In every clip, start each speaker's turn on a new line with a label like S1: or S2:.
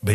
S1: Ben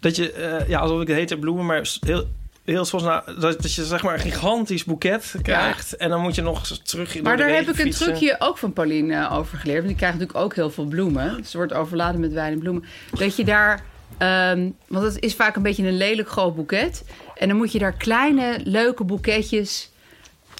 S2: Dat je, eh, ja, alsof ik het heet heb bloemen, maar s- heel, heel soms nou, dat, dat je zeg maar een gigantisch boeket krijgt. En dan moet je nog eens terug in
S3: Maar
S2: de
S3: daar heb
S2: regen
S3: ik een
S2: fietsen.
S3: trucje ook van Pauline eh, over geleerd. Want die krijgt natuurlijk ook heel veel bloemen. Dus Ze wordt overladen met wijn en bloemen. Dat je daar... ehm, want het is vaak een beetje een lelijk groot boeket. En dan moet je daar kleine, leuke boeketjes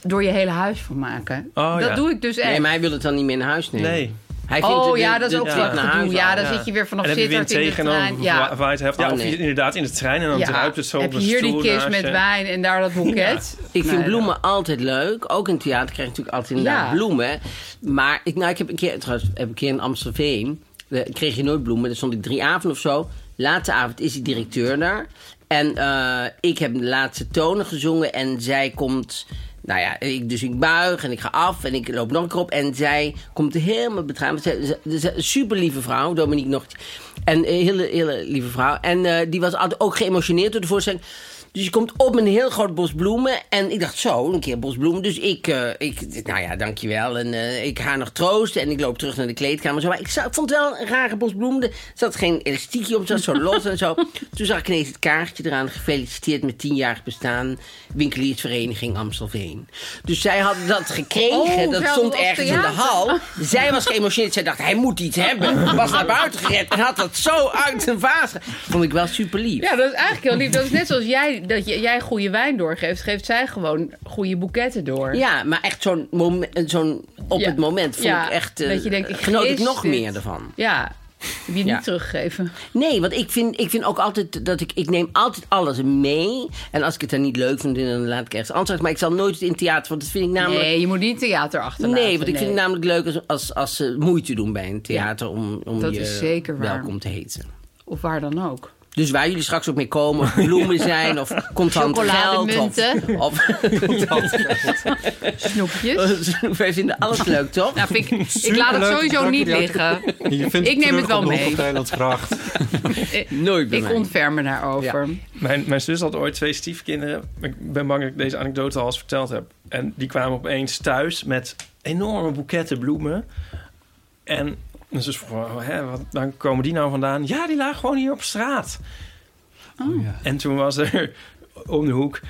S3: door je hele huis van maken.
S2: Oh,
S3: dat
S2: ja.
S3: doe ik dus echt.
S4: Nee, maar hij wil het dan niet meer in huis nemen.
S2: Nee.
S4: Hij vindt
S3: Oh
S4: het-
S3: ja,
S4: de-
S3: dat is
S4: de
S3: ook
S4: trip
S3: wat
S4: naar
S3: gedoe.
S4: huis
S3: Ja, dan
S4: halen.
S3: zit je weer vanaf
S2: En dan heb je wind
S3: zittert in de
S2: tegen en
S3: trein.
S2: dan
S3: Ja.
S2: wa- waait het. Ja,
S4: Oh,
S2: of je
S4: nee.
S2: zit inderdaad in de trein en dan druipt het zo
S3: heb
S2: op een
S3: je hier die
S2: stoel
S3: kist
S2: naast
S3: met
S2: je.
S3: wijn en daar dat boeket.
S4: Ik vind
S3: Nee, dat-
S4: bloemen altijd leuk. Ook in het theater krijg je natuurlijk altijd inderdaad
S3: Ja.
S4: bloemen. Maar ik, nou, ik heb een keer, trouwens, heb een keer in Amstelveen. eh, kreeg je nooit bloemen. Daar stond ik drie avonden of zo. Laatste avond is die directeur daar. En eh, ik heb de laatste tonen gezongen. En zij komt. Nou ja, ik, dus ik buig en ik ga af en ik loop nog een keer op. En zij komt helemaal betraand. Super lieve vrouw, Dominique Nocht. En een hele, hele lieve vrouw. En eh, die was altijd ook geëmotioneerd door de voorstelling. Dus je komt op met een heel groot bos bloemen. En ik dacht, zo, een keer bos bloemen. Dus ik, eh, ik nou ja, dankjewel. En eh, ik ga nog troosten. En ik loop terug naar de kleedkamer. en Zo. Maar ik, zag, ik vond het wel een rare bos bloemen. Er zat geen elastiekje op, het zat zo los en zo. Toen zag ik ineens het kaartje eraan. Gefeliciteerd met 10 jaar bestaan. Winkeliersvereniging Amstelveen. Dus zij had dat gekregen.
S3: Oh,
S4: dat
S3: wel,
S4: stond
S3: op
S4: ergens in de
S3: theater.
S4: hal. Zij was geëmotioneerd. Zij dacht, hij moet iets hebben. Was naar buiten gered. En had dat zo uit zijn vaas. ge- Vond ik wel super lief.
S3: Ja, dat is eigenlijk heel lief. Dat is net zoals jij, dat j- jij goede wijn doorgeeft, geeft zij gewoon goede boeketten door.
S4: Ja, maar echt zo'n moment, zo'n op
S3: Ja.
S4: het moment vond
S3: Ja,
S4: ik echt, eh,
S3: dat je denkt, ik
S4: genoot ik
S3: gis
S4: nog
S3: dit.
S4: meer ervan.
S3: Ja, heb je niet
S4: Ja.
S3: teruggegeven.
S4: Nee, want ik vind, ik vind ook altijd dat ik, ik neem altijd alles mee. En als ik het dan niet leuk vind, dan laat ik ergens anders. uit. Maar ik zal nooit in het theater, want dat vind ik namelijk...
S3: Nee, je moet niet theater achterlaten.
S4: Nee, want ik vind nou- het namelijk leuk als, als, als ze moeite doen bij een theater om, om
S3: Dat
S4: je
S3: is zeker waar.
S4: welkom te heten.
S3: Of waar dan ook.
S4: Dus waar jullie straks ook mee komen, of bloemen zijn, of contant geld. Of,
S3: Chocolademunten.
S4: of
S3: Snoepjes.
S4: Wij vinden alles leuk, toch?
S3: Nou, vind ik, ik laat het sowieso niet liggen. Ik neem het wel mee.
S4: Nooit bij
S3: Ik
S4: mij.
S3: ontferm me daarover.
S2: Mijn, mijn zus had ooit twee stiefkinderen. Ik ben bang dat ik deze anekdote al eens verteld heb. En die kwamen opeens thuis met enorme boeketten bloemen. En mijn zus vroeg, oh, hè, wat, waar komen die nou vandaan? Ja, die lagen gewoon hier op straat.
S3: Oh,
S2: En toen was er om de hoek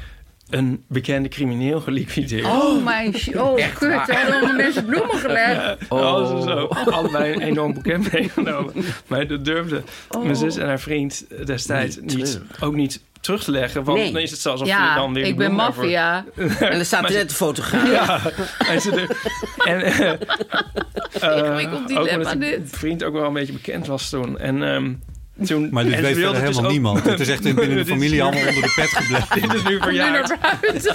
S2: een bekende crimineel geliquideerd.
S3: Oh, mijn... sh- Oh, kut.
S4: waar.
S3: Er hadden allemaal mensen bloemen gelegd.
S2: Oh. Ze zo, allebei een enorm boeket meegenomen. Maar dat durfde
S3: Oh.
S2: mijn zus en haar vriend destijds
S4: Niet
S2: niet, ook niet terug te leggen. Want
S4: Nee.
S2: dan is het zelfs of je
S3: Ja,
S2: dan weer de
S3: ik ben
S2: bloem daarvoor-
S3: maffia.
S4: En er staat net de fotograaf.
S2: En ze de- en, eh,
S3: Ingewikkeld
S2: ook
S3: dilemma
S2: omdat die
S3: dit.
S2: vriend ook wel een beetje bekend was toen. En, ehm, toen
S5: Maar dit
S2: en ze
S5: weet
S2: wilde
S5: verder
S2: dus
S5: helemaal
S2: ook-
S5: niemand. Het is echt in- binnen de
S2: Dit is
S5: familie
S2: nu-
S5: allemaal onder de pet gebleven.
S2: Dit is nu
S3: Nu
S2: verjaard.
S3: naar buiten.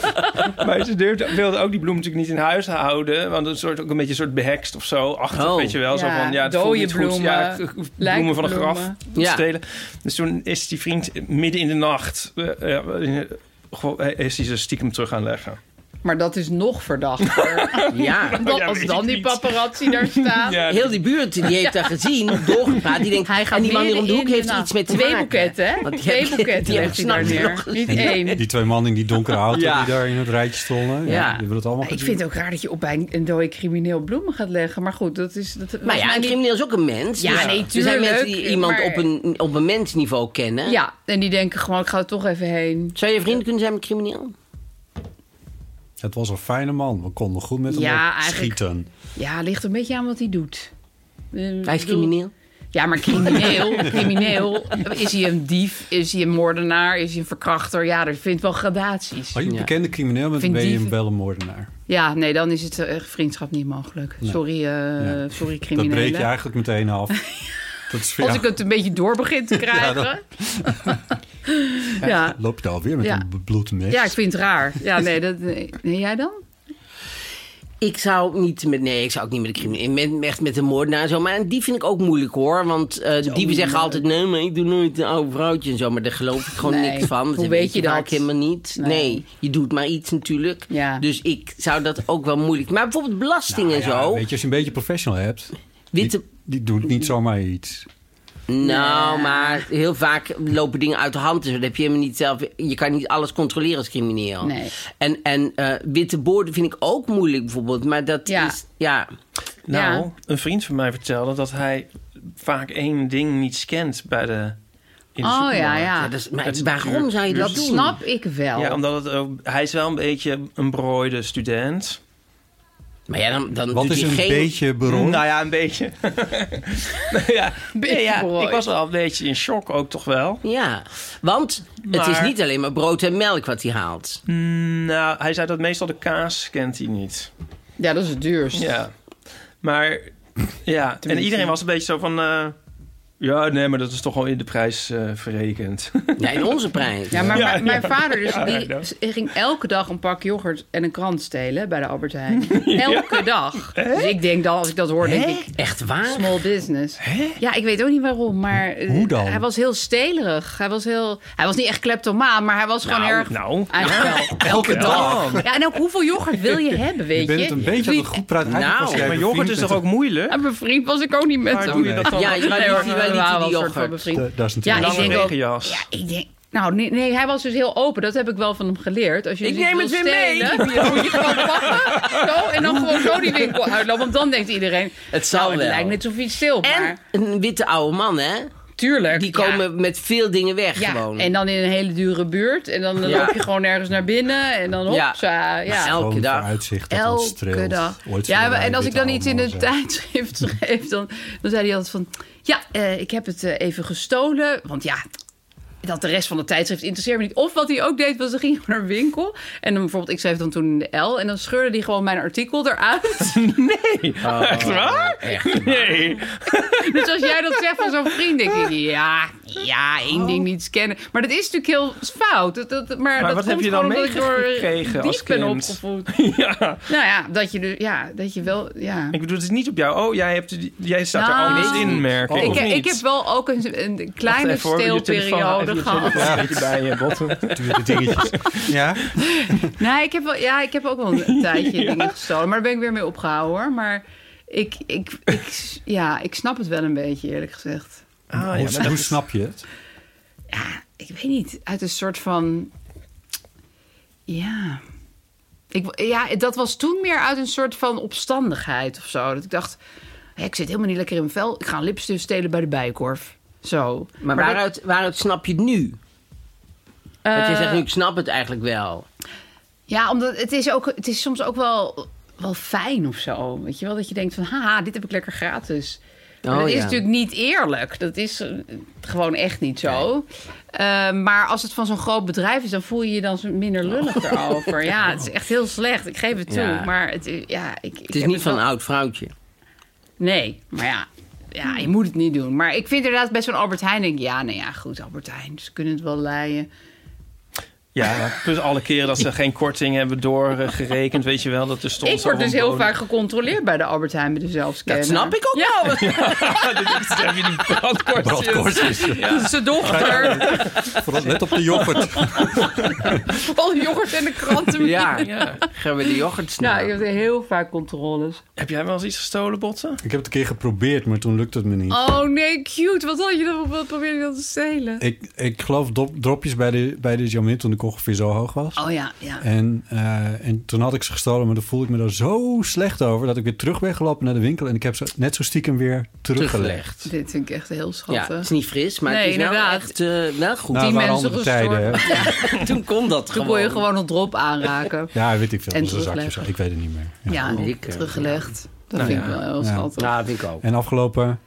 S2: Maar ze durfde, wilde ook die bloem natuurlijk niet in huis houden. Want het is soort, ook een beetje een soort behekst of zo. Achter,
S4: Oh.
S2: weet je wel. zo
S3: Ja,
S2: van, ja, het
S3: dode
S2: voelt niet goed.
S3: bloemen,
S2: Ja, k- k- bloemen van een graf
S3: lijkbloemen.
S4: Ja.
S2: stelen. Dus toen is die vriend midden in de nacht... eh, eh, in- gewoon, eh, is hij ze stiekem terug gaan leggen.
S3: Maar dat is nog
S5: Oh,
S3: verdachter.
S4: Ja.
S3: Want
S2: Ja,
S3: als
S2: weet
S3: dan
S2: ik
S3: die
S2: niet.
S3: paparazzi daar staat.
S2: Ja,
S4: Heel die buurt die heeft daar gezien, doorgepraat. Die denkt,
S3: Hij gaat
S4: en die man hier om de
S3: midden
S4: hoek
S3: in
S4: heeft
S3: nacht.
S4: iets met te
S3: twee
S4: maken.
S3: boeketten, hè?
S4: Want die
S3: twee
S4: hebben-
S3: boeketten
S4: die
S3: legt hij daar
S4: hebben s'nachts
S3: neer. Niet één.
S5: Die twee mannen in die donkere auto
S4: Ja.
S5: die daar in het rijtje stonden. Ja.
S4: Ja.
S5: Die hebben het allemaal
S3: Ik
S5: gezien.
S3: vind het ook raar dat je op bij een- een dode crimineel bloemen gaat leggen. Maar goed, dat is... Dat,
S4: Maar ja, een crimineel is ook een mens.
S3: Ja,
S4: Dus
S3: nee,
S4: Er zijn
S3: tuurlijk,
S4: mensen die iemand
S3: maar-
S4: op, een, op een mensniveau kennen.
S3: Ja, en die denken gewoon, ik ga er toch even heen.
S4: Zou je vrienden kunnen zijn met een crimineel?
S5: Het was een fijne man. We konden goed met hem
S3: Ja,
S5: op
S3: eigenlijk-
S5: schieten.
S3: Ja, ligt een beetje aan wat hij doet. Eh,
S4: Hij is
S3: ik bedoel-
S4: crimineel.
S3: Ja, maar crimineel, crimineel. Is hij een dief? Is hij een moordenaar? Is hij een verkrachter? Ja, er vindt wel gradaties.
S5: Als Oh, je een
S4: Ja.
S5: bekende crimineel bent,
S3: Vind
S5: ben je
S3: die-
S5: een wel een moordenaar.
S3: Ja, nee, dan is het eh, vriendschap niet mogelijk. Sorry, eh
S5: Ja.
S3: sorry
S5: Dat
S3: criminelen.
S5: breek je eigenlijk meteen af. Dat is,
S3: Als
S5: ja,
S3: ik het een beetje door begin te krijgen. Ja, ja.
S5: Loop je alweer met
S3: Ja.
S5: een bloed mes.
S3: ik vind het raar. Ja, nee, dat, nee. nee, jij dan?
S4: Ik zou niet met, nee, ik zou ook niet met de crimineel, met, echt met de moordenaar en zo. Maar die vind ik ook moeilijk hoor. Want eh, dieven zeggen altijd, nee, maar ik doe nooit een oude vrouwtje en zo. Maar daar geloof ik gewoon
S3: Nee,
S4: niks van. Dat
S3: hoe weet je
S4: vaak
S3: dat?
S4: helemaal niet.
S3: Nee.
S4: Nee. je doet maar iets natuurlijk.
S3: Ja.
S4: Dus ik zou dat ook wel moeilijk. Maar bijvoorbeeld belasting
S5: Nou
S4: en
S5: ja,
S4: zo.
S5: Weet je, als je een beetje professional hebt,
S4: Witte,
S5: die, die doet niet zomaar iets.
S4: nou, maar heel vaak lopen dingen uit de hand. Dus dat heb je helemaal niet zelf. Je kan niet alles controleren als crimineel.
S3: Nee.
S4: En, en eh, witte borden vind ik ook moeilijk bijvoorbeeld. Maar dat
S3: Ja.
S4: is, ja.
S2: Nou,
S3: Ja.
S2: een vriend van mij vertelde dat hij vaak één ding niet scant bij de. In de
S3: Oh ja,
S2: supermarkt.
S3: ja.
S4: Ja, dat is, maar
S2: Het-
S4: waarom zou je dat,
S3: Dat
S4: doen?
S3: snap ik wel.
S2: Ja, omdat het, ook- hij is wel een beetje een brooide student.
S4: Maar ja, dan, dan
S5: Wat
S4: doet
S5: is
S4: hij
S5: een
S4: geen...
S5: beetje beroemd?
S2: Nou ja, een beetje. Nou ja,
S3: Beetje
S2: nee, ja,
S3: berooid.
S2: ik was wel een beetje in shock ook toch wel.
S4: Ja, want het is
S2: Maar-
S4: niet alleen maar brood en melk wat hij haalt.
S2: Nou, hij zei dat meestal de kaas kent hij niet.
S3: Ja, dat is het duurst.
S2: Ja. Maar ja, en iedereen was een beetje zo van... eh, ja, nee, maar dat is toch al in de prijs eh, verrekend.
S4: Ja, in onze prijs.
S3: Ja, maar
S2: Ja,
S3: mijn-
S2: ja.
S3: mijn vader dus,
S2: Ja,
S3: die
S2: ja.
S3: ging elke dag een pak yoghurt en een krant stelen bij de Albert Heijn. Elke dag. Dus ik denk dan, als ik dat hoor, denk ik,
S4: Echt waar?
S3: small business. Ja, ik weet ook niet waarom, maar eh,
S5: Hoe dan?
S3: hij was heel stelerig. Hij was, heel, hij was niet echt kleptomaan, maar hij was gewoon
S2: Nou,
S3: erg...
S2: nou.
S3: Eigenlijk wel.
S4: Elke dag.
S3: Ja, en ook hoeveel yoghurt wil je hebben, weet
S5: Je
S3: je?
S5: bent het een beetje aan de goed praat
S4: Nou,
S5: uitgeprocedeerde
S2: maar yoghurt is
S5: vriend
S2: toch ook moeilijk?
S3: En mijn vriend was ik ook niet met
S2: Maar
S3: hem.
S2: doe je dat dan?
S4: Ja,
S2: ook
S4: je
S2: niet?
S4: maar
S3: Nee,
S4: liet
S3: hoor,
S4: hij
S3: we
S4: wel
S3: waren
S4: liet
S3: wel een
S4: die
S3: soort van
S4: yoghurt.
S3: bevriend.
S5: Dat- dat is
S3: Ja,
S5: natuurlijk-
S3: ik
S2: Lange
S3: denk ook...
S2: regenjas.
S3: Ja, ik denk... Nou, nee, nee, hij was dus heel open. Dat heb ik wel van hem geleerd. Als je
S4: Ik
S3: dus iets
S4: neem het
S3: wil
S4: weer mee.
S3: stelen, moet je gewoon pakken. Zo, en dan gewoon zo die winkel uitlopen. Want dan denkt iedereen...
S4: Het zal
S3: nou, het
S4: wel.
S3: lijkt net alsof je iets steelt.
S4: En
S3: Maar
S4: een witte oude man, hè?
S3: tuurlijk.
S4: Die
S3: ja.
S4: komen met veel dingen weg
S3: Ja,
S4: gewoon.
S3: en dan in een hele dure buurt. En dan
S4: Ja.
S3: loop je gewoon ergens naar binnen. En dan hopsa. Ja,
S4: Maar elke
S5: Gewoon
S4: dag.
S5: voor Uitzicht, dat ons
S3: Elke
S5: streelt.
S3: dag.
S5: Ooit zullen
S3: Ja,
S5: wij
S3: en als ik
S5: dit
S3: dan iets in een
S5: allemaal zijn.
S3: tijdschrift schreef, dan, dan zei hij altijd van... Ja, eh, ik heb het eh, even gestolen, want ja... Dat de rest van de tijdschrift interesseerde me niet. Of wat hij ook deed, was dan ging hij naar een winkel. En dan bijvoorbeeld, ik schreef dan toen in de L. En dan scheurde hij gewoon mijn artikel eruit.
S2: Echt waar? Nee.
S3: dus als jij dat zegt van zo'n vriend, denk ik... Ja, ja, één ding niet scannen. Maar dat is natuurlijk heel fout. Dat, dat, maar dat
S2: Oh. wat heb
S3: komt
S2: je dan
S3: gewoon omdat ik door
S2: meegekregen als
S3: dief ben
S2: kind?
S3: opgevoed.
S2: Ja.
S3: Nou ja, dat je, dus, ja, dat je wel... Ja.
S2: Ik bedoel, het is niet op jou. Oh, jij, hebt, jij staat
S3: Nou,
S2: er
S3: weet
S2: anders
S3: ik
S2: in, merk ik.
S5: Oh.
S2: of
S3: Ik,
S2: niet?
S3: ik heb wel ook een, een kleine
S2: Even hoor, je telefoon- even
S3: steelperiode
S2: je
S3: gehad.
S2: telefoon Een beetje bij je botten.
S5: Natuurlijk dingetjes. Ja,
S3: Nee, ik heb, wel, ja, ik heb ook wel een tijdje dingen gestolen. Maar daar ben ik weer mee opgehouden hoor. Maar ik, ik, ik, ja, ik snap het wel een beetje eerlijk gezegd.
S2: Ah, ja,
S5: hoe,
S2: maar dat
S5: hoe
S2: is-
S5: snap je het?
S3: Ik weet niet, uit een soort van... Ja... Ik, ja, dat was toen meer uit een soort van opstandigheid of zo. Dat ik dacht, hé, ik zit helemaal niet lekker in mijn vel. Ik ga een lipstift stelen bij de bijenkorf. Zo.
S4: Maar
S3: dat-
S4: waaruit, waaruit snap je het nu? Want je
S3: Eh,
S4: zegt nu, ik snap het eigenlijk wel.
S3: Ja, omdat het is, ook, het is soms ook wel, wel fijn of zo. Weet je wel, dat je denkt van, haha, dit heb ik lekker gratis. Maar
S4: Oh,
S3: dat is
S4: ja.
S3: natuurlijk niet eerlijk. Dat is eh, gewoon echt niet zo. Eh, maar als het van zo'n groot bedrijf is, dan voel je je dan zo minder lullig erover. Ja, het is echt heel slecht. Ik geef het toe.
S4: Oh. Ja.
S3: Maar het, i- ja, ik, ik
S4: Het is
S3: heb
S4: niet van een
S3: wel-
S4: oud vrouwtje.
S3: Nee, maar ja. Ja, je moet het niet doen. Maar ik vind inderdaad best van Albert Heijn. Denk, ik, ja, nou ja, goed, Albert Heijn. Ze kunnen het wel leien.
S2: Ja, plus alle keren dat ze geen korting hebben doorgerekend. Weet je wel, dat er stond
S3: Ik word dus heel vaak gecontroleerd bij de Albert Heijn met de zelfscanner.
S4: Dat snap ik ook wel.
S2: heb je die
S5: Brandkorstjes.
S3: Dat is zijn dochter.
S5: Vooral Let op de yoghurt.
S3: Al yoghurt en de kranten.
S4: Ja, gaan we de yoghurt
S3: Nou,
S4: snappen.
S3: ik heb heel vaak controles.
S2: Heb jij wel eens iets gestolen, Botten?
S5: Ik heb het een keer geprobeerd, maar toen lukte het me niet.
S3: Oh nee, cute. Wat had je dan? Wat probeerde je dan te stelen?
S5: Ik, ik geloof dop- dropjes bij de, bij de Jamin toen ik ongeveer zo hoog was.
S3: Oh ja, ja.
S5: En, eh, en toen had ik ze gestolen, maar dan voelde ik me daar zo slecht over... dat ik weer terug ben gelopen naar de winkel... en ik heb ze net zo stiekem weer teruggelegd.
S4: Teruggelegd.
S3: Dit vind ik echt heel
S4: Ja, het
S3: schattig.
S4: is niet fris, maar
S3: eh? Nee,
S4: het is wel
S3: inderdaad.
S4: echt eh, wel goed.
S5: Nou,
S3: Die
S5: het waren
S3: mensen
S5: andere tijden. hè.
S4: Toen kon dat
S3: Toen
S4: gewoon.
S3: kon je gewoon een drop aanraken.
S5: Ja, weet ik veel.
S3: En
S5: dat was een zakje of
S3: terugleggen.
S5: zo. Ik weet het niet meer. Ja.
S3: Ja,
S4: ik, eh,
S3: teruggelegd. Dat vind ik wel heel
S5: Nou Ja.
S3: schattig.
S4: Ja, vind ik ook.
S5: En afgelopen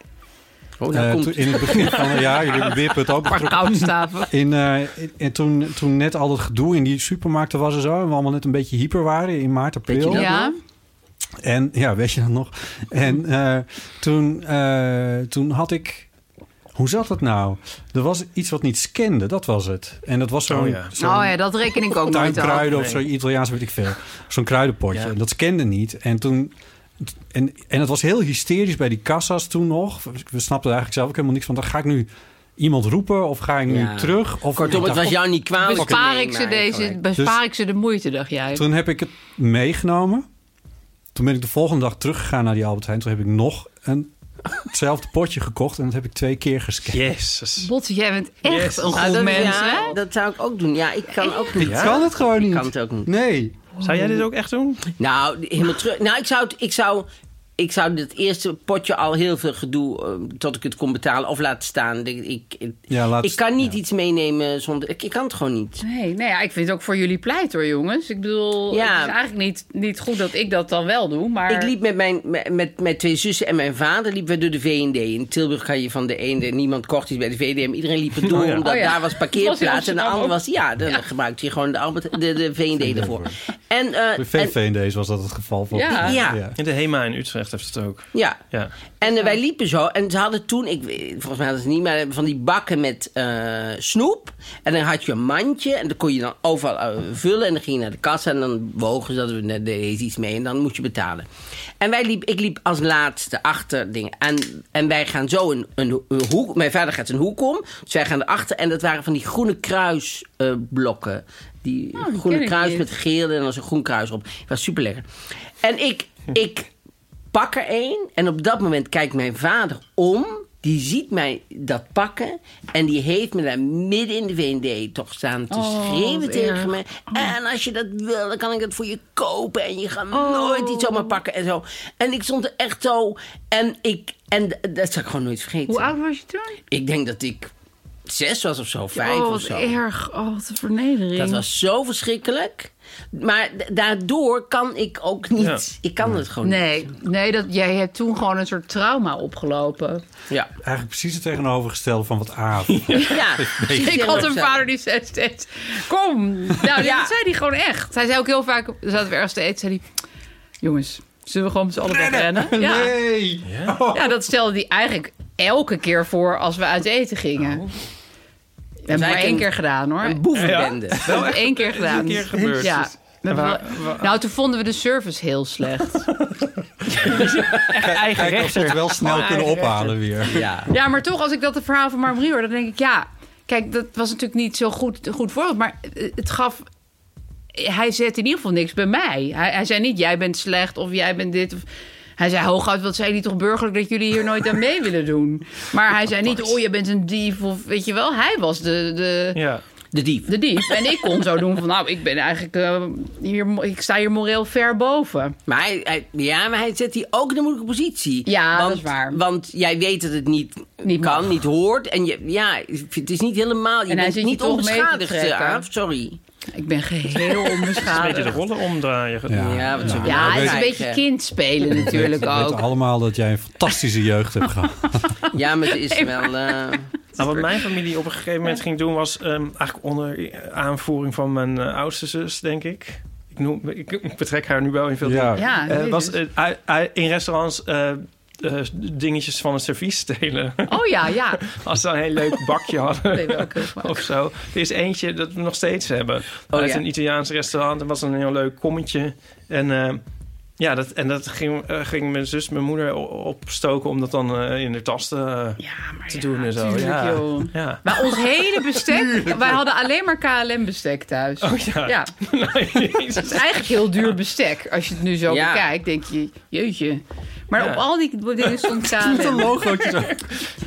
S4: Oh, nou
S5: Eh,
S4: komt
S5: toen- in het begin van het jaar, jullie wippen het ook.
S3: paar goudstaven.
S5: In, eh, in- en toen, toen net al dat gedoe in die supermarkten was en zo... en we allemaal net een beetje hyper waren in maart,
S4: Weet je
S5: april.
S4: dat?
S3: Ja,
S5: En ja, weet je dat nog? En eh, toen, eh, toen had ik... Hoe zat dat nou? Er was iets wat niet scande, dat was het. En dat was zo'n
S2: Oh ja.
S5: zo'n
S3: nou ja, dat reken ik ook nooit af.
S5: tuinkruiden of
S2: Nee.
S5: zo'n Italiaans, weet ik veel. Zo'n kruidenpotje.
S2: Ja.
S5: En dat scande niet. En toen... En, en het was heel hysterisch bij die kassa's toen nog. We snapten er eigenlijk zelf ook helemaal niks van. Dan ga ik nu iemand roepen of ga ik nu
S4: Ja.
S5: terug? Of Dus
S4: Kortom, het was jou niet kwalijk.
S3: Bespaar
S4: Nee,
S3: ik ze,
S4: maar
S3: deze,
S4: gelijk.
S3: bespaar ik ze de moeite, dacht jij.
S5: Toen heb ik het meegenomen. Toen ben ik de volgende dag teruggegaan naar die Albert Heijn. Toen heb ik nog een, hetzelfde potje gekocht. En dat heb ik twee keer gescand.
S2: Jezus.
S3: Botte, jij bent echt
S2: Yes.
S3: een
S4: Nou,
S3: goed
S4: dat-
S3: mens,
S4: ja,
S3: hè?
S4: dat zou ik ook doen. Ja, ik kan ook niet.
S5: Ik kan het gewoon niet.
S4: kan het ook niet.
S5: Nee.
S2: Zou jij dit ook echt doen?
S4: Nou, helemaal terug. Nou, ik zou, het- ik zou, ik zou dit eerste potje al heel veel gedoe eh, tot ik het kon betalen of laten staan. Ik, ik, ik-
S5: Ja, laat-
S4: ik kan niet
S5: ja.
S4: iets meenemen zonder. Ik, ik kan het gewoon niet.
S3: Nee, nee ja, ik vind het ook voor jullie pleit hoor, jongens. Ik bedoel,
S4: Ja.
S3: het is eigenlijk niet, niet goed dat ik dat dan wel doe, maar...
S4: Ik liep met mijn, met- met mijn twee zussen en mijn vader liepen we door de V&D. In Tilburg ga je van de ene, niemand kocht iets bij de V&D. maar Iedereen liep er door, omdat
S3: Oh ja.
S4: daar was
S3: Was in
S4: parkeerplaats. en de
S3: Amsterdam
S4: ander
S3: ook.
S4: was, ja, dan gebruikte je gewoon de, Albert, de, de V&D ervoor. En, eh,
S5: Bij
S4: en-
S5: VV in deze was dat het geval. Van.
S3: Ja.
S4: Ja.
S2: In de HEMA in Utrecht heeft het ook.
S4: ja,
S2: Ja.
S4: En eh, wij liepen zo en ze hadden toen, ik, weet- volgens mij hadden ze het niet, maar van die bakken met eh, snoep. En dan had je een mandje en dan kon je dan overal eh, vullen. En dan ging je naar de kassa en dan wogen ze dat we net deden iets mee en dan moest je betalen. En wij liep, ik liep als laatste achter dingen. En, en wij gaan zo een, een, een hoek, mijn vader gaat een hoek om. Dus wij gaan erachter en dat waren van die groene kruisblokken. die
S3: Oh, die ken
S4: groene
S3: ik
S4: kruis
S3: niet.
S4: met geel en dan zo'n groen kruis op. Het was super lekker. En ik,
S3: Hm.
S4: ik pak er één. En op dat moment kijkt mijn vader om. Die ziet mij dat pakken. En die heeft me daar midden in de VND toch staan te
S3: Oh,
S4: schreeuwen
S3: wat
S4: tegen
S3: erg. Oh.
S4: me. En als je dat wil, dan kan ik dat voor je kopen. En je gaat nooit iets zomaar pakken en zo. En ik stond er echt zo. En, ik, en d- dat zal ik gewoon nooit vergeten.
S3: Hoe oud was je toen?
S4: Ik denk dat ik zes was of zo, vijf
S3: oh,
S4: of
S3: wat
S4: zo.
S3: erg. Oh, wat een vernedering.
S4: Dat was zo verschrikkelijk. Maar d- daardoor kan ik ook niet.
S2: Ja.
S4: Ik kan het gewoon
S3: Nee, nee dat, jij hebt toen gewoon een soort trauma opgelopen.
S4: niet. Ja.
S5: Eigenlijk precies het tegenovergestelde van wat A.
S4: Ja.
S3: Ik had een vader die zei steeds... Kom! Nou,
S4: Ja.
S3: dat zei hij gewoon echt. Hij zei ook heel vaak... Zaten we ergens te eten, zei hij... Jongens, zullen we gewoon met z'n allen wegrennen? Ja.
S5: Nee.
S3: ja, dat stelde hij eigenlijk elke keer voor als we uit eten gingen. We hebben het maar één
S4: eigenlijk
S3: keer gedaan, hoor.
S4: Een boevenbende.
S3: We hebben het één keer gedaan.
S2: keer gebeurd.
S3: Ja. We hebben
S2: waar-
S3: wel- nou, toen vonden we de service heel slecht.
S2: Eigen
S5: Kijk, als we het wel snel kunnen ophalen weer.
S4: Ja.
S3: Ja, maar toch, als ik dat het verhaal van Marmarie hoor, dan denk ik, ja, kijk, dat was natuurlijk niet zo goed, een goed voorbeeld, maar eh, het gaf. Hij zette in ieder geval niks bij mij. Hij, hij zei niet, jij bent slecht of jij bent dit. Of, hij zei hooguit, wat zijn jullie toch burgerlijk dat jullie hier nooit aan mee willen doen? Maar hij zei niet, oh, je bent een dief of weet je wel. Hij was de, de,
S2: Ja.
S4: De dief.
S3: de dief. En ik kon zo doen van, nou, ik ben eigenlijk, eh, hier, mo- ik sta hier moreel ver boven.
S4: Maar hij, hij- ja, maar hij zet die ook in een moeilijke positie.
S3: Ja,
S4: want,
S3: dat is waar.
S4: Want jij weet dat het niet,
S3: Niet
S4: kan,
S3: mag.
S4: niet hoort. En je, ja, het is niet helemaal... Je
S3: En hij
S4: bent
S3: zit je
S4: niet
S3: toch mee te
S4: onbeschadigd, eh,
S3: trekken.
S4: Aaf, Sorry.
S3: Ik ben geheel
S2: Een beetje de eh.
S3: onbeschadigd.
S2: rollen omdraaien.
S5: Ja.
S4: Ja, wat zullen we
S3: Ja,
S4: nou
S3: het is een
S4: krijgen?
S3: beetje kind spelen natuurlijk
S5: We
S3: ook.
S5: weten allemaal dat jij een fantastische jeugd hebt gehad.
S4: Ja, maar het is wel... eh,
S2: Nou, wat mijn familie op een gegeven moment ging doen was ehm, eigenlijk onder aanvoering van mijn eh, oudste zus, denk ik. Ik, noem, ik, ik betrek haar nu wel in veel
S5: Ja.
S2: dingen.
S3: Ja,
S2: Eh, was
S3: jezus.
S2: eh, ui- ui- in restaurants eh, eh, dingetjes van een servies stelen.
S3: Oh ja, ja.
S2: Als ze een heel leuk bakje hadden.
S3: Nee, welke smaak?
S2: Of zo. Er is eentje dat we nog steeds hebben.
S3: Oh,
S2: Uit
S4: ja.
S2: een Italiaans restaurant. Er was een heel leuk kommetje. En eh, ja, dat, en dat ging, eh, ging mijn zus, mijn moeder o- opstoken om dat dan eh, in de tas te, eh,
S3: Ja, maar
S2: te
S3: ja,
S2: doen en zo.
S3: tuurlijk,
S2: ja.
S3: joh.
S2: ja.
S3: Maar ons hele bestek, wij hadden alleen maar KLM-bestek thuis.
S2: Oh ja.
S3: Ja,
S2: Nee, jezus.
S3: het is eigenlijk heel duur bestek. Als je het nu zo
S4: Ja.
S3: bekijkt, denk je, jeutje. Maar
S2: Ja.
S3: op al die dingen stond KLM.
S5: logootje zo.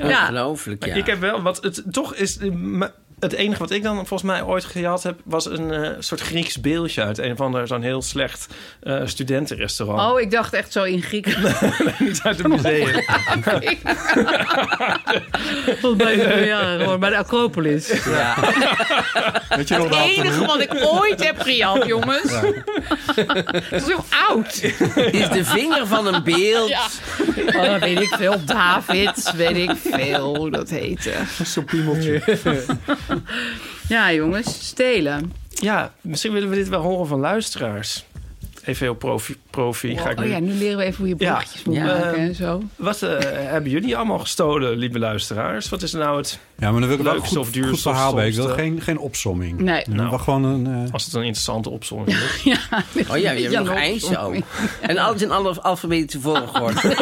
S3: Ja.
S4: Ongelooflijk, ja.
S2: Ik heb wel, wat het toch is. eh, m- het enige wat ik dan volgens mij ooit gehad heb... was een eh, soort Grieks beeldje uit een van de zo'n heel slecht eh, studentenrestaurant.
S3: Oh, ik dacht echt zo in Grieken.
S2: Niet uit het museum.
S3: Volgens mij is nou het, ja, gewoon bij de Acropolis.
S5: Weet je nog
S3: Het
S5: dat?
S3: enige wat ik ooit heb gehad, jongens. Het is heel oud.
S4: Is de vinger van een beeld.
S3: Ja. Oh, weet ik veel. David, weet ik veel hoe dat heette.
S5: Zo'n piemeltje.
S3: Ja, jongens, stelen.
S2: Ja, misschien willen we dit wel horen van luisteraars. Even heel profi. profi ga ik
S3: Oh
S2: nu.
S3: ja, nu leren we even hoe je
S2: Ja.
S3: bochtjes moet
S4: Ja.
S3: maken en zo.
S2: Wat eh, hebben jullie allemaal gestolen, lieve luisteraars? Wat is nou het...
S5: Ja, maar dan wil ik wel een
S2: Leukste
S5: goed,
S2: of duurste
S5: goed verhaal
S2: of
S5: bij. Ik wil
S2: stomste.
S5: geen, geen opsomming.
S3: Nee.
S5: Dan
S2: Nou.
S5: wil gewoon een... eh,
S2: Als het een interessante opzomming is.
S4: Oh ja, je hebt
S3: Ja,
S4: nog
S3: nog.
S4: eisen ook. En alles in alle alfabetische volgorde.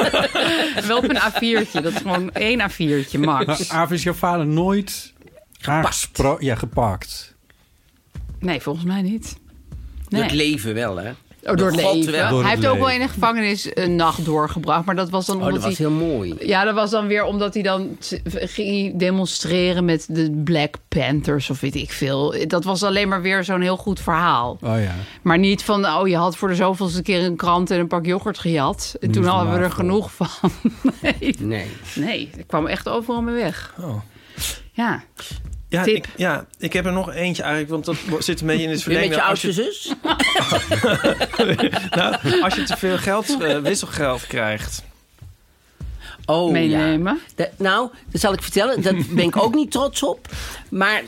S3: Wel op een A4'tje. Dat is gewoon één A4'tje,
S5: Maar
S3: max.
S5: Aaf is jouw vader nooit aangesproken? Ja, gepakt.
S3: Nee, volgens mij niet.
S4: Door
S3: Nee.
S4: het leven wel, hè?
S3: Oh, door het
S4: God
S3: leven.
S4: wel.
S5: Door
S3: Hij
S5: het
S3: heeft ook wel
S5: leven.
S3: in de gevangenis een nacht doorgebracht. Maar dat was dan
S4: Oh,
S3: omdat
S4: dat was
S3: hij...
S4: heel mooi.
S3: Ja, dat was dan weer omdat hij dan t- ging hij demonstreren met de Black Panthers of weet ik veel. Dat was alleen maar weer zo'n heel goed verhaal.
S5: Oh ja.
S3: Maar niet van, oh, je had voor de zoveelste keer een krant en een pak yoghurt gejat. En toen hadden we er
S5: vandaag,
S3: genoeg van. Nee,
S4: Nee.
S3: nee ik kwam echt overal mee weg.
S2: Oh.
S3: Ja,
S2: Ja,
S3: Tip.
S2: ik, ja, ik heb er nog eentje eigenlijk, want dat zit een beetje in het
S4: Weer met
S2: verlengde.
S4: je
S2: Als
S4: oudste
S2: je,
S4: zus?
S2: nou, als je te veel geld, eh, wisselgeld krijgt.
S4: Oh, ja.
S3: meenemen.
S4: Da- nou, dat zal ik vertellen. Daar ben ik ook niet trots op. Maar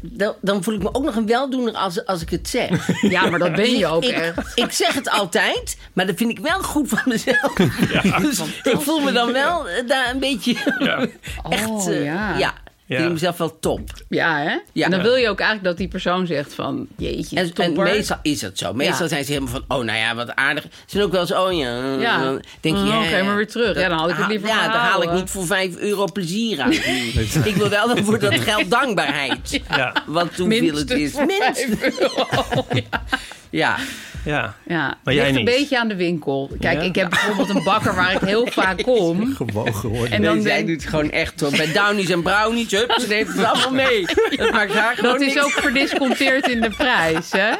S4: da- dan voel ik me ook nog een weldoener als, als ik het zeg.
S3: Ja. maar dat ben je ook
S4: ik,
S3: echt.
S4: ik zeg het altijd, maar dat vind ik wel goed van mezelf. dus ik voel me dan wel eh, daar een beetje echt...
S3: Oh,
S4: eh,
S3: ja.
S4: ja. Ik
S2: Ja.
S4: vind mezelf wel top.
S3: Ja, hè?
S4: Ja.
S3: En dan wil je ook eigenlijk dat die persoon zegt van... Jeetje,
S4: En, en
S3: topper.
S4: meestal is dat zo. Meestal
S3: Ja.
S4: zijn ze helemaal van, oh nou ja, wat aardig. Ze zijn ook wel eens, oh ja. eh,
S3: Ja.
S4: dan Denk je,
S3: Oh,
S4: ja,
S3: oké, maar weer terug.
S4: dat
S3: Ja, dan had ik het
S4: ha-
S3: liever
S4: Ja, daar haal ik
S3: gehouden.
S4: niet voor 5 euro plezier aan. ik wil wel voor dat geld dankbaarheid.
S2: Ja,
S4: Want hoeveel het is.
S3: voor
S4: Minst.
S3: vijf euro. ja.
S4: Ja.
S2: ja.
S3: ja,
S2: Maar
S3: het
S2: jij
S3: ligt
S2: niet.
S3: een beetje aan de winkel. Kijk,
S2: Ja?
S3: ik heb bijvoorbeeld een bakker waar ik heel vaak kom.
S5: Gewoon geworden.
S3: En dan
S4: nee, zij
S3: denk-
S4: doet het gewoon echt hoor. Bij Downies en Brownies, hup, ze neemt het allemaal mee. Dat maakt haar gewoon
S3: Dat is
S4: niks.
S3: ook verdisconteerd in de prijs, hè?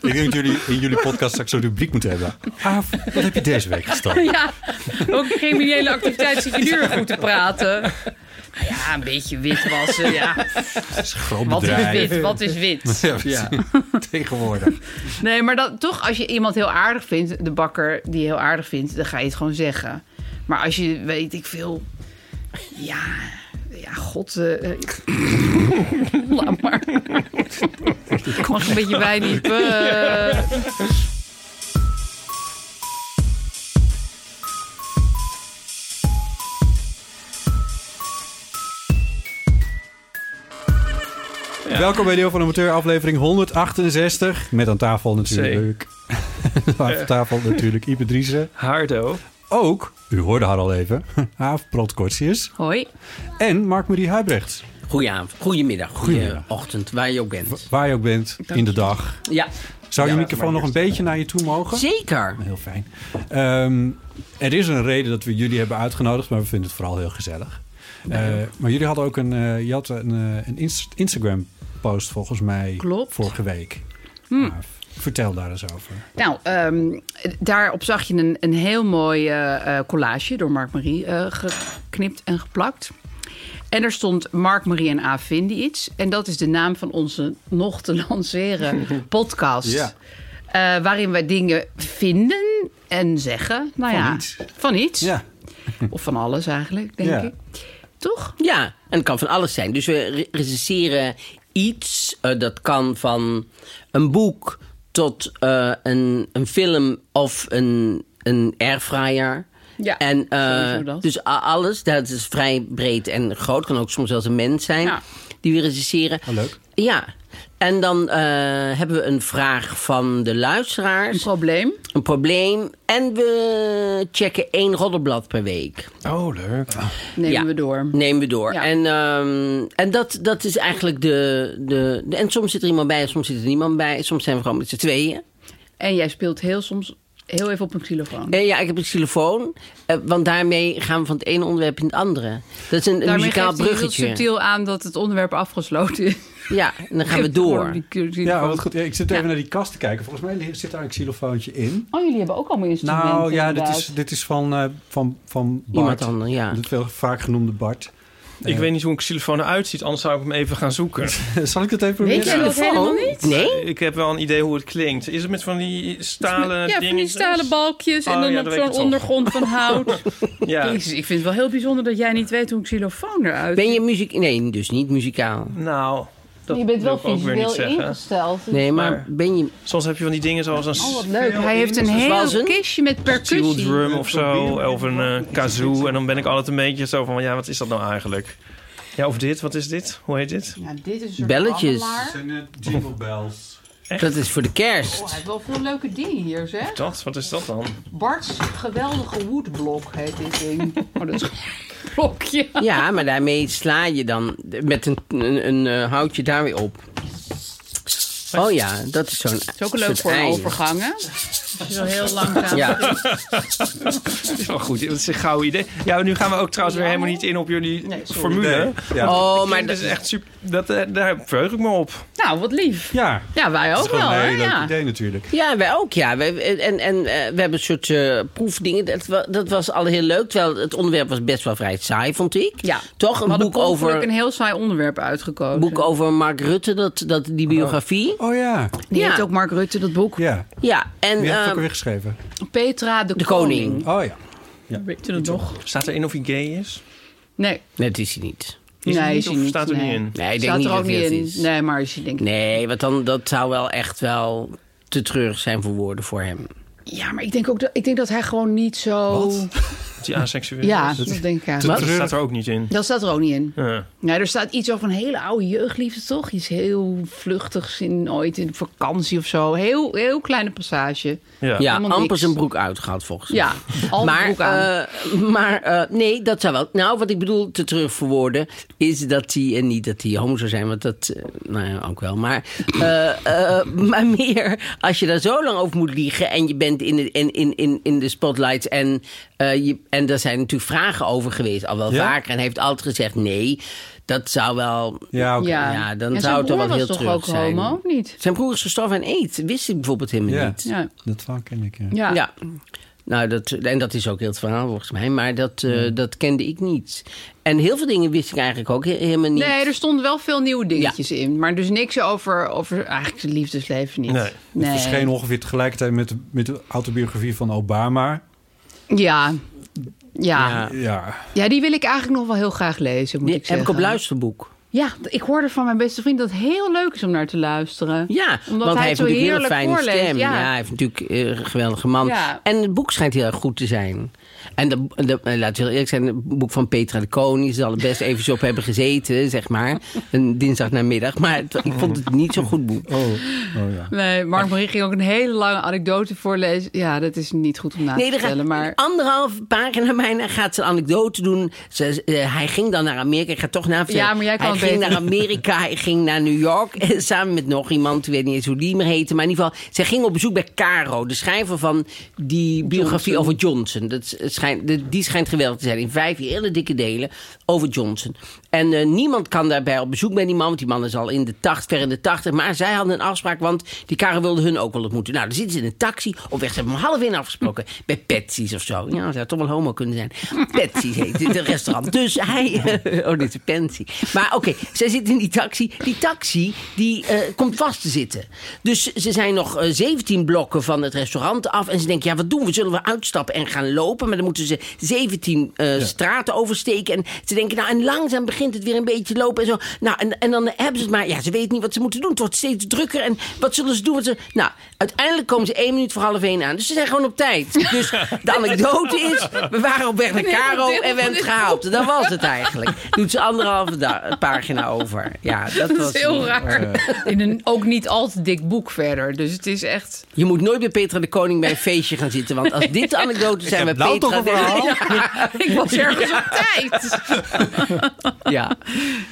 S5: Ik denk dat jullie in jullie podcast straks zo'n rubriek moeten hebben. Aaf, wat heb je deze week gestolen?
S3: Ja, ook criminele activiteit zit je nu weer goed te praten. Nou Ja, een beetje witwassen, ja.
S5: Dat is een groot
S3: Wat is
S5: bedrijf.
S3: wit? Wat is wit?
S5: Ja, tegenwoordig.
S3: Nee, maar dat, toch, als je iemand heel aardig vindt, de bakker die je heel aardig vindt, dan ga je het gewoon zeggen. Maar als je, weet ik veel, ja, ja, god, eh, eh, laat maar. Ik mag een beetje eh, bijniepen.
S5: Welkom bij Deel van de Amateur, aflevering 168. Met aan tafel natuurlijk... aan tafel natuurlijk Ipe Driessen.
S2: Hardo.
S5: Ook, u hoorde haar al even, Aaf Protkortsius.
S3: Hoi.
S5: En Mark-Marie Huibrechts.
S4: Goedenavond, goedemiddag,
S5: Goedemiddag.
S4: goedeochtend, waar je ook bent.
S5: Waar je ook bent, in de dag.
S4: Ja,
S5: Zou je
S4: Ja,
S5: microfoon
S4: maar
S5: nog een beetje naar je toe mogen?
S4: zeker.
S5: Heel fijn. Ehm, er is een reden dat we jullie hebben uitgenodigd, maar we vinden het vooral heel gezellig. Eh, maar jullie hadden ook een, eh, je had een, eh, een Inst- Instagram-post volgens mij
S3: Klopt.
S5: vorige week. Aaf, vertel daar eens over.
S3: Nou, ehm, daarop zag je een, een heel mooi eh, eh, collage door Mark-Marie eh, geknipt en geplakt. En er stond Mark-Marie en A vinden iets. En dat is de naam van onze nog te lanceren podcast.
S5: Ja.
S3: Eh, waarin wij dingen vinden en zeggen. Nou
S5: Van
S3: ja,
S5: iets.
S3: Van iets.
S5: Ja,
S3: Of van alles eigenlijk, denk
S5: Ja.
S3: ik. Toch?
S4: Ja, en het kan van alles zijn. Dus we re- recenseren iets. eh, dat kan van een boek tot eh, een, een film of een, een airfryer.
S3: Ja,
S4: en, eh,
S3: sowieso dat.
S4: Dus a- alles, dat is vrij breed en groot. Kan ook soms zelfs een mens zijn
S3: Ja.
S4: die we recenseren.
S5: Oh, leuk.
S4: Ja, en dan eh, hebben we een vraag van de
S3: Een
S4: luisteraars,
S3: probleem.
S4: een probleem. En we checken één roddelblad per week
S2: Oh, leuk.
S3: Nemen
S4: Ja.
S3: we door.
S4: nemen we door.
S3: Ja.
S4: En, ehm, en dat, dat is eigenlijk de, de, de- En soms zit er iemand bij, en soms zit er niemand bij. Soms zijn we gewoon met z'n tweeën.
S3: En jij speelt heel soms heel even op een xylofoon.
S4: Eh, ja, ik heb een xylofoon. eh, want daarmee gaan we van het ene onderwerp in het andere. Dat is een, een
S3: Daarmee
S4: muzikaal
S3: geeft hij heel
S4: bruggetje.
S3: subtiel aan dat het onderwerp afgesloten is.
S4: Ja, en dan gaan we door.
S5: Ja,
S3: Ja,
S5: wat goed. Ja, ik zit even naar die kast te kijken. Volgens mij zit daar een xylofoontje in.
S3: Oh, jullie hebben ook allemaal instrumenten.
S5: Nou ja, dit
S3: inderdaad.
S5: is, dit is van, eh, van, van Bart.
S4: Iemand anders, ja.
S5: De veel vaak genoemde Bart.
S2: Ik weet niet hoe een xylofoon eruit ziet, anders zou ik hem even gaan zoeken.
S5: Zal ik dat even
S3: Weet
S5: proberen?
S3: jij dat
S4: Telefoon?
S3: helemaal niet?
S4: Nee?
S2: Ik heb wel een idee hoe het klinkt. Is het met van die stalen
S3: Ja, van die
S2: dingetjes?
S3: stalen balkjes en
S2: Oh,
S3: dan
S2: ja,
S3: op
S2: dat weet ik
S3: zo'n
S2: toch.
S3: ondergrond van hout.
S2: Ja.
S3: Jezus, ik vind het wel heel bijzonder dat jij niet weet hoe een xylofoon eruit
S4: Ben je muziek... Nee, dus niet muzikaal.
S2: Nou, dat
S3: Je bent
S2: wil
S3: wel
S2: ik ook weer niet
S3: visueel
S2: zeggen.
S3: ingesteld.
S4: Nee, maar,
S2: Maar-
S4: ben je...
S2: Soms heb je van die dingen zoals een
S3: Oh, wat leuk. Hij heeft een
S4: was
S3: heel
S4: een-
S3: kistje met percussie.
S2: drum of zo, of een eh, kazoo. En dan ben ik altijd een beetje zo van, ja, wat is dat nou eigenlijk? Ja, of dit, wat is dit? Hoe heet dit?
S3: Ja, dit is een soort
S4: Belletjes.
S3: babbelaar.
S5: jingle bells.
S4: Dat is voor de kerst.
S3: Oh, hij heeft wel veel leuke dingen hier, zeg.
S2: Dat, wat is dat dan?
S3: Bart's geweldige woodblok heet dit ding. Oh, dat is een blokje.
S4: Ja, maar daarmee sla je dan met een, een, een eh, houtje daar weer op. Oh ja, dat is zo'n
S3: Het is ook leuk
S4: soort
S3: voor een
S4: ei.
S3: overgang, hè? Als je zo heel langzaam...
S4: Ja,
S2: Dat is wel goed, dat is een gouden idee. Ja, nu gaan we ook trouwens weer helemaal niet in op jullie
S3: Nee, sorry.
S2: formule.
S5: Ja.
S4: oh,
S2: Maar
S4: maar
S2: dat is
S4: dat,
S2: echt super, dat, eh, daar verheug ik me op.
S3: Nou, wat lief.
S5: Ja,
S3: Ja, wij
S5: dat
S3: ook
S5: is gewoon
S3: wel,
S5: een
S3: hè?
S5: heel leuk
S3: Ja.
S5: idee natuurlijk.
S4: ja, wij ook, ja. We, en en eh, we hebben een soort eh, proefdingen. Dat, wa- dat was al heel leuk, terwijl het onderwerp was best wel vrij saai, vond ik.
S3: Ja.
S4: Toch?
S3: We
S4: Een
S3: hadden
S4: boek over,
S3: een heel saai onderwerp uitgekozen.
S4: een boek over Mark Rutte, dat, dat, die biografie.
S5: Oh ja,
S3: Die
S4: Ja.
S3: heeft ook Mark Rutte, dat boek.
S5: ja.
S4: Ja,
S5: Wie
S4: en
S5: heeft het ook
S4: eh,
S5: alweer geschreven?
S3: Petra de,
S4: De
S3: Koning.
S4: Koning.
S5: Oh ja.
S3: Weet je dat nog?
S2: Staat er in of hij gay is?
S3: Nee.
S4: nee, dat is hij niet.
S2: Is hij
S3: nee,
S2: niet
S3: hij
S2: of staat er
S3: nee.
S2: niet in?
S4: Nee, ik denk
S3: staat
S4: niet
S3: er ook
S4: dat hij
S3: niet
S4: dat
S3: in.
S4: is.
S3: Nee, maar als je denkt...
S4: Nee, want dan, dat zou wel echt wel te treurig zijn voor woorden voor hem.
S3: Ja, maar ik denk ook dat, ik denk dat hij gewoon niet zo...
S2: Is hij aseksueel?
S3: Ja,
S2: is?
S3: dat denk ik eigenlijk.
S2: Dat staat er ook niet in.
S3: Dat staat er ook niet in.
S2: Ja.
S3: Nou, er staat iets over een hele oude jeugdliefde, toch? Iets heel vluchtigs in ooit in vakantie of zo. Heel, heel kleine passage.
S2: Ja.
S4: Ja,
S3: Helemaal
S4: amper
S3: niks.
S4: zijn broek uitgehad volgens mij.
S3: Ja, al maar,
S4: maar
S3: broek aan.
S4: eh, maar eh, nee, dat zou wel. Nou, wat ik bedoel te terugverwoorden is dat hij, en niet dat hij homo zou zijn, want dat, eh, nou ja, ook wel. Maar, eh, eh, maar meer als je daar zo lang over moet liegen en je bent in de, in, in, in, in de spotlights en, eh, je, en daar zijn natuurlijk vragen over geweest, al wel
S5: Ja?
S4: vaker. En hij heeft altijd gezegd nee, dat zou wel.
S5: Ja, oké.
S3: ja.
S4: eh, ja, dan
S3: En
S4: zou het toch wel
S3: broer
S4: heel
S3: was toch
S4: treurig
S3: ook
S4: zijn.
S3: homo, of niet?
S4: Zijn broer is gestorven aan aids, wist ik bijvoorbeeld helemaal
S5: Ja.
S4: niet.
S3: Ja.
S2: Eh.
S5: Dat verhaal ken ik, ja.
S3: Ja.
S4: Ja. Nou, dat, en dat is ook heel het verhaal volgens mij. Maar dat, eh,
S3: Hmm.
S4: dat kende ik niet. En heel veel dingen wist ik eigenlijk ook he- helemaal niet.
S3: Nee, dus- er stonden wel veel nieuwe dingetjes in. Maar dus niks over, over eigenlijk zijn liefdesleven niet.
S2: Nee. Het
S5: Het verscheen ongeveer tegelijkertijd met, de- met de autobiografie van Obama.
S3: Ja. Ja. ja.
S4: Ja.
S5: Ja,
S3: die wil ik eigenlijk nog wel heel graag lezen, moet
S4: Die
S3: ik
S4: heb
S3: zeggen.
S4: ik op luisterboek.
S3: Ja, ik hoorde van mijn beste vriend dat het heel leuk is om naar te luisteren.
S4: Ja,
S3: Omdat hij
S4: want hij
S3: het
S4: heeft
S3: zo
S4: natuurlijk een hele
S3: heerlijk
S4: fijne
S3: voorleest,
S4: stem.
S3: ja.
S4: Ja. hij heeft natuurlijk eh, een geweldige man.
S3: Ja.
S4: En het boek schijnt heel erg goed te zijn. En de, de, eh, laten we heel eerlijk zijn, het boek van Petra de Koning... zal er best eventjes op hebben gezeten, zeg maar. Een dinsdag namiddag. Maar het- ik vond het niet zo'n goed boek.
S3: Oh. Nee, Mark Marie ging ook een hele lange anekdote voorlezen. Ja, dat is niet goed om na
S4: Nee,
S3: te
S4: er gaat
S3: vertellen. Maar
S4: anderhalf pagina bijna gaat ze een anekdote doen. Ze, eh, hij ging dan naar Amerika. Ik ga toch naar
S3: Ja, maar jij kan
S4: Hij
S3: het
S4: ging
S3: beter.
S4: naar Amerika, hij ging naar New York. eh, Samen met nog iemand, ik weet niet eens hoe die meer heette. Maar in ieder geval, zij ging op bezoek bij Caro. De schrijver van die biografie over Johnson. Dat is- het schijnt, de- die schijnt geweldig te zijn. In vijf hele dikke delen over Johnson. En eh, niemand kan daarbij op bezoek bij die man. Want die man is al in de tacht, ver in de tachtig. Maar zij hadden een afspraak, want die Caro wilde hun ook wel ontmoeten. Nou, dan zitten ze in een taxi. Op weg, ze hebben om half één afgesproken. Bij Patsy's of zo. Ja, zou toch wel homo kunnen zijn. Patsy's heet dit een restaurant. Dus hij... oh, dit is een pensie. Maar oké, zij zitten in die taxi. Die taxi, die eh, komt vast te zitten. Dus ze zijn nog eh, 17 blokken van het restaurant af. En ze denken, ja, wat doen we? Zullen we uitstappen en gaan lopen? Maar dan moeten ze 17 eh, straten oversteken. En ze denken, nou, en langzaam begint het weer een beetje lopen en zo. Nou, en, en dan hebben ze het maar. Ja, ze weten niet wat ze moeten doen. Het wordt steeds drukker. En wat zullen ze doen? Wat ze... Nou, uiteindelijk komen ze één minuut voor half één aan. Dus ze zijn gewoon op tijd. Dus de anekdote Dus is, we waren op weg naar Caro en we hebben het gehaald. Dat was het eigenlijk. Doet ze anderhalve da- pagina over. Ja, dat,
S3: Dat
S4: was eh,
S3: is heel
S4: niet-
S3: raar. In een ook niet al te dik boek verder. Dus het is echt...
S4: Je moet nooit bij Petra de Koning bij een feestje gaan zitten. Want als dit de anekdotes zijn met
S5: nou
S4: Petra...
S5: toch een verhaal?
S4: Ja.
S3: Ik was ergens op tijd.
S4: Ja.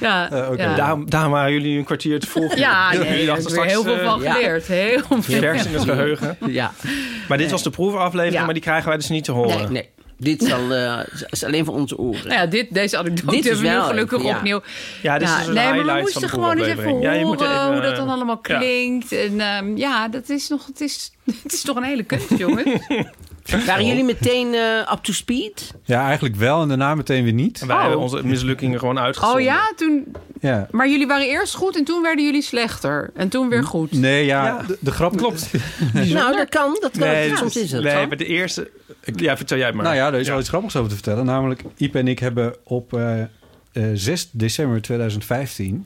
S3: Ja,
S5: Eh, oké.
S3: ja.
S2: Daarom, daarom waren jullie een kwartier te vroeg.
S3: Ja,
S2: Jullie
S3: nee, daar heb
S2: dachten
S3: ik weer heel
S2: straks,
S3: veel
S2: eh,
S3: van
S4: ja.
S3: geleerd. Heel veel.
S2: Vers in het geheugen.
S4: ja.
S2: Maar dit was de proefaflevering,
S3: Ja.
S2: maar die krijgen wij dus niet te horen.
S4: Nee, nee. Dit zal, eh, is alleen voor onze oren.
S3: Nou ja, dit, deze anekdote
S4: Dit is
S3: hebben we nu
S4: wel
S3: gelukkig
S4: even, ja.
S3: opnieuw.
S2: Ja, dit is dus een
S3: Nou, nee, maar we
S2: highlight
S3: moesten
S2: van de
S3: gewoon eens even
S2: proefaflevering.
S3: horen
S2: Ja, je moet even,
S3: hoe dat dan
S2: eh,
S3: allemaal
S2: ja.
S3: klinkt. En ehm, ja, dat is nog, het, is, het is toch een hele kunst, jongens.
S4: Waren jullie meteen eh, up to speed?
S5: Ja, eigenlijk wel en daarna meteen weer niet.
S2: En wij hebben onze mislukkingen gewoon uitgezonden.
S3: oh ja, toen,
S5: Ja.
S3: maar jullie waren eerst goed en toen werden jullie slechter. En toen weer goed.
S5: Nee, ja,
S2: Ja.
S5: De, de grap... Klopt.
S4: Nou, dat kan. Dat kan.
S2: Nee,
S4: Soms is het.
S2: nee
S4: hoor.
S2: maar de eerste... Ja, vertel jij het maar.
S5: Nou ja, er is wel iets grappigs over te vertellen. Namelijk, Iep en ik hebben op eh, eh, 6 december 2015...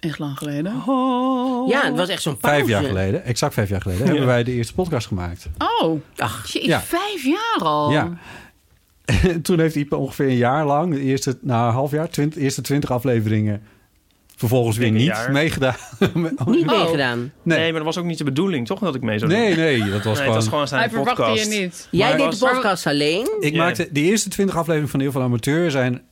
S3: Echt lang geleden.
S2: Oh.
S4: ja, het was echt zo'n pauze.
S5: Vijf jaar geleden, exact vijf jaar geleden... hebben wij de eerste podcast gemaakt.
S3: Oh,
S4: Ach.
S3: jeez,
S5: Ja.
S3: vijf jaar al.
S5: Ja. Toen heeft Iep ongeveer een jaar lang, de eerste, na een half jaar, twint- eerste twintig afleveringen... vervolgens weer
S2: Denk een
S5: niet
S2: jaar.
S5: meegedaan.
S4: Niet
S3: Oh.
S4: meegedaan.
S2: nee.
S5: nee.
S2: maar dat was ook niet de bedoeling, toch? Dat ik mee zou doen.
S5: Nee, nee, dat was
S2: Nee, het
S5: gewoon...
S2: was gewoon zijn
S3: Hij verwachtte
S2: podcast.
S3: je niet.
S4: Jij
S2: Maar
S4: deed
S2: was-
S4: de podcast alleen.
S5: Ik
S2: Ja.
S5: maakte de eerste twintig afleveringen van Heel van Amateur zijn.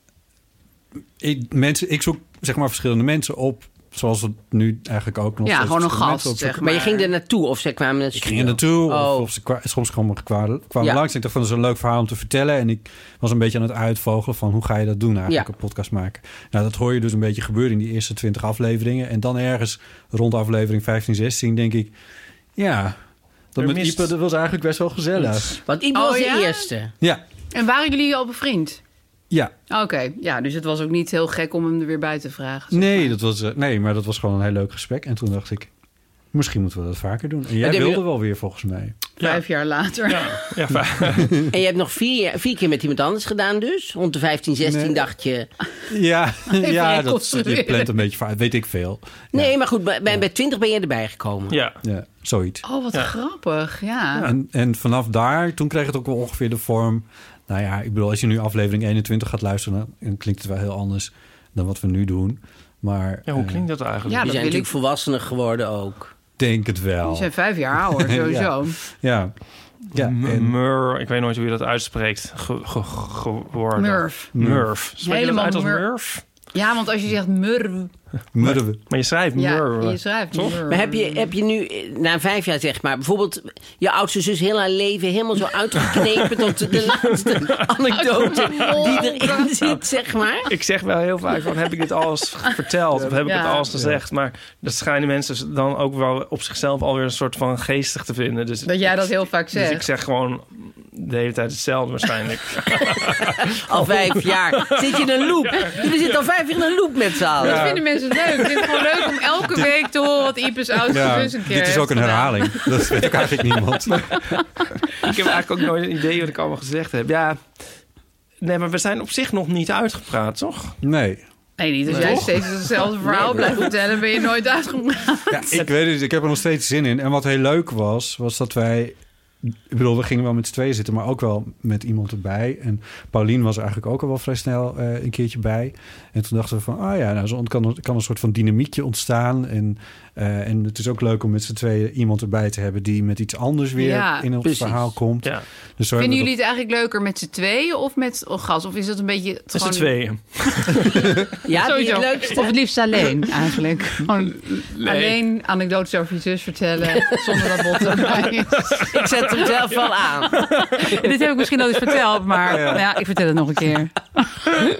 S5: Ik, mensen, ik zoek zeg maar verschillende mensen op, zoals we nu eigenlijk ook nog.
S3: Ja,
S5: steeds
S3: gewoon een
S5: verschillende
S3: gast,
S5: mensen opzoeken.
S3: zeg
S4: Maar je ging er naartoe of zij kwamen naar
S5: Ik ging er naartoe,
S4: Oh.
S5: of, of ze kwa- soms kwamen, kwamen, kwamen
S4: Ja.
S5: langs. Ik dacht van, dat is een leuk verhaal om te vertellen. En ik was een beetje aan het uitvogelen van, hoe ga je dat doen eigenlijk,
S4: Ja.
S5: een podcast maken? Nou, dat hoor je dus een beetje gebeuren in die eerste twintig afleveringen. En dan ergens rond aflevering 15, 16 denk ik, ja, dat
S2: Er
S5: met
S2: mist-
S5: Ieper, dat was eigenlijk best wel gezellig.
S4: Want ik
S3: Oh,
S4: was
S3: ja?
S4: de eerste.
S5: Ja,
S3: En waren jullie al bevriend?
S5: ja.
S3: Oké, ja, dus het was ook niet heel gek om hem er weer bij te vragen. zeg
S5: Nee,
S3: maar.
S5: dat was, eh, nee, maar dat was gewoon een heel leuk gesprek. En toen dacht ik, misschien moeten we dat vaker doen. En jij
S4: Maar dit-
S5: wilde wel weer volgens mij.
S3: Vijf jaar later.
S2: Ja, maar-
S4: En je hebt nog vier, vier keer met iemand anders gedaan dus. Rond de 15, 16
S5: Nee.
S4: dacht je...
S5: Ja, ja dat,
S3: reconstrueren.
S5: je plant een beetje vaak, weet ik veel.
S4: Nee, maar goed, bij, bij, bij 20 ben je erbij gekomen.
S2: ja.
S5: Ja, zoiets.
S3: Oh, wat grappig, ja.
S5: En, en vanaf daar, toen kreeg het ook wel ongeveer de vorm... Nou ja, ik bedoel, als je nu aflevering 21 gaat luisteren... dan klinkt het wel heel anders dan wat we nu doen. Maar
S2: ja,
S5: ik
S2: hoe klinkt dat eigenlijk?
S3: Ja,
S4: die
S3: dat
S4: zijn
S3: wil
S4: natuurlijk
S3: ik.
S4: volwassener geworden ook.
S5: denk het wel.
S3: Die zijn vijf jaar ouder, sowieso.
S5: Ja. ja en,
S2: Mur, ik weet nooit hoe je dat uitspreekt. Ge, ge- geworden.
S3: Murf.
S2: Murf. Spreek je dat
S3: Helemaal
S2: uit als
S3: mur-
S2: Murf?
S3: Ja, want als je zegt murw,
S5: murwen.
S2: Maar je schrijft
S3: ja,
S2: Mur.
S3: je schrijft
S2: Toch?
S3: murw.
S4: Maar heb je, heb je nu, eh, na vijf jaar zeg maar, bijvoorbeeld je oudste zus heel haar leven helemaal zo uitgeknepen tot de laatste anekdote die erin zit, zeg maar?
S2: Ik zeg wel heel vaak, van, heb ik dit alles verteld? Of heb ik
S3: Ja.
S2: het alles gezegd? Maar dat schijnen mensen dan ook wel op zichzelf alweer een soort van geestig te vinden. Dus,
S3: Dat jij dat heel vaak
S2: dus ik
S3: zegt.
S2: zeg gewoon de hele tijd hetzelfde waarschijnlijk.
S4: Al vijf jaar. Zit je in een loop? We zitten al vijf jaar in een loop met z'n allen.
S3: Dat vinden mensen leuk. Ik vind het gewoon leuk om elke week te horen wat Ipes oudste
S5: Ja,
S3: zus een keer
S5: dit is
S3: heeft
S5: ook een
S3: gedaan.
S5: herhaling. Dat weet ook eigenlijk niemand.
S2: ik heb eigenlijk ook nooit een idee wat ik allemaal gezegd heb. Ja, nee, maar we zijn op zich nog niet uitgepraat, toch?
S5: Nee.
S3: Nee, niet als jij steeds hetzelfde verhaal blijft vertellen, ben je nooit uitgepraat.
S5: Ja, ik weet het. Ik heb er nog steeds zin in. En wat heel leuk was, was dat wij... Ik bedoel, we gingen wel met z'n tweeën zitten, maar ook wel met iemand erbij. En Paulien was er eigenlijk ook al wel vrij snel eh, een keertje bij. En toen dachten we van, ah ja, nou, zo ont- kan, kan een soort van dynamiekje ontstaan. En, eh, en het is ook leuk om met z'n tweeën iemand erbij te hebben... die met iets anders weer
S3: Ja,
S5: in ons
S4: precies.
S5: verhaal komt.
S2: Ja,
S5: Dus zo
S3: Vinden
S5: hebben
S3: jullie
S5: we
S3: het eigenlijk leuker met z'n tweeën of met gas? Of is dat een beetje het
S2: dat is
S3: gewoon...
S2: de tweeën.
S4: Ja, dat is
S3: Sowieso.
S4: het leukste.
S3: Of het liefst alleen, eigenlijk. Gewoon alleen anekdotes over je zus vertellen, zonder dat Botte erbij is.
S4: Ik zet hem zelf wel aan.
S3: En dit heb ik misschien al eens verteld, maar nou ja, ik vertel het nog een keer.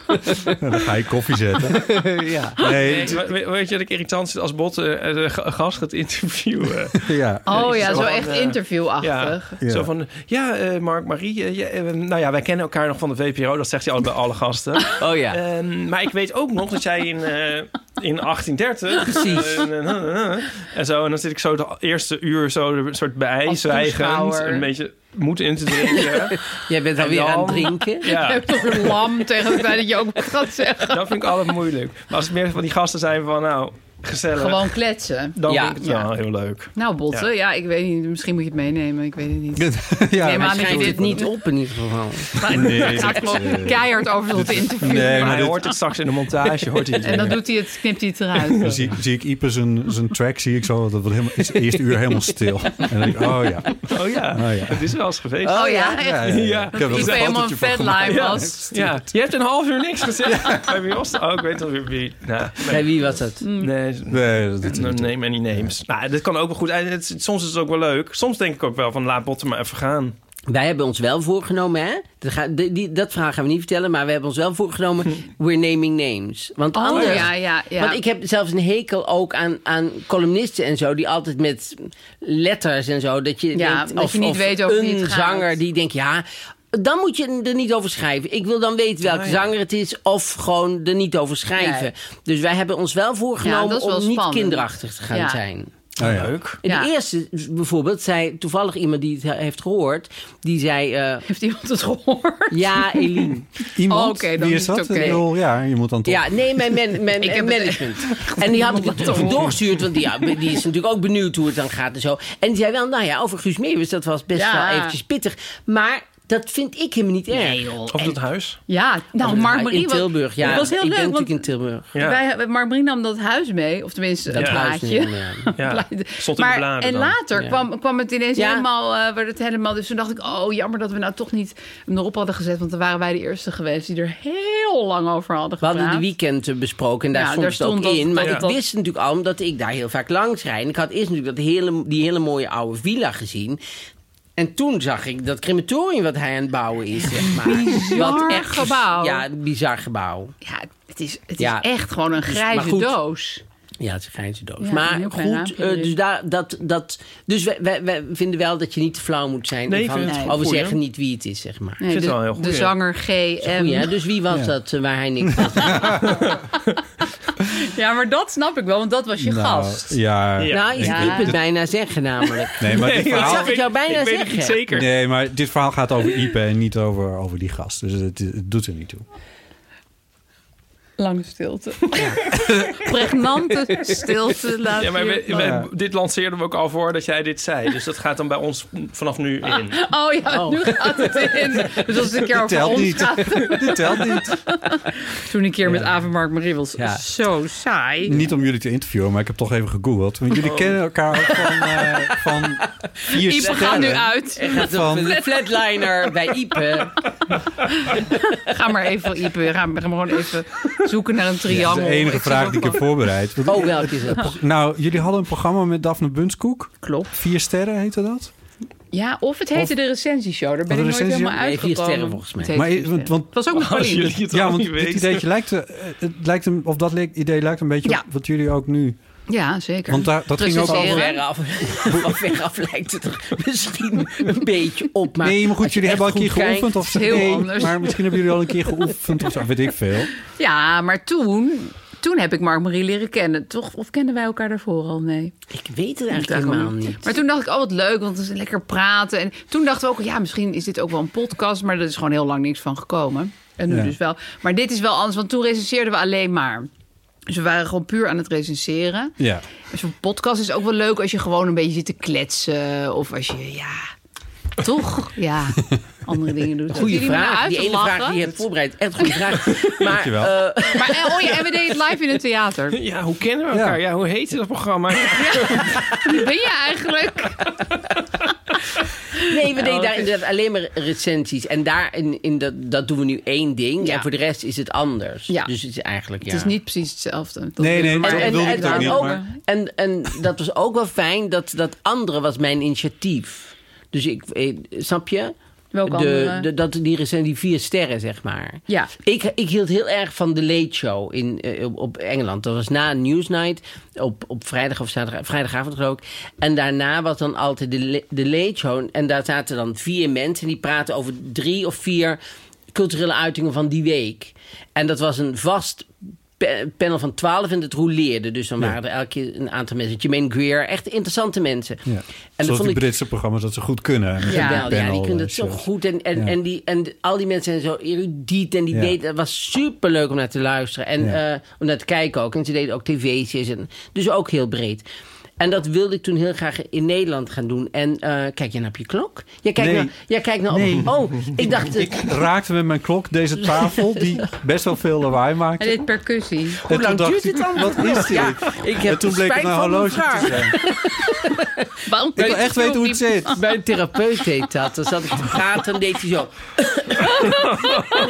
S5: dat- dan ga je koffie zetten. ja. Nee,
S2: Nee, maar weet- weet je dat ik irritant zit als Bot eh, eh, g- een gast gaat interviewen?
S5: ja.
S3: Oh
S2: is
S3: ja, zo
S2: wel,
S3: echt
S2: eh, Ja,
S3: interviewachtig.
S5: Ja.
S2: zo van, ja, eh, Mark, Marie, eh, ja, eh, nou ja, wij kennen elkaar nog van de VPRO, dat zegt hij altijd bij alle gasten.
S4: Oh ja.
S2: Ehm, maar ik weet ook nog dat jij in, eh, in 1830...
S4: Precies.
S2: eh, eh, eh, eh, en zo, en dan zit ik zo de eerste uur zo een soort bijzwijgend,
S3: toeschouwer.
S2: een beetje moed in te drinken.
S4: Jij bent alweer
S2: dan-
S4: aan het drinken.
S3: Je
S2: ja,
S3: hebt toch een lam tegen het feit dat je ook wat gaat zeggen.
S2: dat vind ik altijd moeilijk. Maar als het meer van die gasten zijn van, nou... gezellig.
S3: Gewoon kletsen.
S2: Dan
S4: Ja.
S2: vind ik het wel heel leuk.
S3: Nou, Botte, ja.
S2: Ja.
S3: ik weet niet. Misschien moet je het meenemen. Ik weet het niet.
S5: ja,
S3: Nee, maar
S4: Hij
S3: met
S4: schrijft
S3: dit-
S4: het niet op in ieder geval.
S3: Maar het gaat gewoon keihard over tot interview.
S5: Nee,
S2: Maar
S5: maar
S2: hij
S5: dit-
S2: hoort het straks in de montage. Hoort hij het
S3: En dan
S2: weer.
S3: doet hij het, knipt hij het eruit.
S5: Dan zie, zie ik Ieper zijn, zijn track, zie ik zo, dat wordt helemaal, is het eerste uur helemaal stil. En dan denk ik, oh ja.
S2: Oh ja,
S5: Oh ja.
S2: het is wel eens geweest.
S3: Oh ja, echt.
S5: ja, ja.
S2: Ja.
S5: Ik heb er
S3: Ik
S5: een
S3: ben helemaal een
S5: fotootje van gemaakt.
S3: fatline
S2: Ja.
S3: was.
S2: Ja, je hebt een half uur niks gezegd bij wie was het? Oh, ik weet al weer wie. Nou,
S4: Bij wie was dat?
S2: nee,
S5: Hmm. Nee, dat, dat-
S2: no name any names. Nou, dit kan ook wel goed. En het- soms is het ook wel leuk. Soms denk ik ook wel van laat botten maar even gaan.
S4: Wij hebben ons wel voorgenomen, hè? Dat, ga- die- die- dat verhaal gaan we niet vertellen, maar we hebben ons wel voorgenomen. We're naming names. Want
S3: Oh
S4: anders.
S3: ja, ja, ja.
S4: Want ik heb zelfs een hekel ook aan, aan columnisten en zo, die altijd met letters en zo. Dat je,
S3: Ja,
S4: denkt,
S3: dat
S4: of,
S3: je niet
S4: of
S3: weet over
S4: een
S3: wie het gaat.
S4: zanger die denkt, ja. Dan moet je er niet over schrijven. Ik wil dan weten welke
S2: Ah, ja.
S4: zanger het is, of gewoon er niet over schrijven.
S3: Oh, Nee.
S4: Dus wij hebben ons wel
S3: Ja,
S4: voorgenomen
S3: dat is wel
S4: om niet
S3: spannend.
S4: kinderachtig te gaan
S3: Ja.
S4: zijn.
S5: oh ja.
S2: Leuk.
S4: En
S3: Ja.
S4: de eerste dus bijvoorbeeld zei toevallig iemand die het he- heeft gehoord, die zei: eh,
S3: Heeft iemand het gehoord?
S4: Ja, Eline.
S5: Iemand,
S3: Oh, oké, dan
S5: wie
S3: is
S5: is
S3: het
S5: dat?
S3: oké.
S5: Ik bedoel, ja, je moet dan toch...
S4: Ja, nee, mijn, man- mijn
S3: Ik heb het-
S4: management. En die had ik het
S3: Laten horen.
S4: doorgestuurd, want die, ja, die is natuurlijk ook benieuwd hoe het dan gaat en zo. En die zei wel, nou ja, over Guus Meeuwis, dat was best
S3: Ja.
S4: wel eventjes pittig. Maar dat vind ik helemaal niet erg.
S2: Of dat huis.
S3: Ja, nou, Mark Marie...
S4: in
S3: was-
S4: Tilburg, ja.
S3: Dat was heel
S4: ik ben
S3: leuk, want
S4: natuurlijk in Tilburg.
S2: Ja.
S3: wij, Mark Marie nam dat huis mee. Of tenminste,
S4: Dat
S3: het
S4: huis
S3: plaatje.
S4: niet, ja.
S2: Ja.
S3: Blij-
S2: Stond in de
S3: maar,
S2: bladen
S3: en
S2: dan.
S3: later
S4: Ja.
S3: kwam, kwam het ineens
S4: Ja.
S3: helemaal, eh, werd het helemaal. Dus toen dacht ik, oh jammer dat we nou toch niet hem erop hadden gezet. Want dan waren wij de eerste geweest die er heel lang over hadden
S4: We
S3: gepraat.
S4: hadden de weekend eh, besproken en daar
S3: Ja,
S4: stond
S3: daar
S4: het ook
S3: stond dat-
S4: in. Maar
S3: dat-
S4: ik
S3: dat-
S4: wist natuurlijk al, omdat ik daar heel vaak langs rijd. En ik had eerst natuurlijk dat hele, die hele mooie oude villa gezien. En toen zag ik dat crematorium wat hij aan het bouwen is, zeg maar. Wat echt-
S3: gebouw.
S4: Ja, een bizar gebouw.
S3: Ja, het is, het
S4: Ja. Dus-
S3: is echt gewoon een
S4: maar
S3: grijze
S4: goed.
S3: doos.
S4: Ja, het is een grijze doos.
S3: Ja, een
S4: maar
S3: heel klein
S4: goed,
S3: raampje
S4: eh,
S3: erin.
S4: dus, daar, dat, dat, dus wij, wij, wij vinden wel dat je niet te flauw moet zijn.
S2: Nee,
S4: en
S2: ik
S4: van,
S2: vind het
S4: oh,
S2: goed,
S4: we
S2: hoor.
S4: zeggen niet wie het is, zeg maar.
S3: Nee,
S2: vind
S3: de,
S2: het wel een
S3: de
S2: heel goeie.
S3: zanger
S4: Goed, hè?
S3: GM.
S4: Dus wie was
S5: Ja.
S4: dat eh, waar hij niks van
S3: Ja, maar dat snap ik wel, want dat was je
S5: Nou,
S3: gast.
S5: Ja.
S2: Ja.
S4: Nou, je
S3: Ja.
S4: liep het bijna zeggen namelijk.
S5: Nee, maar dit
S2: Nee,
S5: verhaal...
S4: zag ik jou bijna
S2: ik weet het
S4: zeggen.
S2: niet zeker.
S5: Nee, maar dit verhaal gaat over Ipe en niet over, over die gast. Dus het, het doet er niet toe.
S3: Lange stilte. Pregnante stilte. Laat
S2: Ja, maar
S3: je-
S2: we- we- dit lanceerden we ook al voor dat jij dit zei. Dus dat gaat dan bij ons vanaf nu
S5: Ah.
S2: in.
S3: Oh ja, nu gaat het in. Dus als het een keer over
S5: telt
S3: ons
S5: niet.
S3: gaat...
S5: Dit telt niet.
S3: Toen een keer met Avenmark Marie was
S4: Ja.
S3: zo saai.
S5: Niet om jullie te interviewen, maar ik heb toch even gegoogeld. Want jullie kennen elkaar ook van, eh, van vier
S3: Ipe gaat nu
S5: sterren.
S3: uit.
S5: Van-
S4: De flatliner bij Ipe.
S3: Ga maar even, Ipe, ga, ga maar gewoon even zoeken naar een
S5: Dat
S3: triangel.
S5: is de enige vraag die ik heb voorbereid. Want-
S4: Oh, welke is dat?
S5: Nou, jullie hadden een programma met Daphne Bunskoek.
S3: Klopt.
S5: Vier sterren heette dat.
S3: Ja, of het heette de recensieshow. Daar ben
S5: Of
S3: ik
S5: de
S3: nooit
S5: recensie-
S3: helemaal
S4: Nee, vier
S3: uitgekomen.
S4: sterren volgens mij.
S3: Het
S5: Maar,
S3: heette Vier
S5: i- want,
S3: Sterren.
S5: want,
S3: Het was ook met
S2: Als
S3: Pauline.
S2: jullie het
S5: ja,
S2: al
S5: want
S2: niet
S5: dit
S2: weten.
S5: ideetje lijkt, eh, het lijkt hem, of dat le- idee lijkt een beetje
S3: Ja.
S5: op wat jullie ook nu...
S3: Ja, zeker.
S5: Want daar, dat ging ook
S4: Van
S3: Recenseren.
S5: over...
S4: ver af, van ver af lijkt het er misschien een beetje op. Maar
S5: Nee, maar goed,
S4: als je
S5: jullie hebben al
S4: echt
S5: een keer
S4: goed kijkt-
S5: geoefend. Of,
S3: heel
S5: nee,
S3: anders.
S5: Maar misschien hebben jullie al een keer geoefend. Of zo, weet ik veel.
S3: Ja, maar toen, toen heb ik Mark-Marie leren kennen. Toch? Of kenden wij elkaar daarvoor al? Nee.
S4: Ik weet het eigenlijk helemaal niet.
S3: Maar toen dacht ik, oh wat leuk, want het is lekker praten. En toen dachten we ook, ja, misschien is dit ook wel een podcast. Maar er is gewoon heel lang niks van gekomen. En nu
S5: Ja.
S3: dus wel. Maar dit is wel anders, want toen recenseerden we alleen maar. Dus we waren gewoon puur aan het recenseren.
S5: Ja.
S3: Dus een podcast is ook wel leuk als je gewoon een beetje zit te kletsen. Of als je, ja, toch? Ja, andere dingen doet.
S4: Goeie
S3: Jullie me nou
S4: vraag.
S3: uit
S4: Die
S3: te
S4: ene
S3: lachen.
S4: vraag die je hebt voorbereid. Echt goede vraag. Maar
S5: Dankjewel.
S4: eh,
S3: Maar, eh, oh ja, en we deden het live in het theater.
S2: Ja, hoe kennen we elkaar? Ja, hoe heet dat programma?
S3: Wie ben je eigenlijk?
S4: nee, we deden daar inderdaad alleen maar recensies. En daar in, in dat, dat doen we nu één ding.
S3: Ja.
S4: En voor de rest is het anders.
S3: Ja.
S4: Dus het is eigenlijk, ja.
S3: Het is niet precies hetzelfde. Dat
S5: Nee, nee,
S3: maar-
S5: dat
S4: En,
S5: wilde ik
S4: en,
S5: het ook
S4: en,
S5: niet,
S4: ook-
S5: maar-
S4: en, en dat was ook wel fijn. Dat, dat andere was mijn initiatief. Dus ik, eh, snap je?
S3: Welk
S4: de,
S3: andere?
S4: de, dat, die zijn die vier sterren, zeg maar.
S3: Ja.
S4: Ik, ik hield heel erg van de Late Show in, eh, op, op Engeland. Dat was na Newsnight, op, op vrijdag of zaterdag, vrijdagavond geloof ik. En daarna was dan altijd de, la- de Late Show. En daar zaten dan vier mensen en die praten over drie of vier culturele uitingen van die week. En dat was een vast pa- panel van 12 en het rouleerde. Dus dan waren er elke keer een aantal mensen. Jermaine Greer, echt interessante mensen.
S5: Ja.
S4: dat
S5: Zoals
S4: vond
S5: die
S4: ik-
S5: Britse programma's dat ze goed kunnen. Met
S3: Ja.
S5: een
S4: Wel, ja, die
S5: panel,
S4: kunnen
S5: eh,
S4: het zo
S5: shows.
S4: goed. En, en,
S5: Ja.
S4: en, die, en al die mensen zijn zo erudiet. En die
S5: Ja.
S4: deden, het was super leuk om naar te luisteren. En
S5: Ja.
S4: eh, om naar te kijken ook. En ze deden ook tv's. En, dus ook heel breed. En dat wilde ik toen heel graag in Nederland gaan doen. En eh, kijk je nou op je klok? Jij kijkt
S5: Nee.
S4: nou, jij kijkt nou op... Oh, ik dacht...
S5: Ik raakte met mijn klok deze tafel, die best wel veel lawaai maakte.
S3: Hij deed percussie.
S4: hoe lang
S5: dacht
S4: duurt
S5: ik,
S4: dit dan?
S5: Wat is dit?
S4: Ja, ik heb
S5: en toen bleek het
S4: spijt
S5: een
S4: van mijn
S5: horloge
S4: vraag.
S5: te zijn.
S3: Waarom
S5: Ik wil echt weten hoe het zit.
S4: Mijn therapeut deed dat. Dan zat ik te praten en deed hij zo. En dan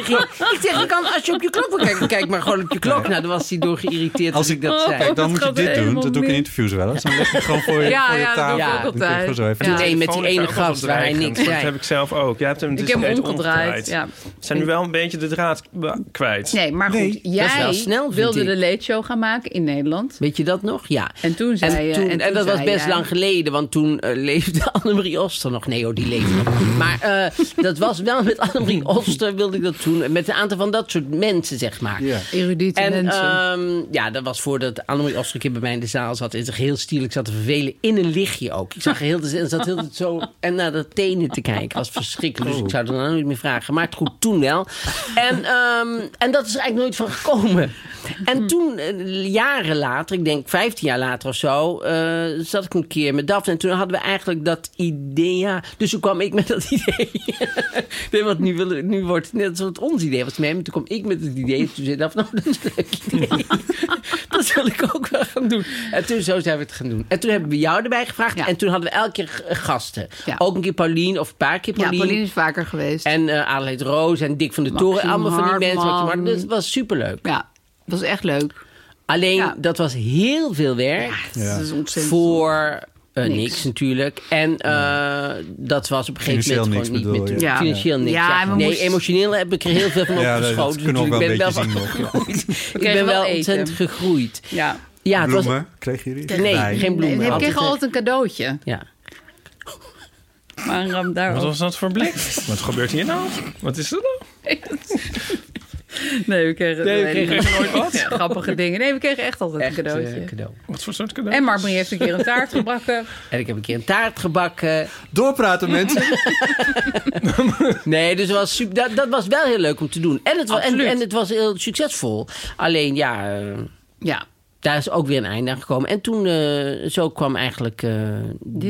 S4: ging hij- ik zeg, kan, als je op je klok wil kijken, kijk maar gewoon op je klok. Nou, dan was hij door geïrriteerd als ik Oh, dat zei.
S5: Kijk, dan
S3: dat
S5: moet je
S3: gaat
S5: dit doen.
S3: helemaal
S5: Dat doe ik in
S3: mis.
S5: interviews wel eens. Dan leg je het gewoon voor je,
S3: Ja,
S5: voor je
S3: ja, dat
S5: tafel.
S4: doe ik ook
S5: Dan kun je
S3: altijd.
S5: gewoon zo even
S3: Ja.
S4: Meteen met die
S2: Telefoon is
S4: ene
S2: ook wel
S4: gast waar hij
S2: bedreigend,
S4: niks
S2: want Dat
S4: zei.
S2: heb ik zelf ook. Jij hebt hem dus
S3: Ik heb hem
S2: steeds
S3: omgedraaid. Ja.
S2: We zijn nu wel een beetje de draad b- kwijt.
S3: Nee, maar goed.
S5: Nee,
S4: is wel
S3: jij
S4: snel, vind
S3: wilde
S4: ik.
S3: de late show gaan maken in Nederland.
S4: Weet je dat nog? Ja.
S3: En toen zei je-
S4: toen-
S3: en toen
S4: dat was
S3: zei
S4: best
S3: jij-
S4: lang geleden, want toen eh, leefde Annemarie Oster nog. Nee, oh, die leefde nog. Maar eh, dat was wel met Annemarie Oster wilde ik dat doen. En Met een aantal van dat soort mensen, zeg maar.
S5: Ja.
S3: Erudite
S4: En
S3: mensen.
S4: ehm, ja, dat was voordat Annemarie Oster een keer bij mij in de zaal zat. En zich heel stierlijk zat te vervelen. In een lichtje ook. Ik zag heel de en zat heel de tijd zo en naar de tenen te kijken. was verschrikkelijk. Dus ik zou er nou nooit meer vragen. Maar het goed, toen wel. En, ehm, en dat is er eigenlijk nooit van gekomen. En toen, eh, jaren later, ik denk 15 jaar later of zo, eh, zat ik een keer met Daphne. En toen hadden we eigenlijk dat idee. ja. Dus toen kwam ik met dat idee. nee, want nu, willen- nu wordt het net alsof het ons idee was. Nee, maar toen kwam ik met het idee. Toen zei Daphne, nou, dat is een leuk idee. dat wil ik ook wel gaan doen. En toen zo zijn we het gaan doen. En toen hebben we jou erbij gevraagd.
S3: Ja.
S4: En toen hadden we elke keer g- gasten.
S3: Ja.
S4: Ook een keer Paulien of een paar keer
S3: ja,
S4: Paulien.
S3: Pauline is vaker geweest.
S4: En eh Adelheid Roos en Dick van de
S3: Maxime
S4: Toren. Allemaal van die mensen.
S3: Hartman.
S4: Maar dat was superleuk.
S3: Ja, dat was echt leuk.
S4: Alleen,
S3: Ja.
S4: dat was heel veel werk.
S3: Dat is ontzettend.
S4: Voor eh, niks.
S3: Niks.
S4: natuurlijk. En eh, dat was op een gegeven
S5: Financieel
S4: moment
S5: niks
S4: gewoon niet meer
S5: bedoel
S4: te
S5: je?
S4: doen.
S3: Ja.
S4: Financieel niks.
S3: Ja,
S4: ja.
S3: en we
S4: Nee,
S3: moesten-
S4: emotioneel heb ik er heel veel van
S5: Ja, dat- dat
S4: opgeschoten.
S5: kunnen we ook wel
S4: natuurlijk.
S5: een
S4: ik ben
S5: beetje zien nog. ja.
S4: ik
S3: kregen
S4: ben
S3: wel
S4: wel
S3: eten.
S4: ontzettend gegroeid.
S3: Ja.
S4: Ja, het was...
S5: Bloemen, kreeg je die?
S4: Nee, geen bloemen.
S3: Ik
S4: Altijd, eh,
S3: kreeg altijd een cadeautje.
S4: Ja.
S3: Maar een ram
S2: Wat
S3: daarop.
S2: was dat voor blik? Wat gebeurt hier nou? Wat is er nou?
S3: Nee, we kregen,
S4: Nee, we kregen
S3: nooit wat. Grappige dingen. Nee, we kregen echt altijd
S4: Echt
S3: een cadeautje.
S4: eh, cadeau.
S2: Wat voor soort cadeau?
S3: en Marmarie heeft een keer een taart gebakken.
S4: En ik heb een keer een taart gebakken.
S5: Doorpraten, mensen.
S4: Nee, dus het was super, dat, dat was wel heel leuk om te doen. En het, was, en,
S3: Absoluut.
S4: en het was heel succesvol. Alleen ja, eh,
S3: Ja,
S4: daar is ook weer een einde aan gekomen. En toen, eh, zo kwam eigenlijk eh,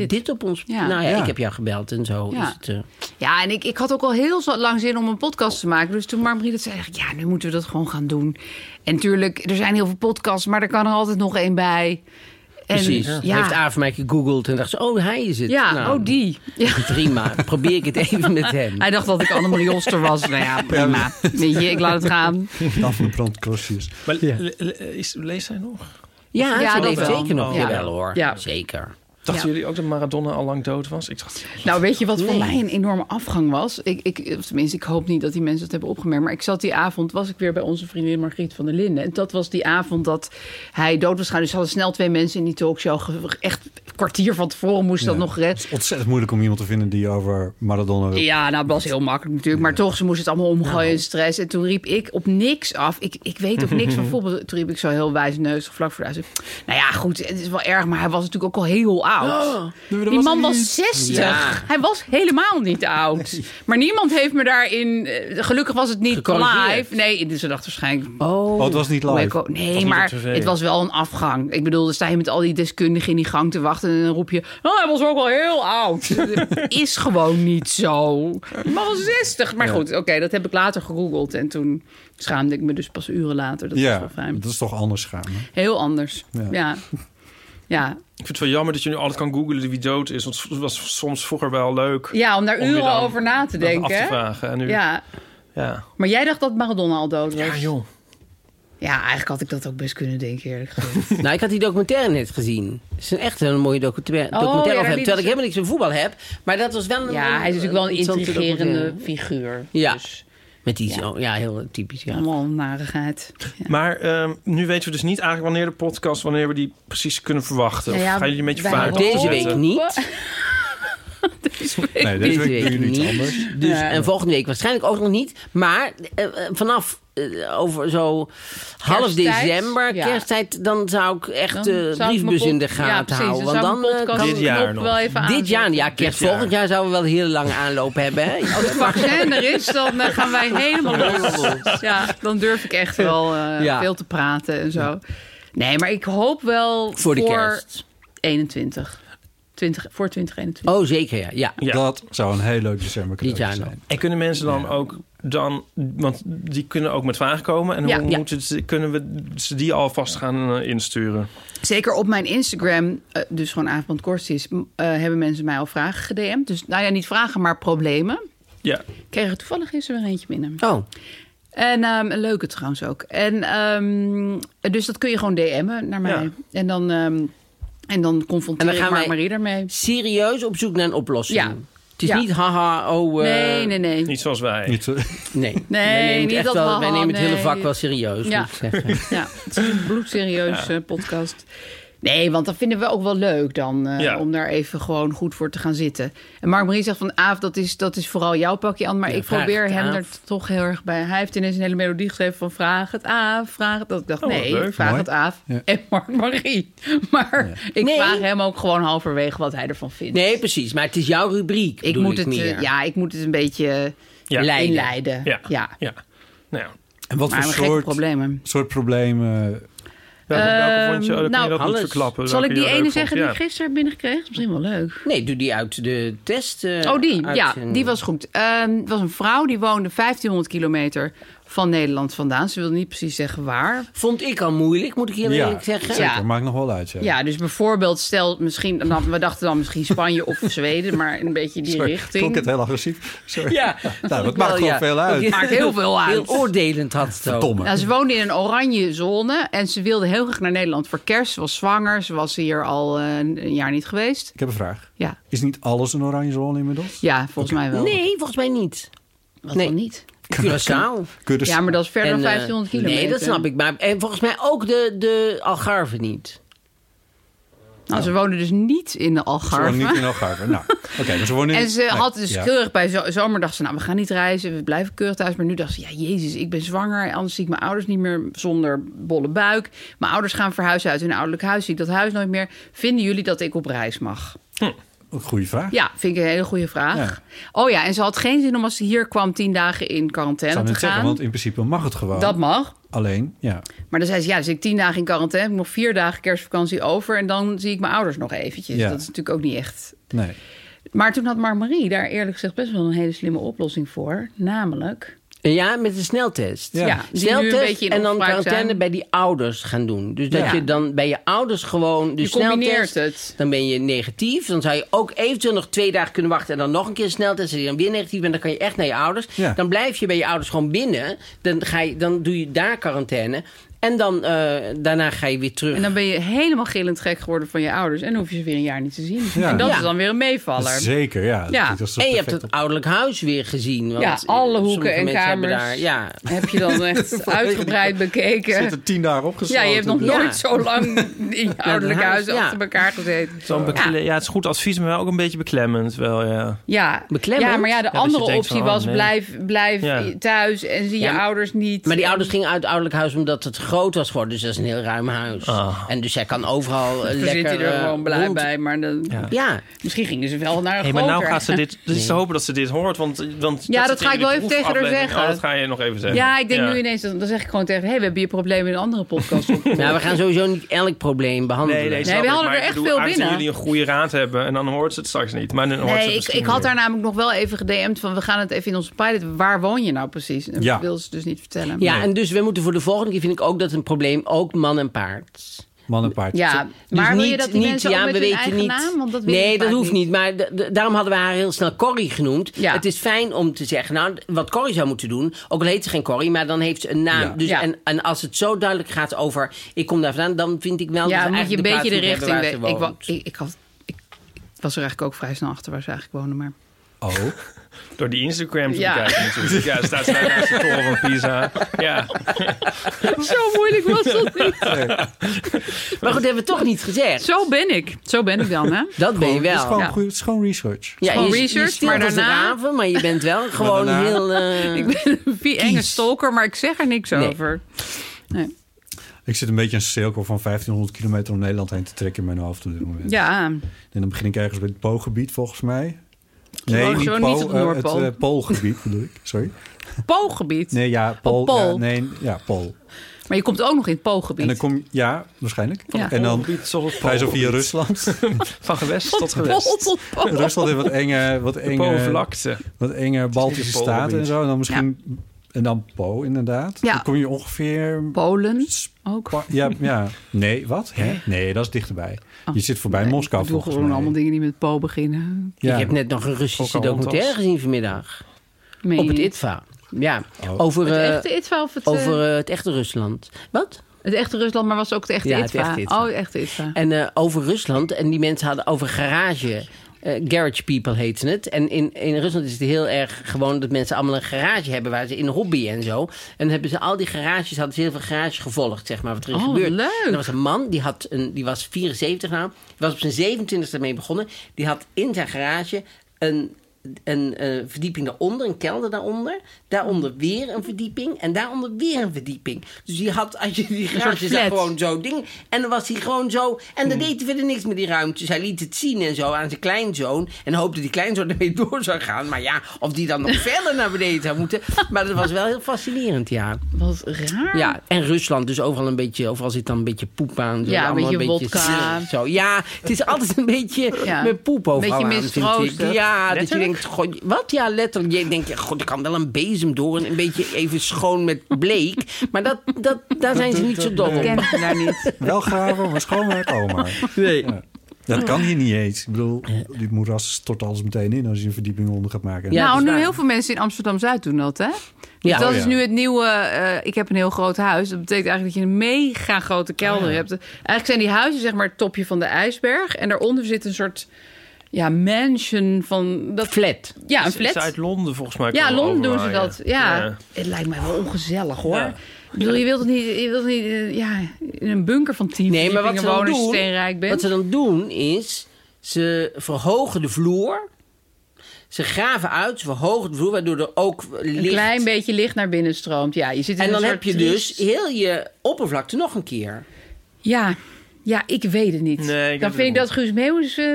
S4: dit. op ons.
S3: Ja.
S4: Nou ja,
S5: Ja.
S4: ik heb jou gebeld en zo.
S3: Ja.
S4: Is het, eh,
S3: ja en ik, ik had ook al heel zo- lang zin om een podcast te maken. Dus toen Marmarie dat zei, dacht ik, ja, nu moeten we dat gewoon gaan doen. En natuurlijk, er zijn heel veel podcasts, maar er kan er altijd nog één bij. En,
S4: precies.
S3: Ja,
S4: Heeft Aaf mij gegoogeld en dacht ze, oh, hij is het.
S3: ja
S4: Nou,
S3: oh die. Ja.
S4: Prima, probeer ik het even met hem.
S3: Hij dacht dat ik Annemarie Oster was. Nou ja, prima. Weet je, ik laat het gaan.
S5: Afgebrand krosjes.
S2: Maar le- le- eh, is, leest hij nog?
S4: Ja,
S3: Ja,
S4: ze
S3: dat
S4: leeft
S3: wel.
S4: zeker nog
S2: Oh.
S4: wel hoor.
S3: Ja.
S4: Zeker.
S2: Dachten
S3: Ja.
S2: jullie ook dat Maradona al lang dood was? Ik dacht,
S3: Nou, weet je wat voor mij een enorme afgang was? Ik, ik, of tenminste, ik hoop niet dat die mensen dat hebben opgemerkt. Maar ik zat die avond, was ik weer bij onze vriendin Margriet van der Linden. En dat was die avond dat hij dood was gaan. Dus ze hadden snel twee mensen in die talkshow. ge- Echt een kwartier van tevoren moest dat
S5: Ja.
S3: nog
S5: Het
S3: red.
S5: is ontzettend moeilijk om iemand te vinden die over Maradona wil.
S3: Ja, nou, dat was heel makkelijk natuurlijk. Maar toch, ze moest het allemaal omgooien en stress. En toen riep ik op niks af. Ik, ik weet ook niks van voetbal. Toen riep ik zo heel wijsneusig vlak voor de huis. Nou ja, goed, het is wel erg. Maar hij was natuurlijk ook al heel oud. Die man was 60.
S4: Ja.
S3: Hij was helemaal niet oud. Maar niemand heeft me daarin... eh, Gelukkig was het niet
S4: Gecorrigeerd.
S3: live. Nee, dus ze dacht waarschijnlijk...
S5: Oh, het was niet live.
S3: Wacko. Nee, maar het was wel een afgang. Ik bedoel, dan sta je met al die deskundigen in die gang te wachten... en dan roep je, oh, hij was ook wel heel oud. dat is gewoon niet zo. Die man was 60. Maar goed, oké, dat heb ik later gegoogeld. En toen schaamde ik me dus pas uren later. Dat was
S5: Ja,
S3: wel fijn.
S5: dat is toch anders gaan. hè?
S3: Heel anders.
S5: Ja.
S3: Ja. ja.
S2: Ik vind het wel jammer dat je nu altijd kan googelen wie dood is. Want het was soms vroeger wel leuk
S3: Ja, om daar
S2: Om weer
S3: uren
S2: dan-
S3: over na te
S2: om dat
S3: denken.
S2: af te
S3: hè?
S2: vragen. En nu, ja.
S3: Ja,
S2: Ja.
S3: maar jij dacht dat Maradona al dood was.
S2: joh.
S3: Ja, eigenlijk had ik dat ook best kunnen denken, eerlijk gezegd.
S4: Nou, ik had die documentaire net gezien. Het is een echt een mooie documentaire,
S3: Oh,
S4: documentaire
S3: ja,
S4: over
S3: daar
S4: hem.
S3: liet
S4: Terwijl ik
S3: ze-
S4: helemaal niks van voetbal heb. Maar dat was wel een... eh,
S3: ja, hij is natuurlijk wel een
S4: interessante
S3: intrigerende
S4: documentaire.
S3: figuur.
S4: Ja.
S3: Dus
S4: Met die zo, ja, heel typisch, ja.
S3: allemaal narigheid.
S2: Maar ehm, nu weten we dus niet eigenlijk wanneer de podcast, wanneer we die precies kunnen verwachten. Of
S3: Nou ja,
S2: gaan jullie een beetje
S3: wij
S2: vaak
S3: hopen-
S4: Deze
S3: Opzetten.
S4: week niet.
S5: Nee, deze
S4: Deze
S5: week doe
S4: week
S5: je iets
S4: niet.
S5: anders.
S4: Dus, En volgende week waarschijnlijk ook nog niet. Maar eh, eh, vanaf eh, over zo half
S3: Kersttijd,
S4: december,
S3: ja.
S4: kersttijd, dan zou ik echt
S3: zou
S4: de
S3: ik
S4: briefbus
S3: mijn
S4: in de
S3: pod-
S4: gaten
S3: ja, precies.
S4: houden. Want
S3: zou
S4: dan
S3: ik
S4: eh,
S3: mijn
S4: kan
S2: Dit jaar
S3: podcastknop
S2: nog.
S3: wel even aan.
S4: dit jaar, ja, kerst
S2: jaar.
S4: volgend jaar zouden we wel een hele lange aanloop hebben. Hè?
S3: Als het vaccin er is, dan eh, gaan wij helemaal los. Ja, dan durf ik echt wel eh,
S4: Ja.
S3: veel te praten en zo. Nee, maar ik hoop wel
S4: Voor de kerst.
S3: 21. 20, voor 2021.
S4: Oh, zeker ja. ja.
S2: Ja.
S5: Dat zou een heel leuk december
S4: Dit jaar
S5: cadeautje zijn.
S2: En kunnen mensen dan ook dan, want die kunnen ook met vragen komen. En
S3: Ja.
S2: hoe
S4: Oh, Ja.
S2: moeten ze, kunnen we ze die alvast gaan eh, insturen?
S3: Zeker op mijn Instagram, eh, dus gewoon Avond Korstis, m- eh, hebben mensen mij al vragen gedm'd. Dus nou ja, niet vragen, maar problemen.
S2: Ja,
S3: Ik kreeg er toevallig gisteren weer eentje binnen.
S4: Oh,
S3: En ehm, een leuke trouwens ook. En ehm, dus dat kun je gewoon DM'en naar mij.
S2: Ja.
S3: En dan, ehm, en dan confronteer
S4: En dan
S3: ik
S4: gaan
S3: Mark
S4: wij-
S3: Marie daarmee.
S4: serieus op zoek naar een oplossing.
S3: Ja.
S4: Het is
S3: Ja.
S4: niet haha, oh... eh,
S3: Nee, nee, nee.
S2: niet zoals wij.
S5: Niet zo-
S4: Nee,
S3: Nee,
S4: wij nemen het,
S3: niet
S4: echt
S3: dat
S4: wel,
S3: haha,
S4: wij nemen het hele
S3: nee.
S4: vak wel serieus,
S3: Ja.
S4: moet ik zeggen.
S3: Ja, het is een bloedserieus eh, podcast. Nee, want dat vinden we ook wel leuk dan. eh,
S2: Ja.
S3: Om daar even gewoon goed voor te gaan zitten. En Mark Marie zegt van... Aaf, dat is, dat is vooral jouw pakje aan. Maar
S4: Ja,
S3: ik
S4: vraag
S3: probeer
S4: het
S3: hem
S4: Aaf.
S3: er toch heel erg bij. Hij heeft ineens een hele melodie geschreven van... Vraag het Aaf, vraag het... Dat ik dacht,
S2: Oh, wat
S3: nee,
S2: leuk,
S3: vraag
S5: mooi.
S3: het Aaf.
S5: Ja.
S3: En Mark Marie. Maar ik
S4: Nee.
S3: vraag hem ook gewoon halverwege wat hij ervan vindt.
S4: Nee, precies. Maar het is jouw rubriek,
S3: ik
S4: bedoel
S3: moet, het, eh,
S4: meer.
S3: ja, ik moet het een beetje
S2: Ja.
S4: Lijn. Leiden.
S3: inleiden. Ja.
S2: Ja. Ja. Nou, ja.
S5: En wat
S3: Maar
S5: voor
S3: we gekke
S5: soort,
S3: problemen.
S5: soort problemen
S2: welke, welke vond je?
S3: Ehm,
S2: Oh, dan kun
S3: nou,
S2: je dat
S4: alles.
S2: niet verklappen.
S3: Zal
S2: welke
S3: ik
S2: je
S3: die ene
S2: leuk vond.
S3: zeggen die
S2: Ja.
S3: ik gisteren heb binnekreeg? Dat is misschien wel leuk.
S4: Nee, doe die uit de test. eh,
S3: Oh, die.
S4: uit
S3: ja,
S4: een-
S3: die was goed. Ehm, Het was een vrouw die woonde 1500 kilometer van Nederland vandaan. Ze wilde niet precies zeggen waar.
S4: Vond ik al moeilijk, moet ik heel
S5: Ja.
S4: eerlijk zeggen.
S5: Zeker,
S3: Ja.
S5: maakt nog wel uit. Ja.
S3: Ja, dus bijvoorbeeld stel misschien... nou, we dachten dan misschien Spanje of Zweden, maar een beetje die
S5: Sorry,
S3: richting.
S5: Klonk het heel agressief? Sorry.
S4: Ja.
S5: Nou, dat
S4: Wel,
S5: maakt gewoon
S4: ja.
S5: veel uit.
S4: Ook-
S3: Maakt heel veel uit.
S4: Heel oordelend had het ook.
S5: Verdomme.
S3: Nou, ze woonde in een oranje zone en ze wilde heel graag naar Nederland voor kerst. Ze was zwanger, ze was hier al eh, een jaar niet geweest.
S5: Ik heb een vraag.
S3: Ja,
S5: Is niet alles een oranje zone inmiddels?
S3: ja volgens mij wel.
S4: Nee, volgens mij niet.
S3: Wat
S4: nee.
S3: dan niet?
S4: Curaçao.
S5: Kuddes.
S3: Ja, maar dat is verder
S4: En,
S3: dan
S4: eh,
S3: 1500 kilometer.
S4: Nee, dat snap ik. Maar, en volgens mij ook de, de Algarve niet.
S3: Nou, ze woonde dus niet in de
S5: Ze wonen
S3: Algarve.
S5: niet in Algarve. Nou, oké, maar ze wonen in...
S3: En ze
S5: Nee,
S3: had dus
S5: ja.
S3: keurig bij zo zomer dacht ze, nou, we gaan niet reizen, we blijven keurig thuis. Maar nu dacht ze, ja, jezus, ik ben zwanger, anders zie ik mijn ouders niet meer zonder bolle buik. Mijn ouders gaan verhuizen uit hun ouderlijk huis, zie ik dat huis nooit meer. Vinden jullie dat ik op reis mag?
S5: Goeie vraag.
S3: Ja, vind ik een hele goede vraag. Oh ja, en ze had geen zin om als ze hier kwam tien dagen in
S5: Ik
S3: quarantaine
S5: zou
S3: te
S5: net zeggen,
S3: gaan.
S5: want in principe mag het gewoon.
S3: Dat mag.
S5: Alleen, ja.
S3: Maar dan zei ze, ja, dan zit ik tien dagen in quarantaine, heb ik nog vier dagen kerstvakantie over en dan zie ik mijn ouders nog eventjes.
S5: Ja.
S3: Dat is natuurlijk ook niet echt
S5: Nee.
S3: Maar toen had Mark Marie daar eerlijk gezegd best wel een hele slimme oplossing voor. Namelijk,
S4: En Ja, met een sneltest.
S5: Ja.
S3: ja, die nu een
S4: Sneltest
S3: beetje in
S4: en dan
S3: opspraak
S4: quarantaine
S3: zijn.
S4: bij die ouders gaan doen. Dus dat
S3: Ja.
S4: je dan bij je ouders gewoon de
S3: Je combineert
S4: sneltest...
S3: het.
S4: Dan ben je negatief. Dan zou je ook eventueel nog twee dagen kunnen wachten... en dan nog een keer een sneltest en dan weer negatief bent. Dan kan je echt naar je ouders.
S5: Ja.
S4: Dan blijf je bij je ouders gewoon binnen. Dan, ga je, dan doe je daar quarantaine. En dan, eh, daarna ga je weer terug.
S3: En dan ben je helemaal gillend gek geworden van je ouders. En dan hoef je ze weer een jaar niet te zien.
S5: Ja.
S3: En dat
S4: Ja.
S3: is dan weer een meevaller.
S5: Zeker, ja.
S3: Ja.
S5: Dat is toch
S4: En je hebt
S5: perfect
S4: het ouderlijk huis weer gezien. Want eh,
S3: Ja, alle hoeken
S4: sommige
S3: en
S4: mensen hebben
S3: kamers.
S4: Daar, ja,
S3: Heb je dan echt uitgebreid
S5: op- Zit
S3: bekeken.
S5: er tien dagen opgesloten.
S3: Ja, je hebt nog
S5: Dus-
S3: nooit
S4: Ja.
S3: zo lang in je ouderlijk
S4: huis,
S3: huis
S4: ja.
S3: achter elkaar gezeten.
S2: Zo'n bekle- ja. het is goed advies, maar wel ook een beetje beklemmend. Wel, ja.
S3: Ja.
S4: Beklemmend.
S3: ja, maar ja, de
S2: Ja, dat je
S3: andere
S2: denkt
S3: optie
S2: van, oh,
S3: was
S2: nee.
S3: blijf, blijf
S2: Ja.
S3: thuis en zie
S4: Ja,
S3: je
S4: maar-
S3: ouders niet.
S4: Maar die
S3: En-
S4: ouders gingen uit het ouderlijk huis omdat het groot was geworden. Dus dat is een heel ruim huis.
S2: Ah.
S4: En dus zij kan overal eh,
S3: Dan
S4: lekker...
S3: zit hij er
S4: eh,
S3: gewoon blij
S4: rond-
S3: bij. Maar dan,
S2: Ja.
S4: Ja,
S3: misschien gingen ze wel naar een
S2: Hey, maar nou
S3: groter.
S2: gaat ze dit. Het is te hopen dat ze dit hoort. Want, want
S3: Ja, dat
S2: zit
S3: ga
S2: in
S3: ik wel
S2: die
S3: even tegen haar
S2: proefaflevering.
S3: zeggen.
S2: Oh, dat ga je nog even zeggen.
S3: Ja, ik denk nu ineens, dan dan zeg ik gewoon tegen... hé, hey, we hebben je probleem in een andere podcast op.
S4: nou, we gaan sowieso niet elk probleem behandelen.
S2: Nee, nee,
S3: we
S2: snap ik,
S3: hadden
S2: maar
S3: er
S2: ik
S3: echt
S2: bedoel,
S3: veel
S2: aangezien
S3: binnen.
S2: jullie een goede raad hebben en dan hoort ze het straks niet. Maar dan hoort ze het
S3: Nee, ik,
S2: misschien
S3: ik had
S2: weer.
S3: daar namelijk nog wel even gedM'd van... we gaan het even in onze pilot... waar woon je nou precies? En
S5: Ja.
S3: dat wilde ze dus niet vertellen.
S4: Ja, en dus we moeten voor de volgende keer, vind ik ook dat een probleem, ook man en paard.
S5: Man en paard.
S3: Ja,
S4: Dus
S3: maar wil je dat die mensen ook met hun eigen
S4: niet.
S3: naam? Want dat weet
S4: nee,
S3: ik
S4: dat
S3: vaak
S4: hoeft niet. Maar d- d- daarom hadden we haar heel snel Corrie genoemd.
S3: Ja.
S4: Het is fijn om te zeggen, nou, wat Corrie zou moeten doen... ook al heet ze geen Corrie, maar dan heeft ze een naam.
S5: Ja.
S4: Dus,
S3: Ja.
S4: En, en als het zo duidelijk gaat over, ik kom daar vandaan... dan vind ik wel dat
S3: Ja,
S4: we
S3: dan moet je een
S4: eigenlijk
S3: beetje de
S4: plaats moeten
S3: richting... weten.
S4: hebben
S3: Ik,
S4: waar ze
S3: wa-
S4: woont.
S3: ik, ik, had, ik, ik was er eigenlijk ook vrij snel achter waar ze eigenlijk wonen, maar...
S5: Oh,
S2: Door die Instagram te
S3: Ja.
S2: bekijken natuurlijk. Ja, staat ze daar naast de toren van Pisa. Ja,
S3: Zo moeilijk was dat niet.
S4: Maar goed, dat hebben we toch niet gezegd.
S3: Zo ben ik. Zo ben ik dan, hè?
S4: Dat ben je
S5: het is
S4: wel.
S5: gewoon,
S3: Ja.
S5: goed, het is gewoon research.
S4: Ja,
S3: Gewoon
S4: je,
S3: research,
S4: je stilt
S3: maar
S4: als een
S3: daarna-
S4: raven, maar je bent wel gewoon
S5: daarna-
S4: heel... eh,
S3: Ik ben een vie- enge stalker, maar ik zeg er niks
S4: Nee.
S3: over.
S5: Ik zit een beetje een cirkel van 1500 kilometer om Nederland heen te trekken in mijn hoofd op dit moment.
S3: Ja,
S5: En dan begin ik ergens bij het Poolgebied volgens mij.
S3: Gewoon- gewoon niet op
S5: eh,
S3: Noordpool.
S5: het eh, Poolgebied bedoel ik. Sorry.
S3: Poolgebied.
S5: Nee, ja, Pool.
S3: Pool.
S5: Ja, nee, ja, Pool.
S3: Maar je komt ook nog in het
S5: En dan
S3: Poolgebied.
S5: kom ja, waarschijnlijk.
S3: Ja.
S5: En dan
S2: Poolgebied tot het
S5: ga je zo via
S2: Poolgebied.
S5: Rusland.
S2: van gewest tot
S3: Pool
S2: gewest.
S3: tot Pool.
S5: Rusland heeft wat enge, wat
S2: De
S5: enge,
S2: Poolvlakte.
S5: wat enge Baltische
S2: Poolgebied.
S5: staten en zo. En dan misschien en dan Po inderdaad.
S3: Ja.
S5: Dan kom je ongeveer.
S3: Polen
S5: Sp-
S3: ook.
S5: Ja, ja. Nee, wat? Hè? Nee, dat is dichterbij.
S3: Oh.
S5: Je zit voorbij
S3: Nee,
S5: Moskou
S3: Ik doe
S5: volgens
S3: gewoon
S5: mij.
S3: allemaal dingen die met Po beginnen.
S5: Ja.
S4: Ik heb net nog een Russische
S2: Pocahontas.
S4: documentaire gezien vanmiddag.
S3: Meen je
S4: Op het
S3: niet?
S4: ITVA. Ja,
S5: Oh.
S4: over,
S3: Het
S4: eh,
S3: echte ITVA of het, eh,
S4: over eh, het echte Rusland. Wat?
S3: het echte Rusland, maar was ook het echte
S4: Ja, het
S3: ITVA.
S4: echte ITVA.
S3: Oh, het echte ITVA.
S4: En eh, over Rusland. En die mensen hadden over garage. eh, garage people heet ze het. En in, in Rusland is het heel erg gewoon dat mensen allemaal een garage hebben waar ze in hobby en zo. En dan hebben ze al die garages, hadden ze heel veel garages gevolgd, zeg maar, wat er is
S3: Oh, wat
S4: gebeurd.
S3: leuk.
S4: En er was een man, die, had een, die was 74 nou, die was op zijn 27e mee begonnen. Die had in zijn garage een, een eh, verdieping daaronder, een kelder daaronder. Daaronder weer een verdieping en daaronder weer een verdieping. Dus die had, als je die garage zag,
S3: flat.
S4: gewoon zo ding. En dan was hij gewoon zo. En dan deed hij verder niks met die ruimtes. Hij liet het zien en zo aan zijn kleinzoon. En hoopte die kleinzoon ermee door zou gaan. Maar ja, of die dan nog verder naar beneden zou moeten. Maar dat was wel heel fascinerend, ja.
S3: Wat raar.
S4: Ja, en Rusland dus overal een beetje, overal zit dan een beetje poep aan. Zo,
S3: Ja,
S4: Allemaal
S3: een beetje wodka.
S4: smerig, Zo. Ja, het is altijd een beetje
S3: Ja.
S4: met poep overal
S3: Beetje
S4: aan, vind ik.
S3: mistroostig.
S4: Ja, dat je
S3: Letterlijk?
S4: denkt, goh, wat? Ja, letterlijk. Je denkt, ja, god, er kan wel een bezem door en een beetje even schoon met bleek. Maar dat, dat, daar zijn ze niet zo dol
S3: Ik
S4: op.
S3: ken ze daar niet.
S5: Wel graven, maar schoonmaak oma.
S4: Nee.
S5: Ja. Dat kan hier niet eens. Ik bedoel, die moeras stort alles meteen in als je een verdieping onder gaat maken.
S4: Ja, dat
S3: nou,
S4: is
S3: nu
S4: waar.
S3: heel veel mensen in Amsterdam-Zuid doen dat, hè? Dus
S4: Ja.
S3: dat
S4: Oh,
S3: is
S5: ja.
S3: nu het nieuwe... eh, ik heb een heel groot huis. Dat betekent eigenlijk dat je een mega grote kelder
S4: Oh,
S3: hebt. Eigenlijk zijn die huizen zeg maar het topje van de ijsberg. En daaronder zit een soort ja, mansion van... Dat,
S4: Flat.
S3: ja, een
S2: Is
S3: flat.
S2: Uit Londen volgens mij.
S3: Ja,
S2: komen
S3: Londen doen ze
S2: overwaaien.
S3: dat. Ja. Het lijkt mij wel ongezellig, hoor.
S2: Ja.
S3: Ik bedoel, je wilt het niet, je wilt het niet eh, ja, in een bunker van tien
S4: Nee, maar wat ze,
S3: verdiepingen wonen
S4: dan
S3: als je
S4: doen,
S3: steenrijk bent.
S4: wat ze dan doen is, ze verhogen de vloer. Ze graven uit, ze verhogen de vloer, waardoor er ook licht...
S3: een klein beetje licht naar binnen stroomt. Ja, je zit in
S4: En dan
S3: een
S4: heb
S3: soort
S4: je dus
S3: triest-
S4: heel je oppervlakte nog een keer.
S3: Ja, ja ik weet het niet.
S2: Nee, ik
S3: dan
S2: weet
S3: vind ik
S2: het
S3: dat Guus Meeuwis eh,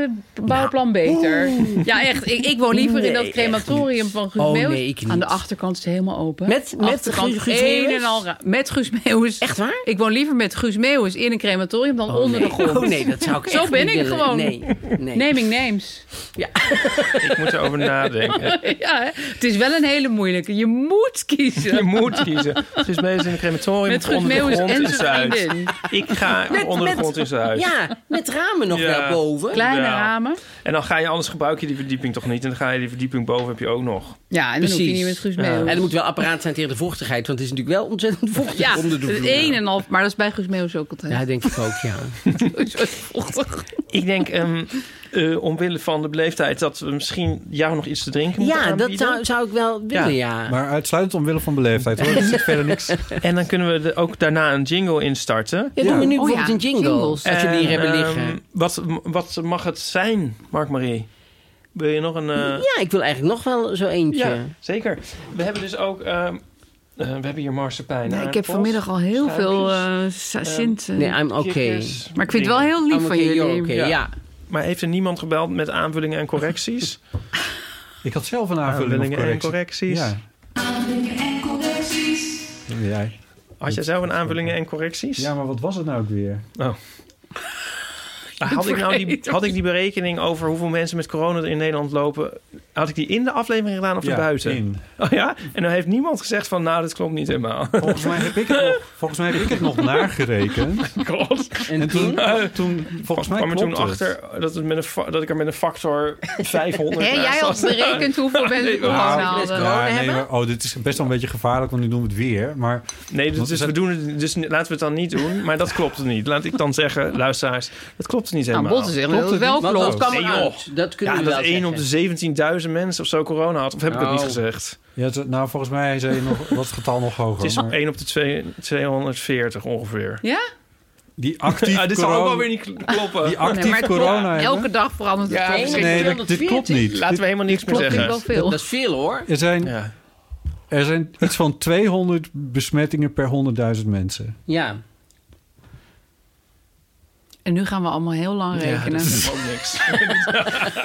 S3: bouwplan beter. Ja, echt. Ik, ik woon liever
S4: Nou, Nee,
S3: in dat
S4: echt
S3: crematorium van Guus
S4: Oh,
S3: Meeuwis.
S4: nee, ik niet.
S3: Aan de achterkant is het helemaal open.
S4: Met- met
S3: Achterkant
S4: Guus- Guus
S3: een
S4: Meeuwis?
S3: en al ra- Met Guus Meeuwis.
S4: Echt waar?
S3: Ik woon liever met Guus Meeuwis in een crematorium dan onder de grond.
S4: Oh nee, dat zou ik
S3: Zo
S4: echt
S3: ben
S4: niet
S3: ik
S4: willen.
S3: gewoon.
S4: Nee, nee.
S3: Naming names.
S2: Ik moet erover nadenken.
S3: Ja, hè? het is wel een hele moeilijke. Je moet
S2: Je
S3: kiezen.
S2: moet kiezen. Dus mensen in een crematorium
S3: Met Guus
S2: met onder de
S3: Meeuwis
S2: grond
S3: en
S2: in
S3: zijn
S2: Zuid.
S3: vriendin.
S2: Ik ga onder de grond in Zuid.
S4: Ja, met ramen nog
S2: Ja.
S4: naar boven.
S3: Kleine
S2: Ja.
S3: ramen.
S2: En dan ga je, anders gebruik je die verdieping toch niet. En dan ga je die verdieping boven heb je ook nog.
S3: Ja, en dan hoef je
S4: Precies.
S3: niet met Guus
S2: Ja.
S3: Meeuwis.
S4: En er moet wel apparaat zijn tegen de vochtigheid, want het is natuurlijk wel ontzettend vochtig
S3: ja,
S4: onder de
S3: het
S4: vloer.
S3: een en al. Maar dat is bij Guus Meeuwis ook altijd.
S4: Ja, denk ik ook, ja.
S3: Zo vochtig.
S2: Ik denk, ehm, eh, omwille van de beleefdheid, dat we misschien jou nog iets te drinken moeten
S4: Ja, dat
S2: aanbieden.
S4: zou, zou ik wel willen, ja.
S5: Maar uitsluitend omwille van beleefdheid hoor. Er zit verder niks.
S2: En dan kunnen we er ook daarna een jingle instarten.
S4: Ja, doen we nu
S3: Oh ja,
S4: bijvoorbeeld een jingle.
S3: jingles.
S4: Als jullie hier
S2: En,
S4: hebben
S2: ehm,
S4: liggen.
S2: wat, wat mag het zijn, Mark-Marie? Wil je nog een... eh,
S4: ja, ik wil eigenlijk nog wel zo eentje.
S2: Ja, zeker. We hebben dus ook... ehm, eh, we hebben hier marsepein.
S3: Ja, ik heb vanmiddag al heel
S2: schuimpjes,
S3: veel eh sa- Sint. eh,
S4: Nee, I'm oké.
S3: Oh, maar ik vind het wel heel lief
S4: I'm
S3: van
S4: okay,
S3: jullie.
S4: you're okay,
S2: Ja.
S4: ja.
S2: Maar heeft er niemand gebeld met aanvullingen en correcties?
S5: Ik had zelf een aanvulling of
S2: aanvullingen en
S5: correctie.
S2: correcties.
S5: Ja. Dat ben jij.
S2: Had jij zelf een aanvullingen en correcties?
S5: Ja, maar wat was het nou ook weer?
S2: Had ik, nou die, had ik die berekening over hoeveel mensen met corona er in Nederland lopen... had ik die in de aflevering gedaan of
S5: Ja,
S2: erbuiten?
S5: in.
S2: Oh ja? En dan heeft niemand gezegd van... nou, dat klopt niet helemaal.
S5: Volgens mij heb ik het nog, volgens mij heb ik het nog nagerekend.
S2: God.
S5: En toen, toen volgens mij
S2: kwam er
S5: klopte
S2: toen
S5: het.
S2: achter dat, het met een fa- dat ik er met een factor 500
S3: Hé,
S2: naast
S3: jij had
S2: had.
S3: berekend hoeveel mensen corona
S2: Ah,
S3: hadden.
S5: Ja, nee,
S4: hebben?
S5: maar, oh, dit is best wel een beetje gevaarlijk, want nu doen we het weer. Maar
S2: Nee,
S5: Want
S2: dus,
S5: we
S2: we
S5: zijn-
S2: doen het, dus laten we het dan niet doen. Maar dat klopt het niet. Laat ik dan zeggen, luisteraars, dat klopt niet
S3: Nou,
S2: helemaal.
S3: Bot is echt dat het wel
S4: Want dat
S3: klopt.
S4: kwam
S2: Nee, joh.
S4: eruit. Dat kunnen
S2: ja,
S4: we wel
S2: dat 1 op
S4: zeggen.
S2: de duizend mensen of zo corona had. Of heb ik dat
S4: Nou.
S2: niet gezegd?
S5: Ja, het- nou, volgens mij zei je nog, was het getal nog hoger.
S2: Het is
S5: maar
S2: 1 op de twee- 240 ongeveer.
S3: Ja?
S5: die actief
S2: Ah, dit zal
S5: corona,
S2: ook wel weer niet kl- kloppen.
S5: die actief
S3: maar het-
S5: corona
S3: Elke
S5: hebben.
S3: dag verandert het.
S2: Ja,
S3: toch?
S2: precies.
S5: Nee, dat- dit klopt niet.
S2: Laten we helemaal niks meer
S3: Klopt natuurlijk wel
S2: zeggen.
S3: veel.
S4: Dat is veel hoor.
S5: Er zijn,
S2: Ja.
S5: er zijn iets van 200 besmettingen per 100.000 mensen.
S4: Ja.
S3: En nu gaan we allemaal heel lang
S2: Ja,
S3: rekenen.
S2: dat is ook niks.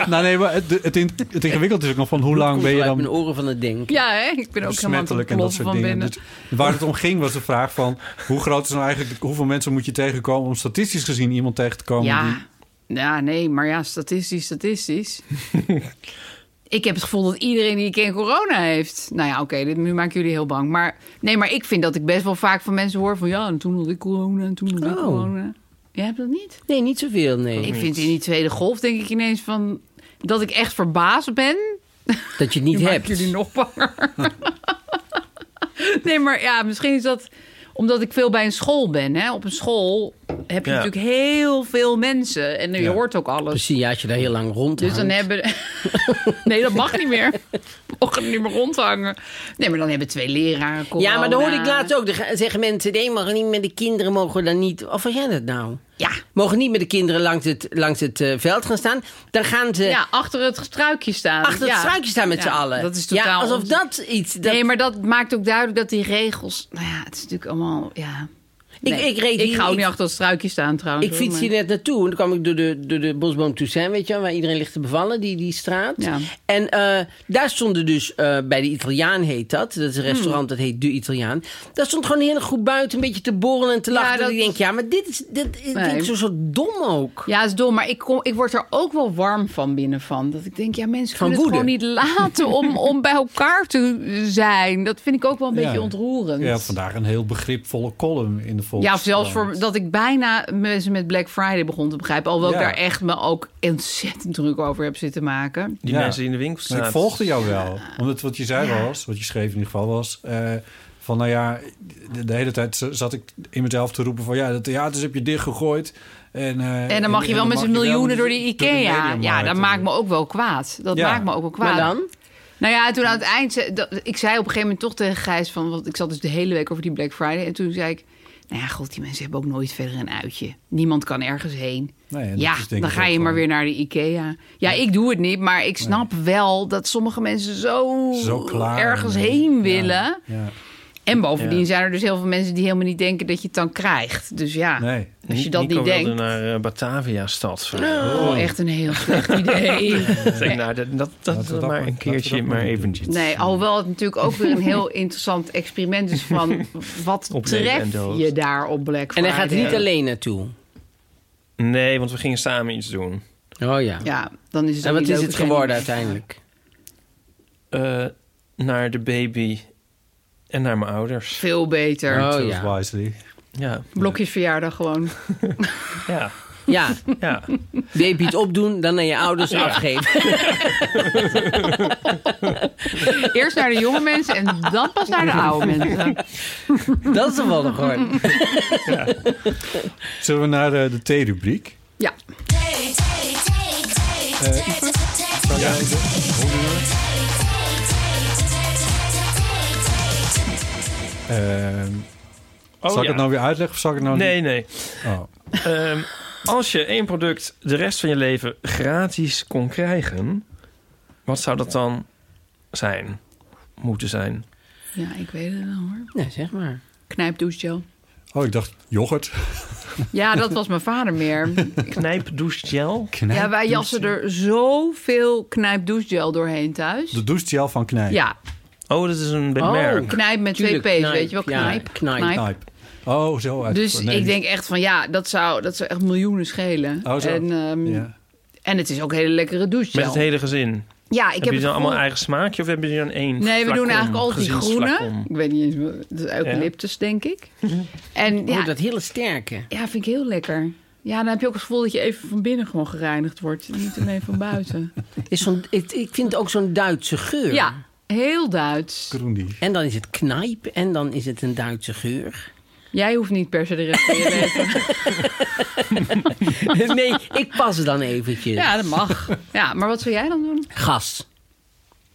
S5: nou nee, maar het, het, in- het ingewikkeld is ook nog van hoe lang
S4: Komt
S5: ben je
S4: uit mijn
S5: dan
S4: oren van het ding.
S3: Ja, hè? ik ben ook helemaal aan het
S5: besmettelijk en dat
S3: ontploffen
S5: soort
S3: van
S5: dingen.
S3: binnen.
S5: Dus waar het om ging was de vraag van hoe groot is nou eigenlijk, hoeveel mensen moet je tegenkomen om statistisch gezien iemand tegen te komen die
S3: Ja. ja, nee, maar ja, statistisch, statistisch. ik heb het gevoel dat iedereen die ik ken corona heeft. Nou ja, oké, dit- nu maken jullie heel bang. Maar nee, maar ik vind dat ik best wel vaak van mensen hoor van... ja, en toen had ik corona en toen had ik
S4: Oh.
S3: corona. Jij hebt dat niet?
S4: Nee, niet zoveel, nee.
S3: Ik vind in die tweede golf denk ik ineens van... dat ik echt verbaasd ben
S4: dat je het niet
S3: nu maak
S4: hebt.
S3: ik jullie nog banger. nee, maar ja, misschien is dat omdat ik veel bij een school ben. Hè? Op een school heb je
S2: Ja.
S3: natuurlijk heel veel mensen. En je hoort ook alles.
S4: Precies, ja, als je daar heel lang rond
S3: Dus dan hebben... nee, dat mag niet meer. We mogen er niet meer rondhangen. Nee, maar dan hebben twee leraren corona.
S4: Ja, maar dan hoorde ik laatst ook. Dan gaan- zeggen mensen, nee, mogen niet met de kinderen, mogen dan niet... Of wat jij dat nou?
S3: Ja,
S4: Mogen niet met de kinderen langs het, langs het eh, veld gaan staan. Dan gaan ze
S3: ja, achter het struikje staan.
S4: achter het
S3: Ja.
S4: struikje staan met
S3: Ja,
S4: z'n allen.
S3: Dat is totaal...
S4: Ja, alsof
S3: onzin.
S4: dat iets... Dat,
S3: Nee, maar dat maakt ook duidelijk dat die regels... Nou ja, het is natuurlijk allemaal... Ja.
S4: Ik-
S3: Nee,
S4: ik reed hier-
S3: ga ook
S4: ik-
S3: niet achter het struikje staan trouwens.
S4: Ik
S3: hoor,
S4: fiets
S3: maar-
S4: hier net naartoe. En toen kwam ik door de, door de bosboom Toussaint, weet je wel, Waar iedereen ligt te bevallen, die, die straat.
S3: Ja.
S4: En eh, daar stonden dus, eh, bij de Italiaan heet dat. Dat is een restaurant, dat heet De Italiaan. Daar stond gewoon een hele groep buiten een beetje te borrelen en te lachen.
S3: dat-
S4: dat... ik denk, ja, maar dit is, dit, ik
S3: Nee.
S4: vind ik zo, zo dom ook.
S3: Ja, het is dom, maar ik, kom, ik word er ook wel warm van binnen van. Dat ik denk, ja, mensen
S4: Van
S3: kunnen het
S4: woede.
S3: gewoon niet laten om, om bij elkaar te zijn. Dat vind ik ook wel een beetje
S5: Ja.
S3: ontroerend.
S5: Ja, vandaag een heel begripvolle column in de volgende.
S3: Ja, of zelfs voor dat ik bijna mensen met Black Friday begon te begrijpen. Alhoewel
S5: Ja.
S3: ik daar echt me ook ontzettend druk over heb zitten maken.
S2: Die
S5: Ja.
S2: mensen die in de winkel
S5: Maar
S2: staan.
S5: ik volgde jou wel. Omdat wat je zei
S3: Ja.
S5: was, wat je schreef in ieder geval was... eh, van nou ja, de, de hele tijd z- zat ik in mezelf te roepen van... ja, de theaters heb je dichtgegooid. En, eh,
S3: En dan mag je wel met z'n
S5: mag je wel
S3: miljoenen
S5: met-
S3: door de IKEA.
S5: Mediamarkt.
S3: ja, dat maakt me ook wel kwaad. Dat
S5: Ja.
S3: maakt me ook wel kwaad.
S4: Maar dan?
S3: Nou ja, en toen aan het eind... ze- dat- ik zei op een gegeven moment toch tegen Gijs... Van, want ik zat dus de hele week over die Black Friday. En toen zei ik... Nou ja, god, die mensen hebben ook nooit verder een uitje. Niemand kan ergens heen.
S5: Nee, en dat
S3: ja,
S5: is denk
S3: dan
S5: ik
S3: ga
S5: ook
S3: je maar
S5: gewoon-
S3: weer naar de IKEA. Ja, ik doe het niet, maar ik snap wel dat sommige mensen zo,
S5: Zo klaar.
S3: ergens heen willen.
S5: Ja.
S3: En bovendien
S2: Ja.
S3: zijn er dus heel veel mensen die helemaal niet denken dat je het dan krijgt. Dus ja,
S5: Nee.
S3: als je dat
S2: Nico
S3: niet
S2: wilde
S3: denkt.
S2: naar eh, Batavia-stad. eh,
S3: Oh, echt een heel slecht idee.
S2: Ik denk, nou, dat, dat, dat,
S5: Laten we dat
S2: maar
S5: maar-
S2: een
S5: laten we
S2: keertje,
S5: dat
S2: maar
S5: maar doen.
S2: eventjes.
S3: Nee, alhoewel het natuurlijk ook weer een heel interessant experiment is van wat
S2: Op leven en
S3: tref
S2: dood.
S3: je daar op Black
S4: En
S3: Friday.
S4: hij gaat niet alleen naartoe.
S2: Nee, want we gingen samen iets doen.
S4: Oh ja.
S3: Ja, dan is het.
S4: En
S3: ook
S4: wat
S3: niet
S4: is
S3: leuk
S4: het
S3: als jij
S4: geworden
S3: niet-
S4: uiteindelijk?
S2: Eh, naar de baby en naar mijn ouders.
S3: Veel beter.
S4: Oh
S5: Choose
S4: ja.
S5: wisely.
S2: Ja,
S3: Blokjes verjaardag gewoon.
S2: ja,
S4: Ja,
S2: ja.
S4: baby het opdoen, dan aan je ouders afgeven.
S3: Eerst naar de jonge mensen en dan pas naar de oude mensen.
S4: Dat is toch wel nog hoor.
S5: Zullen we naar eh, de theerubriek?
S3: Ja,
S5: Ehm
S2: Oh,
S5: zal ik
S2: ja.
S5: het nou weer uitleggen of zal ik het nou
S2: Nee,
S5: niet?
S2: nee.
S5: Oh.
S2: Ehm, als je één product de rest van je leven gratis kon krijgen, wat zou dat dan zijn? Moeten zijn.
S3: ja ik weet het wel hoor.
S4: Nou, zeg maar.
S3: Knijpdouchegel.
S5: Oh, ik dacht yoghurt.
S3: Ja, dat was mijn vader meer.
S2: Knijpdouchegel.
S3: Ja, wij jassen er zoveel knijpdouchegel doorheen thuis.
S5: De douchegel van Knijp.
S3: Ja,
S2: Oh, dat is een
S4: Oh.
S2: merk.
S3: knijp met twee
S4: Tuurlijk,
S3: p's,
S4: knijp,
S3: weet je wel.
S4: ja,
S3: Knijp,
S4: knijp.
S3: knijp.
S5: Knijp. Oh, zo uit.
S3: Dus
S5: nee,
S3: ik denk echt van ja, dat zou, dat zou echt miljoenen schelen.
S5: Oh, zo.
S3: en, ehm,
S5: Ja.
S3: en het is ook hele lekkere douche.
S2: Met het hele gezin.
S3: Ja, ik
S2: heb
S3: heb
S2: je
S3: het
S2: dan allemaal
S3: gevoel-
S2: eigen smaakje of hebben jullie dan één?
S3: Nee, we doen
S2: flacon,
S3: eigenlijk altijd die groene.
S2: gezinsflacon?
S3: Ik weet niet eens, dat is eucalyptus, denk ik.
S2: Oh,
S3: En
S4: Ja.
S3: ja,
S4: dat hele sterke.
S3: ja, vind ik heel lekker. Ja, dan heb je ook het gevoel dat je even van binnen gewoon gereinigd wordt. Niet alleen van buiten.
S4: Is zo'n, ik, ik vind het ook zo'n Duitse geur.
S3: Ja, heel Duits.
S5: Groendie.
S4: En dan is het knijp en dan is het een Duitse geur.
S3: Jij hoeft niet per se de rest van je leven.
S4: nee, ik pas het dan eventjes.
S3: Ja, dat mag. Ja, maar wat zou jij dan doen?
S4: Gas.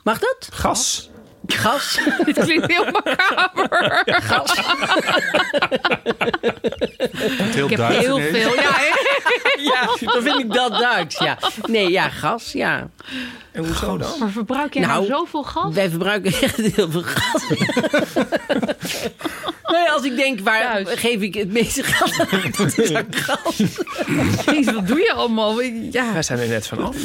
S4: Mag dat?
S6: Gas.
S4: Gas?
S3: Dit klinkt heel macaber.
S6: Heel
S3: Ik heb heel veel. Ja, hè?
S4: ja, dan vind ik dat Duits, ja. Nee, ja, gas, ja.
S2: En hoezo dan?
S7: Maar verbruik jij nou,
S4: Nou,
S7: zoveel gas?
S4: Wij verbruiken echt heel veel gas. nee, als ik denk, waar
S3: Thuis.
S4: geef ik het meeste gas aan? Dat is aan gas.
S3: Jezus, wat doe je allemaal? Ja.
S2: Wij zijn er net vanaf.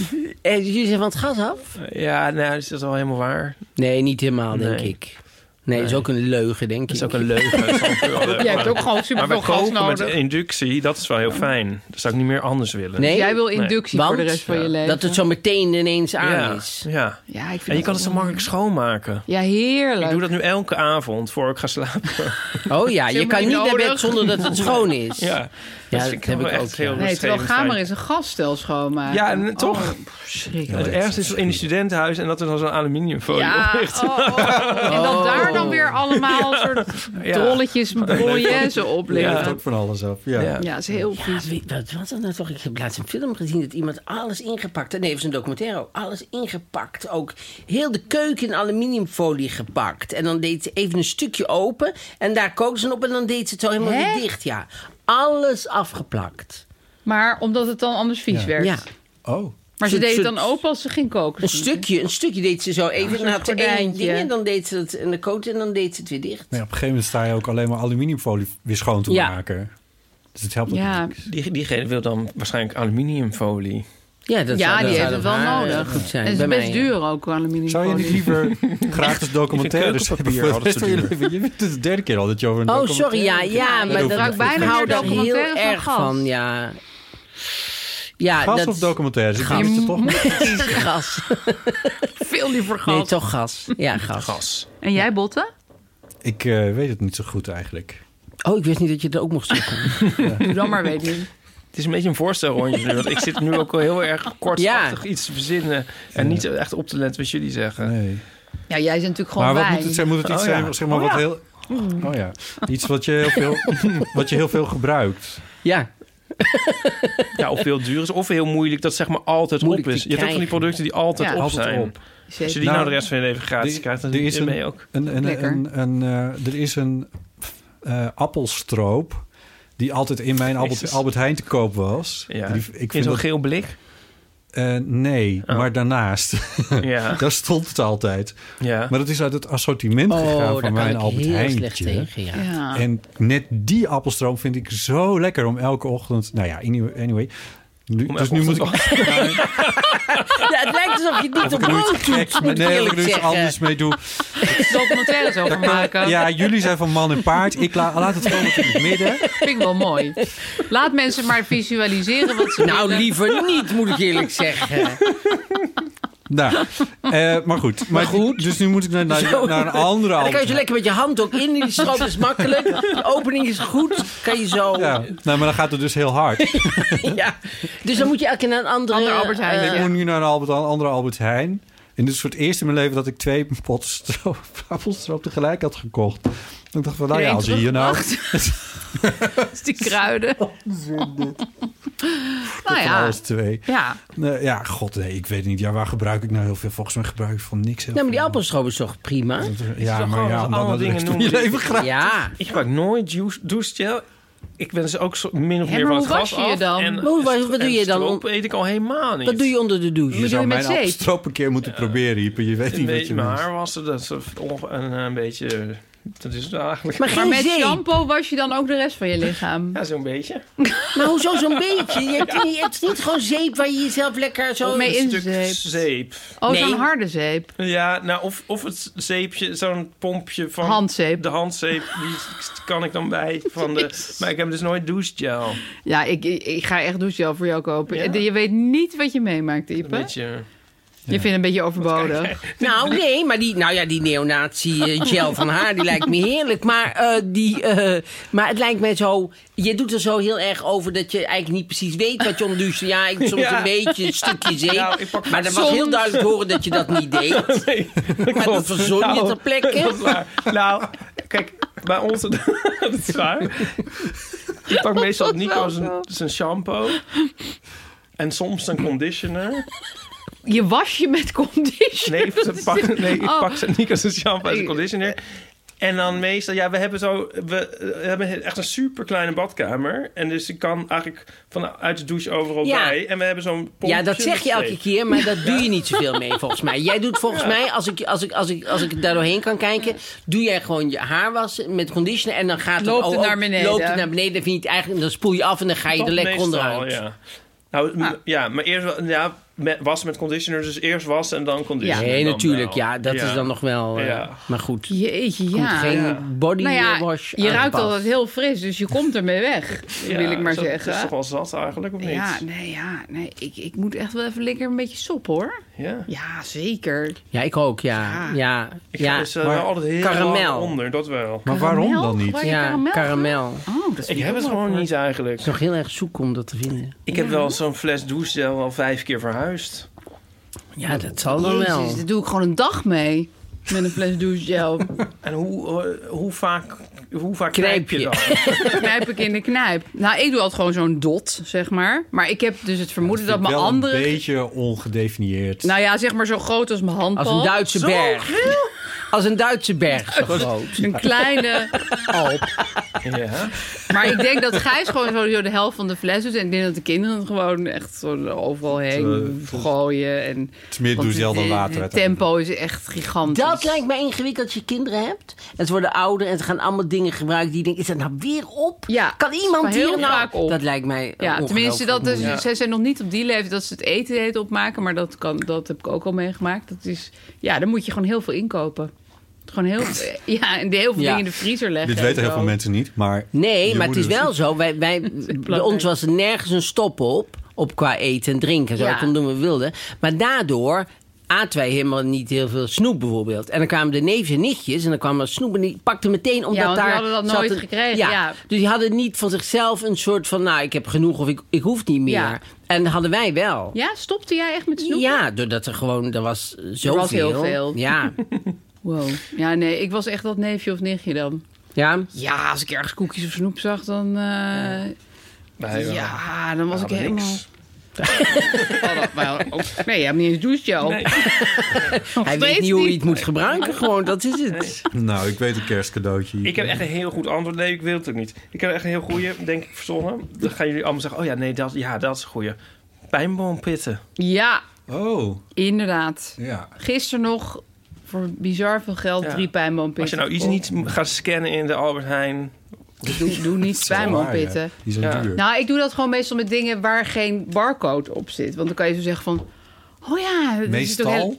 S4: En jullie zijn van het gas af?
S2: Ja, nou, is dat wel helemaal waar?
S4: Nee, niet helemaal, denk
S2: Nee.
S4: ik. Nee, dat is ook een leugen, denk ik.
S2: Dat is ook een leugen. Dat is wel een leugen.
S3: Jij hebt ook gewoon super
S2: Maar
S3: veel
S2: bij
S3: gas
S2: koken met
S3: nodig.
S2: inductie, dat is wel heel fijn. Dat zou ik niet meer anders willen.
S4: Nee,
S3: Jij wil inductie
S4: Want-
S3: voor de rest van je leven.
S4: dat het zo meteen ineens aan
S2: ja,
S4: is.
S2: ja.
S3: Ja, ik vind
S2: En je
S3: dat
S2: kan het zo makkelijk schoonmaken.
S3: Ja,
S2: Ik
S3: heerlijk.
S2: doe dat nu elke avond voor ik ga slapen.
S4: Oh ja, je
S3: helemaal
S4: kan
S3: niet
S4: niet naar bed
S3: nodig.
S4: zonder dat het schoon is.
S2: Ja, dat,
S4: dat
S2: vind ik,
S4: heb
S2: wel
S4: ik
S2: echt
S4: ook, ja.
S2: heel
S3: Nee, terwijl
S2: beschreven
S3: Gamer
S2: fijn.
S3: is een gaststel schoonmaken.
S2: Ja, en toch?
S3: Oh, verschrikkelijk.
S2: Het ergste is in een studentenhuis en dat er dan zo'n aluminiumfolie
S3: Ja,
S2: op ligt.
S3: oh, oh. en dat daar dan weer allemaal soort
S2: Ja.
S3: drolletjes met bolognese op liggen.
S2: Ja.
S3: Ja.
S5: ook van alles af. Ja.
S2: Ja.
S3: dat is heel
S4: Ja,
S3: vies.
S4: weet- wat was dat nou toch? Ik heb laatst een film gezien dat iemand alles ingepakt had. Nee, het was een documentaire. ook. Alles ingepakt. Ook heel de keuken in aluminiumfolie gepakt. En dan deed ze even een stukje open. En daar kookte ze op. En dan deed ze het zo helemaal
S3: Hè?
S4: weer dicht. Ja, alles afgeplakt.
S3: Maar omdat het dan anders vies werd.
S4: Ja.
S5: Oh.
S3: Maar ze
S4: Zo'n
S3: deed het
S4: soort-
S3: dan open als ze ging koken.
S4: Een stukje, een stukje deed ze zo even. dan had ze één
S3: gordijntje.
S4: ding en dan deed ze dat en de kookte en dan deed ze het weer dicht.
S5: Maar ja, op een gegeven moment sta je ook alleen maar aluminiumfolie weer schoon te
S4: Ja.
S5: maken. Dus het helpt ook
S3: Ja,
S5: niet.
S2: Die, diegene wil dan waarschijnlijk aluminiumfolie.
S4: Ja, dat
S3: ja
S4: zou, dat
S3: die heeft
S4: zou
S3: het
S4: dan
S3: wel
S4: haar, eh,
S3: nodig.
S4: Goed zijn.
S3: en het is
S4: bij
S3: best
S4: mij,
S3: duur ook, aluminium.
S5: Zou je niet liever gratis documentaires
S2: Ik vind
S5: hebben?
S2: keukenpapier Oh,
S5: voor de rest van je leven? Je bent het de derde keer al dat je over een
S4: Oh,
S5: documentaire-
S4: sorry, ja, ja,
S5: dat
S4: maar dat
S5: hoeft
S4: ik
S5: niet.
S4: bijna hou
S3: Ik
S4: daar
S3: gebruik bijna
S4: heel
S3: meer documentaires
S4: erg
S3: dan gas.
S4: van, ja. Ja,
S5: Gas
S4: dat
S5: of documentaires? Ik
S4: Gas.
S5: wist het toch niet.
S4: gas.
S3: Veel liever gas.
S4: Nee, toch gas. Ja, gas.
S2: Gas.
S3: En jij, Botte?
S5: Ik eh, weet het niet zo goed eigenlijk.
S4: Oh, ik wist niet dat je het ook mocht zoeken.
S3: Doe dan maar, weet je.
S2: Het is een beetje een voorstelrondje nu, want ik zit nu ook wel heel erg kortachtig iets te verzinnen. En niet echt op te letten wat jullie zeggen.
S5: Nee.
S3: Ja, jij bent natuurlijk gewoon
S5: Maar wat
S3: wijn.
S5: moet het zijn? Moet het iets
S2: Oh, ja.
S5: zijn, zeg maar, wat heel... Oh ja, iets wat je heel veel, wat je heel veel gebruikt.
S4: Ja.
S2: Ja, of heel duur is, of heel moeilijk dat zeg maar altijd
S4: Moeilijk
S2: op
S4: te
S2: is. Je hebt ook van die
S4: krijgen.
S2: producten die altijd
S3: Ja.
S2: op
S5: Altijd
S2: zijn.
S5: op.
S2: Als
S3: Zeker.
S2: je die nou, de rest van je leven gratis
S5: Er-
S2: krijgt, dan
S5: er
S2: zit
S5: is
S2: je
S5: een-
S2: mee ook.
S5: Een, een,
S3: Lekker.
S5: een, een, eh, er is een eh, appelstroop die altijd in mijn Albert,
S2: Jezus.
S5: Albert Heijn te koop was.
S2: Ja.
S5: Die- ik
S2: In
S5: vind
S2: zo'n
S5: dat,
S2: geel blik.
S5: eh, nee,
S2: Oh.
S5: maar daarnaast.
S2: Ja.
S5: Daar stond het altijd.
S2: ja.
S5: Maar dat is uit het assortiment gegaan
S4: Oh, daar
S5: van
S4: kan
S5: mijn
S4: ik
S5: Albert
S4: heel
S5: Heijntje.
S4: slecht tegen, ja.
S3: Ja.
S5: En net die appelstroom vind ik zo lekker om elke ochtend... Nou ja, anyway. anyway. Nu,
S2: Om
S5: dus
S2: elke
S5: nu moet ik...
S2: ochtend
S4: Ja, Het lijkt alsof je niet op
S5: nu iets
S4: brood
S5: geks
S4: doet,
S5: met-
S4: moet
S5: Nee,
S4: ik
S5: dat ik
S4: eerlijk
S5: er iets
S4: zeggen.
S5: anders mee doe.
S3: documentaires over maken.
S5: Ja, jullie zijn van man en paard. Ik la- laat het gewoon wat in het midden.
S3: Vind ik wel mooi. Laat mensen maar visualiseren wat ze
S4: Nou,
S3: willen.
S4: liever niet, moet ik eerlijk zeggen.
S5: Nou, eh, maar goed. Maar, goed. Dus nu moet ik naar, naar, naar een andere
S4: Dan kan je
S5: Albert
S4: zo lekker met je hand ook in. Die stroop is makkelijk. De opening is goed. Kan je zo...
S5: Ja, nou, maar dan gaat het dus heel hard.
S4: Ja. Dus dan moet je elke keer naar een andere...
S3: Andere Albert Heijn,
S4: eh,
S5: Ik moet nu naar een, Albert, een andere Albert Heijn. En dit is voor het eerst in mijn leven dat ik twee pot stroop, appelstroop tegelijk had gekocht. En ik dacht van, nou ja, als je hier nou...
S3: die kruiden. nou
S5: Van
S3: ja.
S5: alles twee.
S3: ja.
S5: Nee, ja, god, nee, ik weet niet. Ja, waar gebruik ik nou heel veel? Volgens mij gebruik ik van niks heel
S4: Nou, maar die
S5: veel.
S4: appelstroop is toch prima?
S5: Ja,
S2: toch
S5: maar
S2: gewoon
S5: ja,
S2: dat
S5: omdat
S2: allemaal
S5: dat
S2: dingen
S5: rest van
S2: noemen
S5: je
S2: die-
S5: leven gaat.
S4: Ja.
S2: Ik gebruik nooit juice- douchegel. Ik ben dus ook zo, min of
S3: Ja,
S2: meer
S3: maar
S2: van het
S3: hoe
S2: gas
S3: was je
S2: af.
S3: dan?
S2: En,
S3: Maar
S4: hoe- wat- wat
S2: en
S4: doe je dan?
S2: stroop eet ik al helemaal niet.
S4: Wat doe je onder de douche?
S5: Je
S3: doe
S5: zou
S3: je met
S5: mijn
S3: zeep?
S5: appelstroop een keer moeten proberen, Ieper. Je weet
S2: Een
S5: niet wat
S2: beetje
S5: je
S2: mijn
S5: mist.
S2: haar was dat is een, een, eh, een beetje... Dat is het eigenlijk...
S4: Maar
S3: Maar
S4: geen
S3: met
S4: zeep.
S3: shampoo was je dan ook de rest van je lichaam.
S2: Ja, zo'n beetje.
S4: Maar hoezo zo'n beetje? Je hebt, je hebt niet gewoon zeep waar je jezelf lekker zo...
S3: Of mee
S2: Een
S3: in
S2: stuk
S3: zeep.
S2: zeep.
S3: Oh,
S4: Nee.
S3: zo'n harde zeep.
S2: Ja, nou, of, of het zeepje, zo'n pompje van...
S3: Handzeep.
S2: De handzeep, die kan ik dan bij van de... Maar ik heb dus nooit douchegel.
S3: Ja, ik, ik, ik ga echt douchegel voor jou kopen.
S2: Ja.
S3: Je weet niet wat je meemaakt,
S2: Een
S3: Ipe.
S2: beetje...
S3: Je vindt het een beetje overbodig.
S4: Nou, nee, maar die, nou ja, die neonazi-gel van haar, die lijkt me heerlijk. Maar, eh, die, eh, maar het lijkt mij zo... Je doet er zo heel erg over dat je eigenlijk niet precies weet wat je onder de douche... Ja, ik soms
S2: Ja.
S4: een beetje, een stukje zeep.
S2: Nou, ik pak
S4: maar dat was
S3: soms.
S4: heel duidelijk te horen dat je dat niet deed.
S2: Nee,
S4: Maar dat verzon je
S2: Nou,
S4: ter plekke.
S2: Dat is waar. Nou, kijk, bij ons... dat is waar. Ik pak meestal Nico zijn, zijn shampoo. En soms een conditioner.
S3: je was je met conditioner.
S2: Nee, ze pak, nee, ik
S3: Oh.
S2: pak ze niet als een shampoo en een conditioner. En dan meestal, ja, we hebben zo, we, we hebben echt een super kleine badkamer. En dus ik kan eigenlijk vanuit de douche overal
S4: Ja.
S2: bij. En we hebben zo'n pompje.
S4: Ja, dat zeg je
S2: met
S4: elke
S2: zeep.
S4: keer, maar dat doe je niet zoveel mee volgens mij. Jij doet volgens mij, als ik, als, ik, als, ik, als ik daar doorheen kan kijken, doe jij gewoon je haar wassen met conditioner en dan gaat
S3: Loopt
S4: oh,
S3: het
S4: oh,
S3: naar beneden.
S4: Loopt het naar beneden, dan, vind je het eigenlijk, dan spoel je af en dan ga je
S2: Dat
S4: er lekker
S2: meestal,
S4: onderuit.
S2: Ja. Nou, m- ja, maar eerst wel- ja, met, wassen met conditioner. Dus eerst wassen en dan conditioner.
S4: Nee,
S2: dan
S4: natuurlijk,
S2: wel.
S4: ja, dat is dan nog wel. eh,
S2: Ja.
S4: Maar goed,
S3: Jeetje,
S4: komt
S3: ja.
S4: geen
S2: Ja.
S4: body
S3: Nou ja,
S4: wash.
S3: je
S4: aan
S3: ruikt
S4: pas.
S3: altijd heel fris, dus je komt ermee weg, wil ik maar
S2: zo-
S3: zeggen.
S2: Dat is toch wel zat eigenlijk, of niet?
S3: ja, nee, ja, nee ik, ik moet echt wel even lekker een beetje sop hoor.
S2: Ja.
S3: Ja, zeker.
S4: Ja, ik ook, ja.
S3: Ja.
S4: ja.
S2: Ik
S4: ja.
S2: ga dus eh,
S5: Maar-
S2: wel altijd heel
S4: Karamel.
S2: lang onder, dat wel.
S5: Maar waarom
S3: Karamel?
S5: dan niet?
S3: Gebruik je
S4: Ja,
S3: karamel?
S4: karamel. Het
S3: Oh, dat is
S2: Ik heb het gewoon niet eigenlijk.
S4: is nog heel erg zoek om dat te vinden.
S2: Ik heb wel zo'n fles douchegel al vijf keer verhuisd.
S4: Ja, dat zal dan wel.
S3: Jezus, daar doe ik gewoon een dag mee. Met een fles douchegel.
S2: En hoe, eh, hoe vaak, hoe vaak
S4: Knijp
S2: knijp je
S4: je.
S2: dan?
S3: knijp ik in de knijp. Nou, ik doe altijd gewoon zo'n dot, zeg maar. Maar ik heb dus het vermoeden dat mijn
S5: wel
S3: andere...
S5: een beetje ongedefinieerd.
S3: Nou ja, zeg maar zo groot als mijn handpalm.
S4: Als een Duitse berg. Als een Duitse berg zo groot.
S3: Een kleine alp.
S2: Ja.
S3: Maar ik denk dat Gijs gewoon sowieso de helft van de fles doet. En ik denk dat de kinderen het gewoon echt zo overal heen gooien. En,
S5: eh, het is meer
S3: want eh,
S5: douchegel
S3: de-
S5: dan
S3: de-
S5: water.
S3: Het
S5: uiteindelijk.
S3: tempo is echt gigantisch.
S4: Dat lijkt mij ingewikkeld als je kinderen hebt. En ze worden ouder en ze gaan allemaal dingen gebruiken die je denkt, is dat nou weer op?
S3: Ja,
S4: kan
S3: het
S4: iemand
S3: is wel
S4: hier
S3: heel
S4: nou...
S3: vaak op.
S4: Dat lijkt mij eh,
S3: Ja, tenminste, dat is,
S4: ongelooflijk.
S3: zij zijn nog niet op die leeftijd dat ze het eten eten opmaken. Maar dat, kan, dat heb ik ook al meegemaakt. Dat is, ja, dan moet je gewoon heel veel inkopen. Gewoon heel, ja, en heel veel
S4: Ja.
S3: dingen in de vriezer leggen.
S5: Dit weten
S3: en
S5: heel
S3: zo.
S5: veel mensen niet, maar...
S4: Nee,
S5: je
S4: maar het is
S5: moeder-
S4: wel zo. Wij, wij, bij ons was er nergens een stop op. Op qua eten en drinken. Zo
S3: Ja.
S4: we konden doen wat we wilden. Maar daardoor aten wij helemaal niet heel veel snoep bijvoorbeeld. En dan kwamen de neefjes en nichtjes. En dan kwam er snoep en die pakte meteen omdat
S3: Ja, want die
S4: daar...
S3: hadden dat
S4: zat
S3: nooit
S4: een-
S3: gekregen, ja.
S4: Dus die hadden niet van zichzelf een soort van... Nou, ik heb genoeg of ik, ik hoef niet meer.
S3: Ja.
S4: En dat hadden wij wel.
S3: Ja, stopte jij echt met snoep?
S4: Ja, doordat er gewoon, er was eh, zoveel.
S3: was heel veel.
S4: Ja,
S3: Wow. Ja, nee, ik was echt dat neefje of nichtje dan.
S4: ja.
S3: Ja, als ik ergens koekjes of snoep zag, dan... eh,
S2: Wij wel.
S3: ja, dan was
S2: We
S3: ik
S2: hadden
S3: helemaal...
S2: niks.
S3: Oh, dat- maar ook- nee, je hebt niet eens douchegel.
S2: Nee.
S4: hij weet
S3: steeds
S4: niet hoe hij
S3: niet.
S4: het moet gebruiken. Gewoon, dat is het.
S5: Nou, ik weet een kerstcadeautje.
S2: Ik heb echt een heel goed antwoord. Nee, ik wil het ook niet. Ik heb echt een heel goede, denk ik, verzonnen. Dan gaan jullie allemaal zeggen, oh ja, nee, dat, ja, dat is een goeie. Pijnboompitten.
S3: Ja,
S5: Oh,
S3: inderdaad.
S5: ja.
S3: Gisteren nog voor bizar veel geld
S2: Ja.
S3: drie pijnboompitten.
S2: Als je nou iets
S3: gekocht.
S2: niet gaat scannen in de Albert Heijn...
S3: Doe, doe niet pijnboompitten.
S5: Ja, Die zijn
S2: Ja.
S5: duur.
S3: Nou, ik doe dat gewoon meestal met dingen waar geen barcode op zit. Want dan kan je zo zeggen van... Oh ja, dit is toch
S5: Meestal.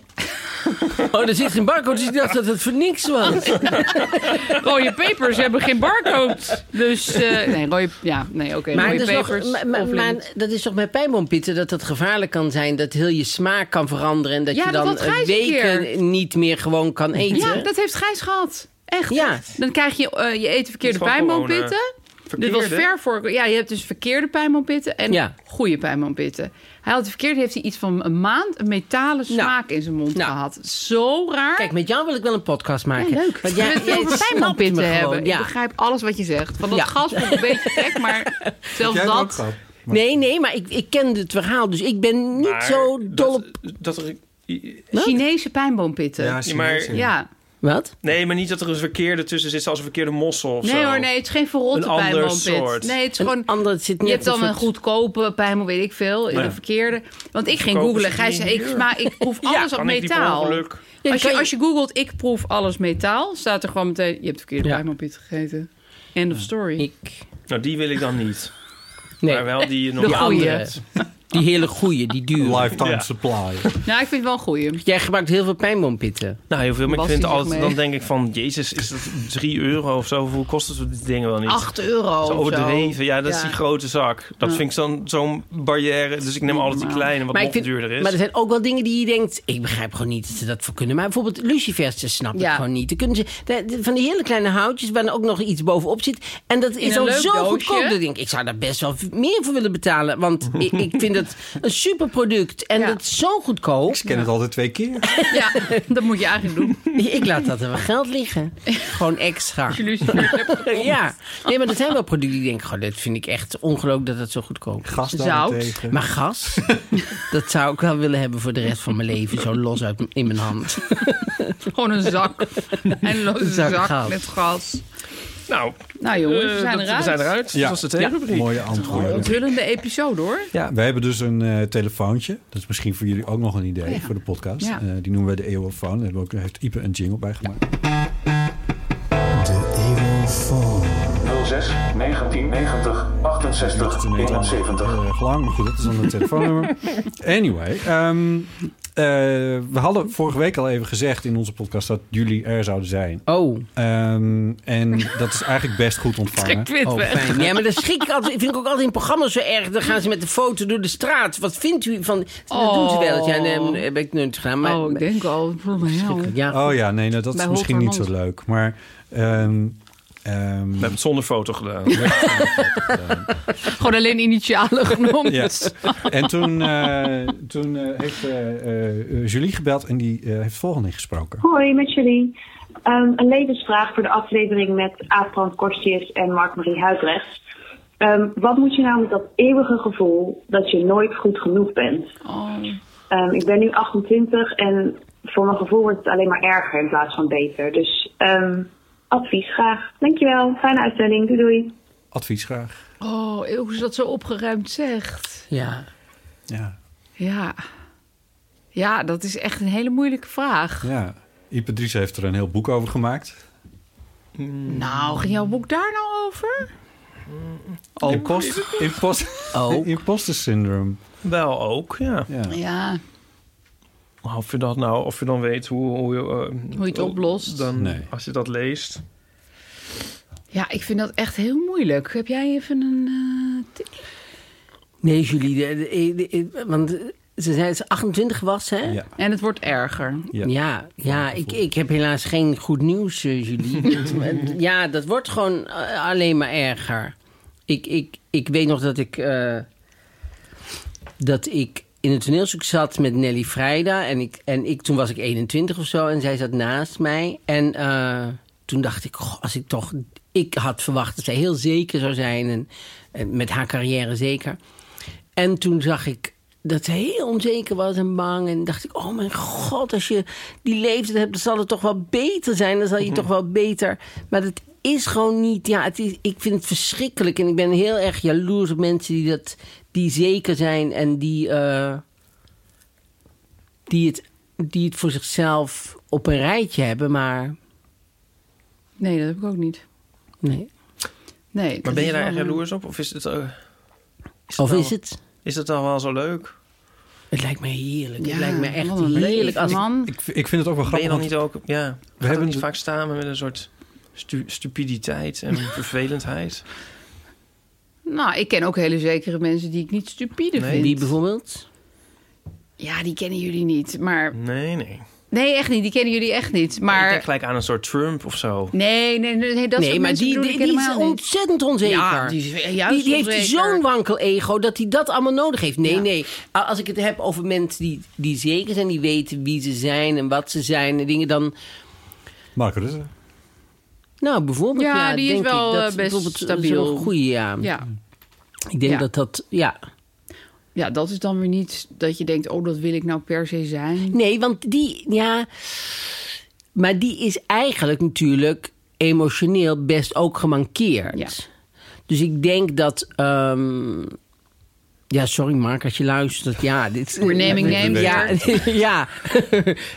S4: Oh, er zit geen barcode, dus ik dacht dat het voor niks was.
S3: heel- Rode pepers hebben geen barcode. Dus, eh, nee, rode... Ja, nee, oké.
S4: Maar,
S3: rode
S4: dat is, nog-
S3: pepers.
S4: maar- maar-
S3: of
S4: maar
S3: lint.
S4: dat is toch met pijnboompitten dat dat gevaarlijk kan zijn? Dat heel je smaak kan veranderen en dat
S3: Ja,
S4: je
S3: dat
S4: dan
S3: had Gijs een
S4: weken
S3: keer.
S4: niet meer gewoon kan eten?
S3: ja, dat heeft Gijs gehad. Echt.
S4: Ja.
S3: Dan krijg je, eh, je eet verkeerde
S2: Het is gewoon eh,
S3: pijnboompitten. Dit was
S2: Verkeerde.
S3: ver voor... Ja, je hebt dus verkeerde pijnboompitten en
S4: Ja.
S3: goede pijnboompitten. Hij had de verkeerde, heeft hij iets van een maand een metalen smaak in zijn mond
S4: Nou.
S3: gehad. Zo raar.
S4: Kijk, met jou wil ik wel een podcast
S3: Ja,
S4: maken.
S3: leuk.
S4: Want
S3: We
S4: jij,
S3: het
S4: jij
S3: over
S4: snapt me
S3: pijnboompitten
S4: gewoon,
S3: hebben.
S4: ja.
S3: Ik begrijp alles wat je zegt. Van dat
S4: Ja.
S3: gas vond ik een beetje gek, maar zelfs
S5: Jij hebt ook
S3: dat...
S5: gehad.
S4: Nee, nee, maar ik, ik ken het verhaal, dus ik ben niet
S2: Maar
S4: zo dol op...
S2: Dat, dat er,
S3: Chinese pijnboompitten. Ja.
S5: zie je
S2: maar-
S5: niks in.
S4: Wat?
S2: nee, maar niet dat er een verkeerde tussen zit, zoals een verkeerde mossel of
S3: Nee
S2: zo.
S3: hoor, nee, het is geen verrotte
S2: Een ander
S3: pijnboompit.
S2: soort.
S3: Nee, het is
S4: Een
S3: gewoon...
S4: ander het zit
S3: Je
S4: net
S3: hebt dan
S4: of het-
S3: een goedkope pijnboom, weet ik veel. in De verkeerde. Want ik ging
S2: Goedkope
S3: googlen.
S2: is
S3: Gij
S2: niet
S3: zei, ik,
S2: duur.
S3: sma- ik proef alles op
S2: Kan ik die per
S3: metaal.
S2: ongeluk-
S4: Ja,
S3: als,
S4: kan
S3: je,
S4: je-
S3: als je googelt, ik proef alles metaal, staat er gewoon meteen... Je hebt de verkeerde
S4: Ja.
S3: pijnboompit gegeten. End of story.
S4: Ik...
S2: Nou, die wil ik dan niet.
S4: Nee,
S2: Maar wel die je nog
S4: die
S3: goeie.
S4: andere. Die hele goeie, die dure.
S5: Lifetime
S2: Ja.
S5: supply.
S3: Nou, ik vind het wel een goeie.
S4: Jij gebruikt heel veel pijnboompitten.
S2: Nou, heel veel. Maar ik
S3: Was
S2: vind
S3: die zich
S2: altijd,
S3: mee?
S2: dan denk ik van, jezus, is dat 3 euro of zo? Hoeveel kost het die dingen wel niet?
S3: 8 euro
S2: zo
S3: of zo.
S2: overdreven. Ja, dat is
S3: Ja.
S2: die grote zak. Dat vind ik zo'n zo'n barrière. Dus ik neem altijd
S3: Nou.
S2: die kleine, wat
S4: maar,
S2: nog duurder is.
S4: maar er zijn ook wel dingen die je denkt... ik begrijp gewoon niet dat ze dat voor kunnen. Maar bijvoorbeeld lucifers, dat snap
S3: Ja.
S4: ik gewoon niet. Dan kunnen ze, de- de- van die hele kleine houtjes waar dan ook nog iets bovenop zit. En dat is
S3: een
S4: al
S3: leuk
S4: zo
S3: doosje.
S4: goedkoop. Dat ik denk ik, ik zou daar best wel meer voor willen betalen. Want ik, ik vind dat een superproduct. En dat is zo goedkoop.
S5: Ik ken het altijd twee keer.
S3: Ja, dat moet je eigenlijk doen.
S4: Ik laat dat er wel geld liggen. Gewoon extra. ja, nee, maar dat zijn wel producten die denken: goh, dit vind ik echt ongelooflijk dat het zo goedkoop is.
S5: Gas daarentegen.
S4: Maar gas, dat zou ik wel willen hebben voor de rest van mijn leven. Zo los uit, in mijn hand.
S3: Gewoon een zak. En loze
S4: Een zak
S3: zak,
S4: goud.
S3: met gas.
S2: Nou,
S3: Nou jongens, we
S2: eh,
S3: zijn
S2: dat-
S3: eruit.
S2: We zijn eruit.
S5: Ja.
S2: Dat was de theerubriek.
S5: Mooie
S3: Een
S5: antwoorden.
S3: onthullende episode hoor.
S5: We hebben dus een eh, telefoontje. Dat is misschien voor jullie ook nog een idee voor de podcast.
S3: Ja.
S5: Eh, die noemen we de Eeuwofoon. Daar hebben we ook- daar heeft Ipe een jingle bij gemaakt.
S8: 06 1990 68 71.
S5: Heel erg lang, maar goed, dat is dan het telefoonnummer. Anyway, ehm, eh, we hadden vorige week al even gezegd in onze podcast dat jullie er zouden zijn.
S4: Oh,
S5: Ehm, en dat is eigenlijk best goed ontvangen.
S3: Ik weet
S4: oh
S3: het.
S4: fijn. Ja, maar dat schrik ik altijd, vind ik ook altijd in programma's zo erg. Dan gaan ze met de foto door de straat. Wat vindt u van... Dat doen ze wel. Ja, nee, dat heb ik nooit gedaan. Maar,
S3: Oh, ik denk al. Voor mij al.
S4: ja,
S5: Oh ja, nee, nou, dat
S3: Bij
S5: is misschien niet
S3: Holter
S5: zo leuk. Maar ehm, ehm,
S2: We hebben het zonder foto gedaan.
S3: Gewoon alleen initialen genomen.
S5: Ja. En toen, eh, toen eh, heeft eh, eh, Julie gebeld en die eh, heeft het volgende ingesproken.
S9: Hoi, met jullie. Ehm, een levensvraag voor de aflevering met Aafran Kortjes en Mark-Marie Huidrechts. Ehm, wat moet je nou met dat eeuwige gevoel dat je nooit goed genoeg bent?
S3: Oh,
S9: Ehm, ik ben nu 28 en voor mijn gevoel wordt het alleen maar erger in plaats van beter. Dus ehm, advies graag. Dankjewel, fijne uitzending. Doei doei.
S5: Advies graag.
S3: Oh, eeuw, hoe ze dat zo opgeruimd zegt.
S4: ja.
S5: Ja.
S3: Ja. Ja, dat is echt een hele moeilijke vraag.
S5: ja. Ipe Dries heeft er een heel boek over gemaakt.
S3: Nou, ging jouw boek daar nou over?
S5: Impost, impost,
S4: Ook.
S5: Imposter syndrome.
S2: Wel ook, ja.
S5: Ja.
S3: Ja,
S2: Of je dat nou, of je dan weet hoe, hoe, je, eh,
S3: hoe je het oplost.
S2: Dan,
S5: Nee.
S2: Als je dat leest.
S3: Ja, ik vind dat echt heel moeilijk. Heb jij even een eh, tip?
S4: Nee, Julie. de- de- de- de- want ze zei dat ze 28 was, hè?
S5: Ja.
S3: En het wordt erger.
S5: Ja.
S4: Ja, ja, ik, ik heb helaas geen goed nieuws, eh, Julie. Het- het- ja, dat wordt gewoon eh, alleen maar erger. Ik, ik, ik weet nog dat ik, eh, dat ik in het toneelstuk zat met Nelly Vrijda. En, ik, en ik, toen was ik 21 of zo en zij zat naast mij. En eh, toen dacht ik, goh, als ik toch... Ik had verwacht dat zij heel zeker zou zijn. En, en met haar carrière zeker. En toen zag ik dat ze heel onzeker was en bang. En dacht ik, oh mijn god, als je die leeftijd hebt, dan zal het toch wel beter zijn. Dan zal je toch wel beter. Maar dat is gewoon niet. Ja, het is, ik vind het verschrikkelijk. En ik ben heel erg jaloers op mensen die, dat, die zeker zijn en die, eh, die, het, die het voor zichzelf op een rijtje hebben. Maar
S3: Nee, dat heb ik ook niet.
S4: nee.
S3: Nee,
S2: Maar
S3: dat
S2: ben je
S3: is
S2: daar
S3: wel-
S2: echt jaloers op? Of is het, eh,
S4: Of
S2: wel-
S4: is het?
S2: is het dan wel zo leuk?
S4: Het lijkt me heerlijk.
S3: Ja,
S4: het lijkt me echt
S3: wat een
S4: heerlijk. Als ik-
S3: man.
S5: Ik, ik vind het ook wel
S2: Ben je
S5: grappig.
S2: dan
S5: want-
S2: niet ook... Ja, we
S5: hebben
S2: hebben niet
S5: de-
S2: vaak samen met een soort stu- stupiditeit en vervelendheid.
S3: Nou, ik ken ook hele zekere mensen die ik niet stupide
S2: Nee,
S3: vind.
S4: Die bijvoorbeeld?
S3: Ja, die kennen jullie niet. Maar
S2: Nee, nee.
S3: nee, echt niet. Die kennen jullie echt niet.
S2: Ik
S3: Maar
S2: denk gelijk aan een soort Trump of zo.
S3: nee, nee, nee, nee, dat
S4: nee,
S3: soort
S4: maar
S3: mensen
S4: die,
S3: bedoel
S4: die,
S3: ik
S4: die is
S3: helemaal niet.
S4: ontzettend onzeker.
S3: Ja, die is juist
S4: Die- die
S3: onzeker.
S4: heeft zo'n wankel ego dat hij dat allemaal nodig heeft. Nee,
S3: Ja.
S4: nee. A- Als ik het heb over mensen die, die zeker zijn, die weten wie ze zijn en wat ze zijn en dingen, dan.
S5: Mark Rutte.
S4: Nou, bijvoorbeeld.
S3: Ja,
S4: Ja,
S3: die is
S4: denk
S3: wel,
S4: ik, dat
S3: eh,
S4: is
S3: best
S4: bijvoorbeeld
S3: stabiel.
S4: Een goede, ja.
S3: Ja.
S4: Ik denk
S3: Ja.
S4: dat dat. Ja.
S3: ja, dat is dan weer niet dat je denkt, oh, dat wil ik nou per se zijn.
S4: Nee, want die. Ja. Maar die is eigenlijk natuurlijk emotioneel best ook gemankeerd.
S3: Ja.
S4: Dus ik denk dat. ehm, ja, sorry Mark, als je luistert. Ja, dit
S3: We're naming names
S4: Ja, ja.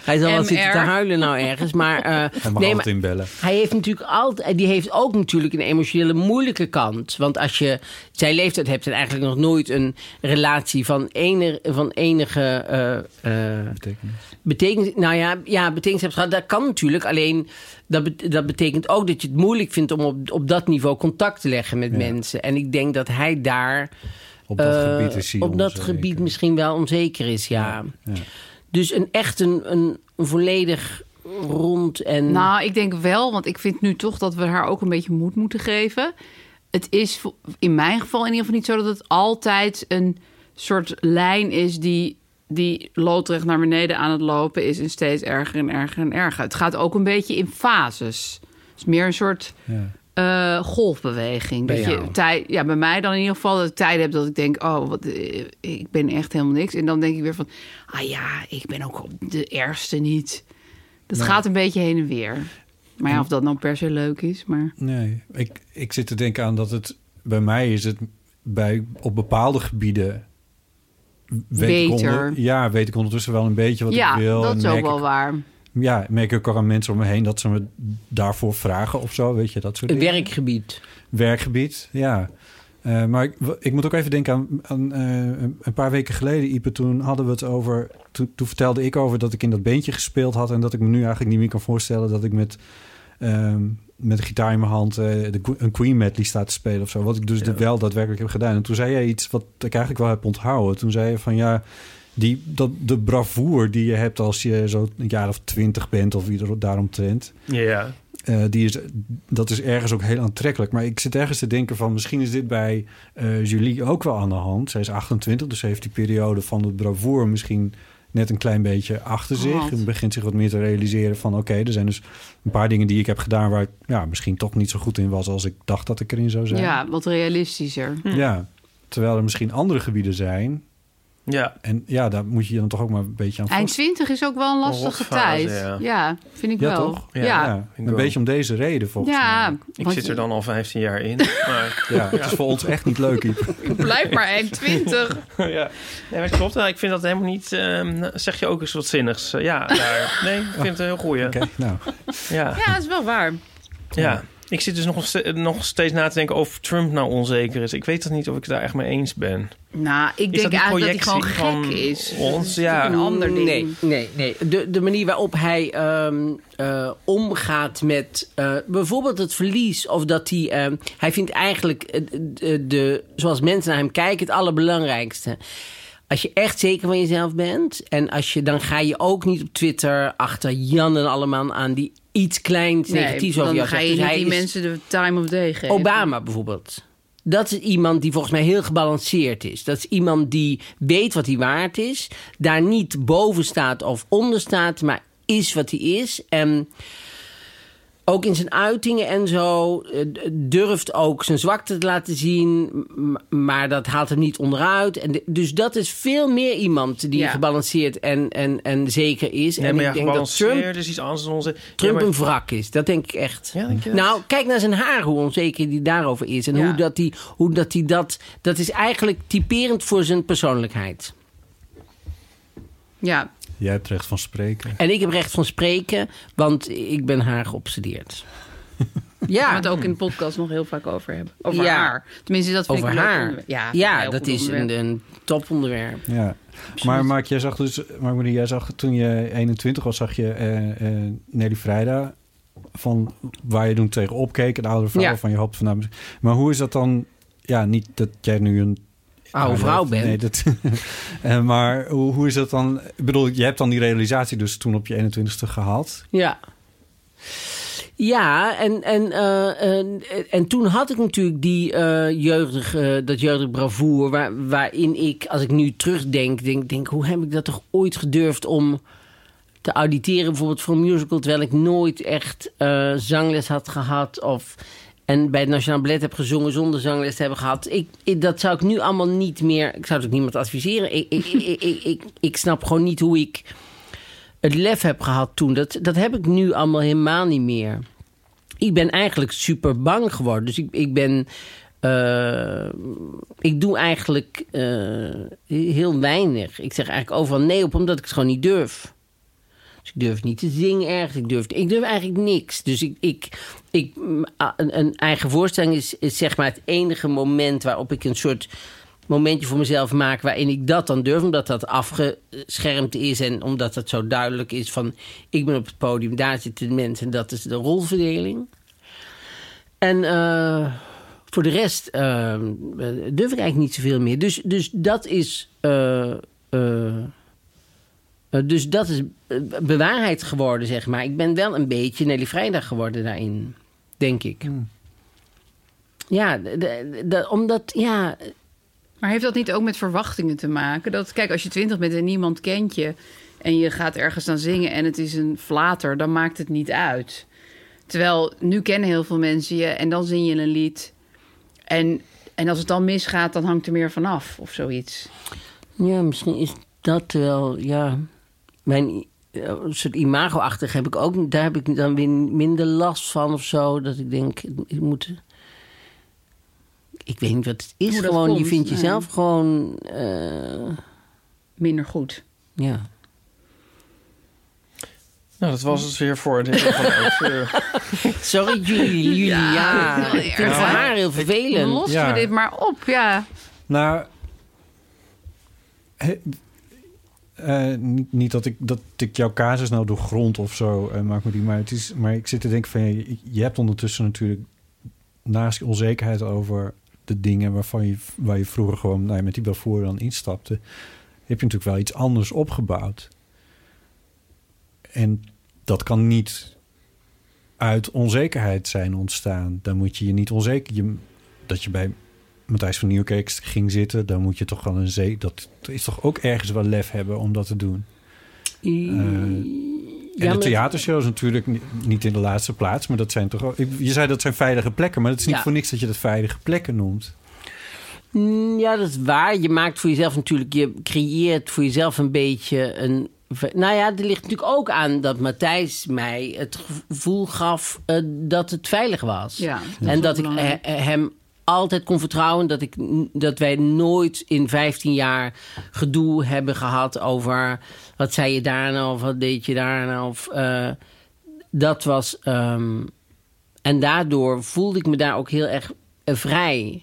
S4: hij zal wel
S3: MR.
S4: zitten te huilen nou ergens. Maar, eh,
S5: Hij mag
S4: nee, maar
S5: altijd inbellen.
S4: hij heeft natuurlijk altijd, die heeft ook natuurlijk een emotionele moeilijke kant. Want als je zijn leeftijd hebt en eigenlijk nog nooit een relatie van, ener, van enige eh, eh, betekenis, nou ja, ja, betekenis hebt gehad, dat kan natuurlijk. Alleen dat, bet- dat betekent ook dat je het moeilijk vindt om op, op dat niveau contact te leggen met mensen. En ik denk dat hij daar
S5: Op dat
S4: eh,
S5: gebied is hij
S4: op dat
S5: onzeker.
S4: gebied misschien wel onzeker is, ja. Dus een, echt een, een, een volledig rond en...
S3: Nou, ik denk wel, want ik vind nu toch dat we haar ook een beetje moed moeten geven. Het is vo- in mijn geval in ieder geval niet zo dat het altijd een soort lijn is die, die loodrecht naar beneden aan het lopen is en steeds erger en erger en erger. Het gaat ook een beetje in fases. Het is meer een soort eh, golfbeweging.
S4: Bij
S3: dat je
S4: jou.
S3: tijd, ja, bij mij dan in ieder geval dat ik tijd heb dat ik denk, oh, wat, eh, ik ben echt helemaal niks. En dan denk ik weer van, ah ja, ik ben ook op de ergste niet. Dat
S5: Nee.
S3: gaat een beetje heen en weer. Maar ja, of dat nou per se leuk is, maar...
S5: Nee, ik, ik zit te denken aan dat het... Bij mij is het bij, op bepaalde gebieden... Ik
S3: Beter.
S5: onder- ja, weet ik ondertussen wel een beetje wat
S3: ja,
S5: ik wil.
S3: dat
S5: en
S3: is ook
S5: merk
S3: wel
S5: ik-
S3: waar.
S5: Ja, merk ik ook al aan mensen om me heen dat ze me daarvoor vragen of zo. Weet je, dat soort
S4: Een
S5: dingen.
S4: werkgebied.
S5: Werkgebied, ja. Eh, maar ik, w- ik moet ook even denken aan, aan eh, een paar weken geleden, Ipe. Toen hadden we het over. Toen, toen vertelde ik over dat ik in dat beentje gespeeld had. En dat ik me nu eigenlijk niet meer kan voorstellen dat ik met. ehm, met een gitaar in mijn hand eh, de, que- een Queen medley staat te spelen of zo. Wat ik dus wel daadwerkelijk heb gedaan. En toen zei jij iets wat ik eigenlijk wel heb onthouden. Toen zei je van ja, die, dat, de bravoer die je hebt als je zo een jaar of twintig bent of ieder daaromtrent.
S2: Ja.
S5: Eh, die is, dat is ergens ook heel aantrekkelijk. Maar ik zit ergens te denken van... misschien is dit bij eh, Julie ook wel aan de hand. Zij is 28, dus ze heeft die periode van het bravoer... misschien net een klein beetje achter zich.
S3: Oh,
S1: Gehad.
S5: En begint zich wat meer te realiseren van... oké, er zijn dus een paar dingen die ik heb gedaan... waar ik ja, misschien toch niet zo goed in was... als ik dacht dat ik erin zou Nou, zijn.
S3: Ja, wat realistischer.
S5: Ja. Terwijl er misschien andere gebieden zijn.
S2: Ja.
S5: En ja, daar moet je je dan toch ook maar een beetje aan
S3: Eind 20 is ook wel een lastige
S5: rotfase,
S3: tijd.
S5: ja.
S3: Ja. vind ik
S5: ja,
S3: wel.
S5: toch?
S3: Ja,
S5: Ja,
S3: ja.
S5: Een beetje om deze reden volgens
S3: Ja,
S5: mij.
S3: Ik want- zit er
S2: dan al 15 jaar in.
S5: Ja, het is voor ons echt niet leuk, Iep.
S3: Blijf maar eind 20.
S2: ja. Nee, maar het klopt. wel. Ik vind dat helemaal niet... ehm, nou, zeg je ook eens wat zinnigs? Eh, ja, daar. Nee, ik vind het een heel goeie. Oké,
S5: nou.
S2: Ja.
S3: Ja, dat is wel waar.
S2: Ja. Ik zit dus nog, ste- nog steeds na te denken of Trump nou onzeker is. Ik weet dat niet of ik het daar echt mee eens ben.
S3: Nou, ik
S2: Is
S3: denk
S2: dat een
S3: eigenlijk dat hij
S2: projectie
S3: gewoon gek
S2: van
S3: is.
S2: ons?
S3: Dat is
S2: Ja.
S3: natuurlijk Een ander ding.
S4: Nee, nee, nee. De, de manier waarop hij ehm, eh, omgaat met eh, bijvoorbeeld het verlies. Of dat hij. ehm, hij vindt eigenlijk eh, de, de- zoals mensen naar hem kijken, het allerbelangrijkste. Als je echt zeker van jezelf bent. En als je, dan ga je ook niet op Twitter achter Jan en allemaal aan die iets kleins negatiefs over
S3: dan
S4: jou
S3: ga
S4: zegt.
S3: je
S4: Dus
S3: niet
S4: hij
S3: die
S4: is-
S3: mensen de time of day geven.
S4: Obama bijvoorbeeld. Dat is iemand die volgens mij heel gebalanceerd is. Dat is iemand die weet wat hij waard is. Daar niet boven staat of onder staat, maar is wat hij is. En ook in zijn uitingen en zo eh, d- durft ook zijn zwakte te laten zien. m- Maar dat haalt hem niet onderuit. En de- dus dat is veel meer iemand die
S2: Ja.
S4: gebalanceerd en, en, en zeker is.
S2: Nee,
S4: en
S2: maar
S4: ik
S2: ja,
S4: denk dat Trump
S2: gebalanceerd is dus iets anders dan onze...
S4: Trump
S2: Ja, maar-
S4: een wrak is. Dat denk ik echt.
S2: denk je dat?
S4: nou, kijk naar zijn haar, hoe onzeker die daarover is. En hoe dat hij hoe dat, hij dat... Dat is eigenlijk typerend voor zijn persoonlijkheid.
S3: Ja.
S5: Jij hebt recht van spreken.
S4: En ik heb recht van spreken, want ik ben haar geobsedeerd.
S3: Ja. We het ook in de podcast nog heel vaak over hebben. Over
S4: Ja.
S3: haar. Tenminste, dat vind
S4: Over
S3: ik een leuk
S4: haar.
S3: onderwerp.
S4: Ja,
S3: vind ik een heel
S4: dat
S3: goed
S4: is een,
S3: onderwerp.
S4: een toponderwerp.
S5: Ja, maar Mark, jij zag dus, Mark Marie, jij zag toen je 21 was, zag je eh, eh, Nelly Vrijda van waar je toen tegenop keek, een oude vrouw
S4: Ja.
S5: van je hoop van nou, Maar hoe is dat dan? Ja, niet dat jij nu een
S4: Oude vrouw
S5: bent. Nee, dat, Eh, maar hoe, hoe is dat dan? Ik bedoel, je hebt dan die realisatie dus toen op je 21ste gehad.
S4: Ja. Ja, en, en, eh, en, en toen had ik natuurlijk die, eh jeugdig, eh, dat jeugdig bravoer... Waar, waarin ik, als ik nu terugdenk, denk, denk... hoe heb ik dat toch ooit gedurfd om te auditeren... bijvoorbeeld voor een musical, terwijl ik nooit echt eh, zangles had gehad... of en bij het Nationaal Ballet heb gezongen zonder zangles te hebben gehad. Ik, ik- dat zou ik nu allemaal niet meer... Ik zou het ook niemand adviseren. Ik, ik, ik, ik, ik, ik snap gewoon niet hoe ik het lef heb gehad toen. Dat, dat heb ik nu allemaal helemaal niet meer. Ik ben eigenlijk super bang geworden. Dus ik, ik ben. eh, ik doe eigenlijk eh, heel weinig. Ik zeg eigenlijk overal nee op, omdat ik het gewoon niet durf. Dus ik durf niet te zingen ergens. Ik durf, ik durf eigenlijk niks. Dus ik, ik, ik, m, a- een, een eigen voorstelling is, is zeg maar het enige moment waarop ik een soort momentje voor mezelf maak waarin ik dat dan durf, omdat dat afgeschermd is en omdat dat zo duidelijk is van ik ben op het podium, daar zitten de mensen en dat is de rolverdeling. En eh, voor de rest eh, durf ik eigenlijk niet zoveel meer. Dus, dus dat is eh, eh, eh, Dus dat is eh, bewaarheid geworden, zeg maar. Ik ben wel een beetje Nelly Vrijdag geworden daarin, denk ik. Ja, de- de- de- omdat, ja...
S3: Maar heeft dat niet ook met verwachtingen te maken? Dat, kijk, als je twintig bent en niemand kent je... en je gaat ergens aan zingen en het is een flater... dan maakt het niet uit. Terwijl, nu kennen heel veel mensen je en dan zing je een lied. En, en als het dan misgaat, dan hangt er meer vanaf of zoiets.
S4: Ja, misschien is dat wel, ja. Mijn eh, soort imago-achtig heb ik ook, daar heb ik dan weer minder last van of zo. Dat ik denk, ik moet. Ik weet niet wat het is.
S3: Hoe dat
S4: Gewoon, je
S3: komt,
S4: vindt
S3: nee.
S4: jezelf gewoon. eh,
S3: Minder goed.
S4: ja.
S2: Nou, dat was het weer voor dit jaar vanuit. Eh,
S4: Sorry, jullie. jullie ja,
S3: dat is wel
S4: ik vind
S3: erg,
S4: het voor
S3: hè?
S4: haar heel vervelend.
S3: Los
S5: Ja.
S3: we dit maar op, ja.
S5: Nou, he- eh, niet, niet dat ik, dat ik jouw casus nou doorgrond of zo, eh maakt me die maar, het is, maar ik zit te denken van, je, je hebt ondertussen natuurlijk naast je onzekerheid over de dingen waarvan je, waar je vroeger gewoon nou ja, met die Belvoer dan instapte, heb je natuurlijk wel iets anders opgebouwd. En dat kan niet uit onzekerheid zijn ontstaan. Dan moet je je niet onzeker... Je, dat je bij Matthijs van Nieuwkerk ging zitten... dan moet je toch wel een zee... dat is toch ook ergens wel lef hebben om dat te doen.
S4: 呃
S5: Eh, en
S4: maar-
S5: de theatershows natuurlijk ni- niet in de laatste plaats... maar dat zijn toch... ook- ik- Je zei dat zijn veilige plekken... maar het is niet
S4: Ja.
S5: voor niks dat je dat veilige plekken noemt.
S4: Mm, Ja, dat is waar. Je maakt voor jezelf natuurlijk, je creëert voor jezelf een beetje een. Nou ja, er ligt natuurlijk ook aan dat Matthijs mij het gevoel gaf eh, dat het veilig was.
S3: Ja, dat is
S4: en
S3: ook
S4: dat ik
S3: belangrijk.
S4: eh, eh, hem altijd kon vertrouwen dat, ik, n- dat wij nooit in 15 jaar gedoe hebben gehad over wat zei je daarna of wat deed je daarna. Of, eh, dat was. ehm, en daardoor voelde ik me daar ook heel erg eh, vrij.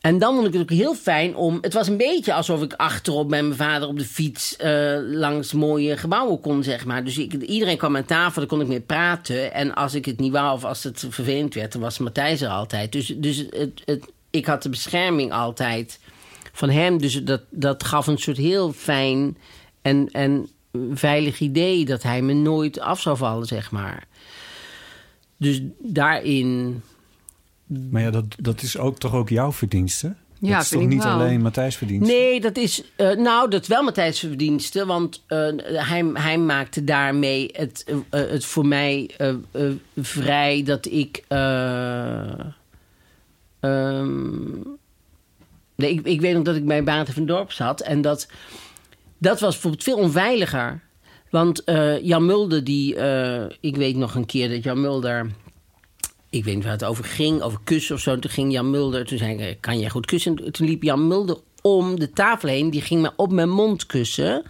S4: En dan vond ik het ook heel fijn om. Het was een beetje alsof ik achterop bij mijn vader op de fiets eh, langs mooie gebouwen kon, zeg maar. Dus ik, iedereen kwam aan tafel, daar kon ik mee praten. En als ik het niet wou of als het vervelend werd, dan was Matthijs er altijd. Dus, dus het, het, ik had de bescherming altijd van hem. Dus dat, dat gaf een soort heel fijn en, en veilig idee dat hij me nooit af zou vallen, zeg maar. Dus daarin.
S5: Maar ja, dat, dat is ook, toch ook jouw verdienste?
S4: Ja,
S5: dat is
S4: vind
S5: toch
S4: ik
S5: niet
S4: wel.
S5: alleen Matthijs verdienste?
S4: Nee, dat is. eh, nou, dat is wel Matthijs' verdienste. Want eh, hij, hij maakte daarmee het, eh, eh, het voor mij eh, eh, vrij dat ik. eh, ehm, nee, ik, ik weet nog dat ik bij Baten van Dorp zat. En dat, dat was bijvoorbeeld veel onveiliger. Want eh, Jan Mulder, die. eh, ik weet nog een keer dat Jan Mulder ik weet niet waar het over ging, over kussen of zo. Toen ging Jan Mulder, toen zei ik, eh, kan jij goed kussen? En Toen liep Jan Mulder om de tafel heen, die ging me op mijn mond kussen.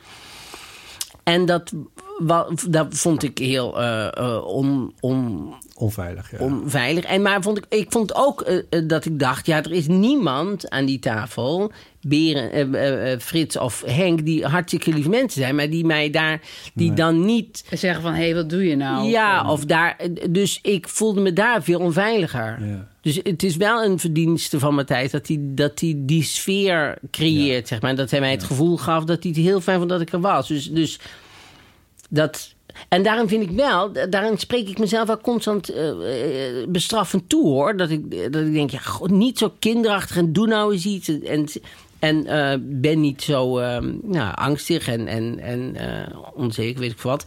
S4: En dat, wa- dat vond ik heel eh, eh, on, on,
S5: Onveilig, ja.
S4: onveilig. En maar vond ik, ik vond ook eh, eh, dat ik dacht, ja, er is niemand aan die tafel, Beren, eh, eh, eh, Frits of Henk, die hartstikke lieve mensen zijn, maar die mij daar, die dan niet
S3: En zeggen van, hé, hey, wat doe je nou?
S4: ja, of daar. Dus ik voelde me daar veel onveiliger. Dus het is wel een verdienste van Matthijs dat hij, dat hij die sfeer creëert, zeg maar. Dat hij mij het gevoel gaf dat hij het heel fijn vond dat ik er was. Dus, dus dat. En daarin vind ik wel, da- daarin spreek ik mezelf wel constant eh, eh, bestraffend toe hoor. Dat ik, dat ik denk, ja, god, niet zo kinderachtig en doe nou eens iets. En, en eh, ben niet zo eh, nou, angstig en, en, en eh, onzeker, weet ik veel wat.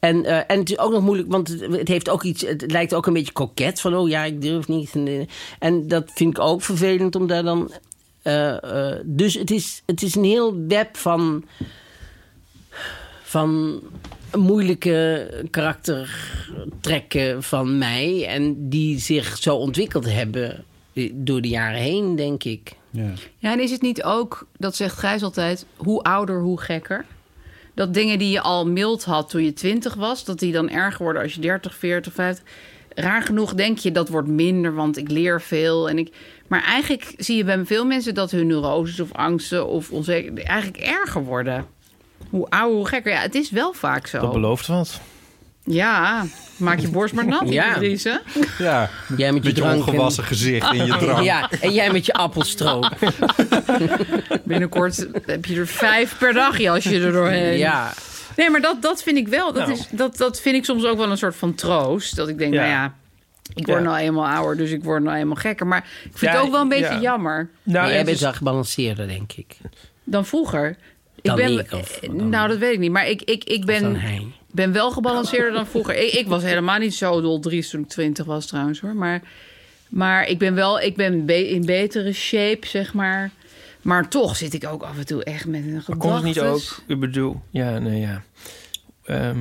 S4: En, eh, en het is ook nog moeilijk, want het, het heeft ook iets, het lijkt ook een beetje koket van, oh ja, ik durf niet. En, eh, en dat vind ik ook vervelend om daar dan. eh, eh, dus het is, het is een heel web van van moeilijke karaktertrekken van mij. En die zich zo ontwikkeld hebben eh, door de jaren heen, denk ik.
S5: Ja.
S3: Ja, en is het niet ook, dat zegt Gijs altijd, hoe ouder, hoe gekker? Dat dingen die je al mild had toen je twintig was, dat die dan erger worden als je 30, 40, 50. Raar genoeg denk je dat wordt minder, want ik leer veel. En ik... Maar eigenlijk zie je bij veel mensen dat hun neuroses of angsten of onzeker eigenlijk erger worden. Hoe ouder, hoe gekker. Ja, het is wel vaak zo.
S2: dat belooft wat.
S3: Ja, maak je borst maar nat,
S4: Ja.
S3: ja. Idrisse.
S5: Ja,
S4: Jij met je,
S5: beetje
S4: drank en- Ah,
S5: ongewassen gezicht in je drank.
S4: Ja, en jij met je appelstroop.
S3: Binnenkort heb je er vijf per dagje als je er doorheen.
S4: Ja.
S3: Nee, maar dat, dat vind ik wel. Dat,
S4: Nou.
S3: is, dat, dat vind ik soms ook wel een soort van troost. Dat ik denk,
S4: Ja.
S3: nou ja, Ik word
S4: Ja.
S3: nou eenmaal ouder, dus ik word nou eenmaal gekker. Maar ik vind het ook wel een beetje jammer.
S4: Nou, jij
S2: dus
S4: bent wel gebalanceerder, denk ik.
S3: Dan vroeger.
S4: Dan
S3: ik ben,
S4: ik, of
S3: eh, nou, dat weet ik niet. Maar ik, ik, ik ben, ben wel gebalanceerder dan vroeger. Ik, ik was helemaal niet zo doldries toen ik twintig was trouwens hoor. Maar, maar ik ben wel ik ben be- in betere shape, zeg maar. Maar toch zit ik ook af en toe echt met een
S2: Komt het dus
S3: gedachte.
S2: niet ook, ik bedoel, ja, nee, ja. Ehm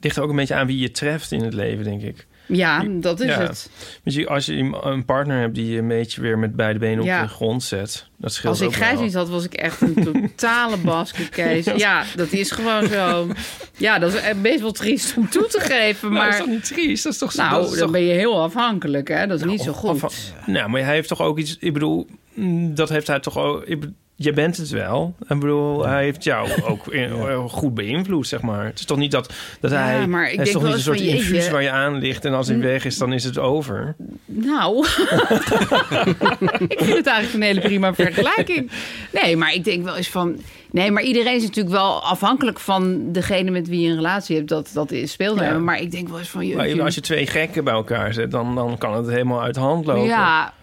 S2: ligt er ook een beetje aan wie je treft in het leven, denk ik.
S3: Ja, dat is
S2: Ja.
S3: het.
S2: Dus je- als je iem- een partner hebt die je een beetje weer met beide benen
S3: Ja.
S2: op de grond zet, dat scheelt
S3: Als ik
S2: ook
S3: grijs
S2: wel.
S3: niet had, was ik echt een totale basketkees. Ja, dat is gewoon zo. Ja, dat is echt best wel triest om toe te geven. Maar
S2: Nou, is dat niet triest? Dat is toch zo-
S3: Nou,
S2: dat is
S3: dan
S2: toch-
S3: ben je heel afhankelijk, hè? Dat is niet zo goed.
S2: Nou, maar hij heeft toch ook iets. Ik bedoel, mm, dat heeft hij toch ook. Ik, be- je bent het wel. Ik bedoel, hij heeft jou ook in- eh, goed beïnvloed, zeg maar. Het is toch niet dat, dat
S3: Ja,
S2: hij.
S3: maar ik
S2: hij
S3: denk
S2: is toch
S3: wel
S2: niet een soort
S3: eens van,
S2: infuus
S3: jeetje.
S2: waar je aan ligt en als hij
S3: Mm.
S2: weg is, dan is het over.
S3: Nou, ik vind het eigenlijk een hele prima vergelijking. Nee, maar ik denk wel eens van... Nee, maar iedereen is natuurlijk wel afhankelijk van degene met wie je een relatie hebt. Dat, dat is speelde.
S2: Ja.
S3: Maar ik denk wel eens van...
S2: Maar
S3: Jeetje,
S2: als je twee gekken bij elkaar zet, dan, dan kan het helemaal uit de hand lopen.
S3: Ja.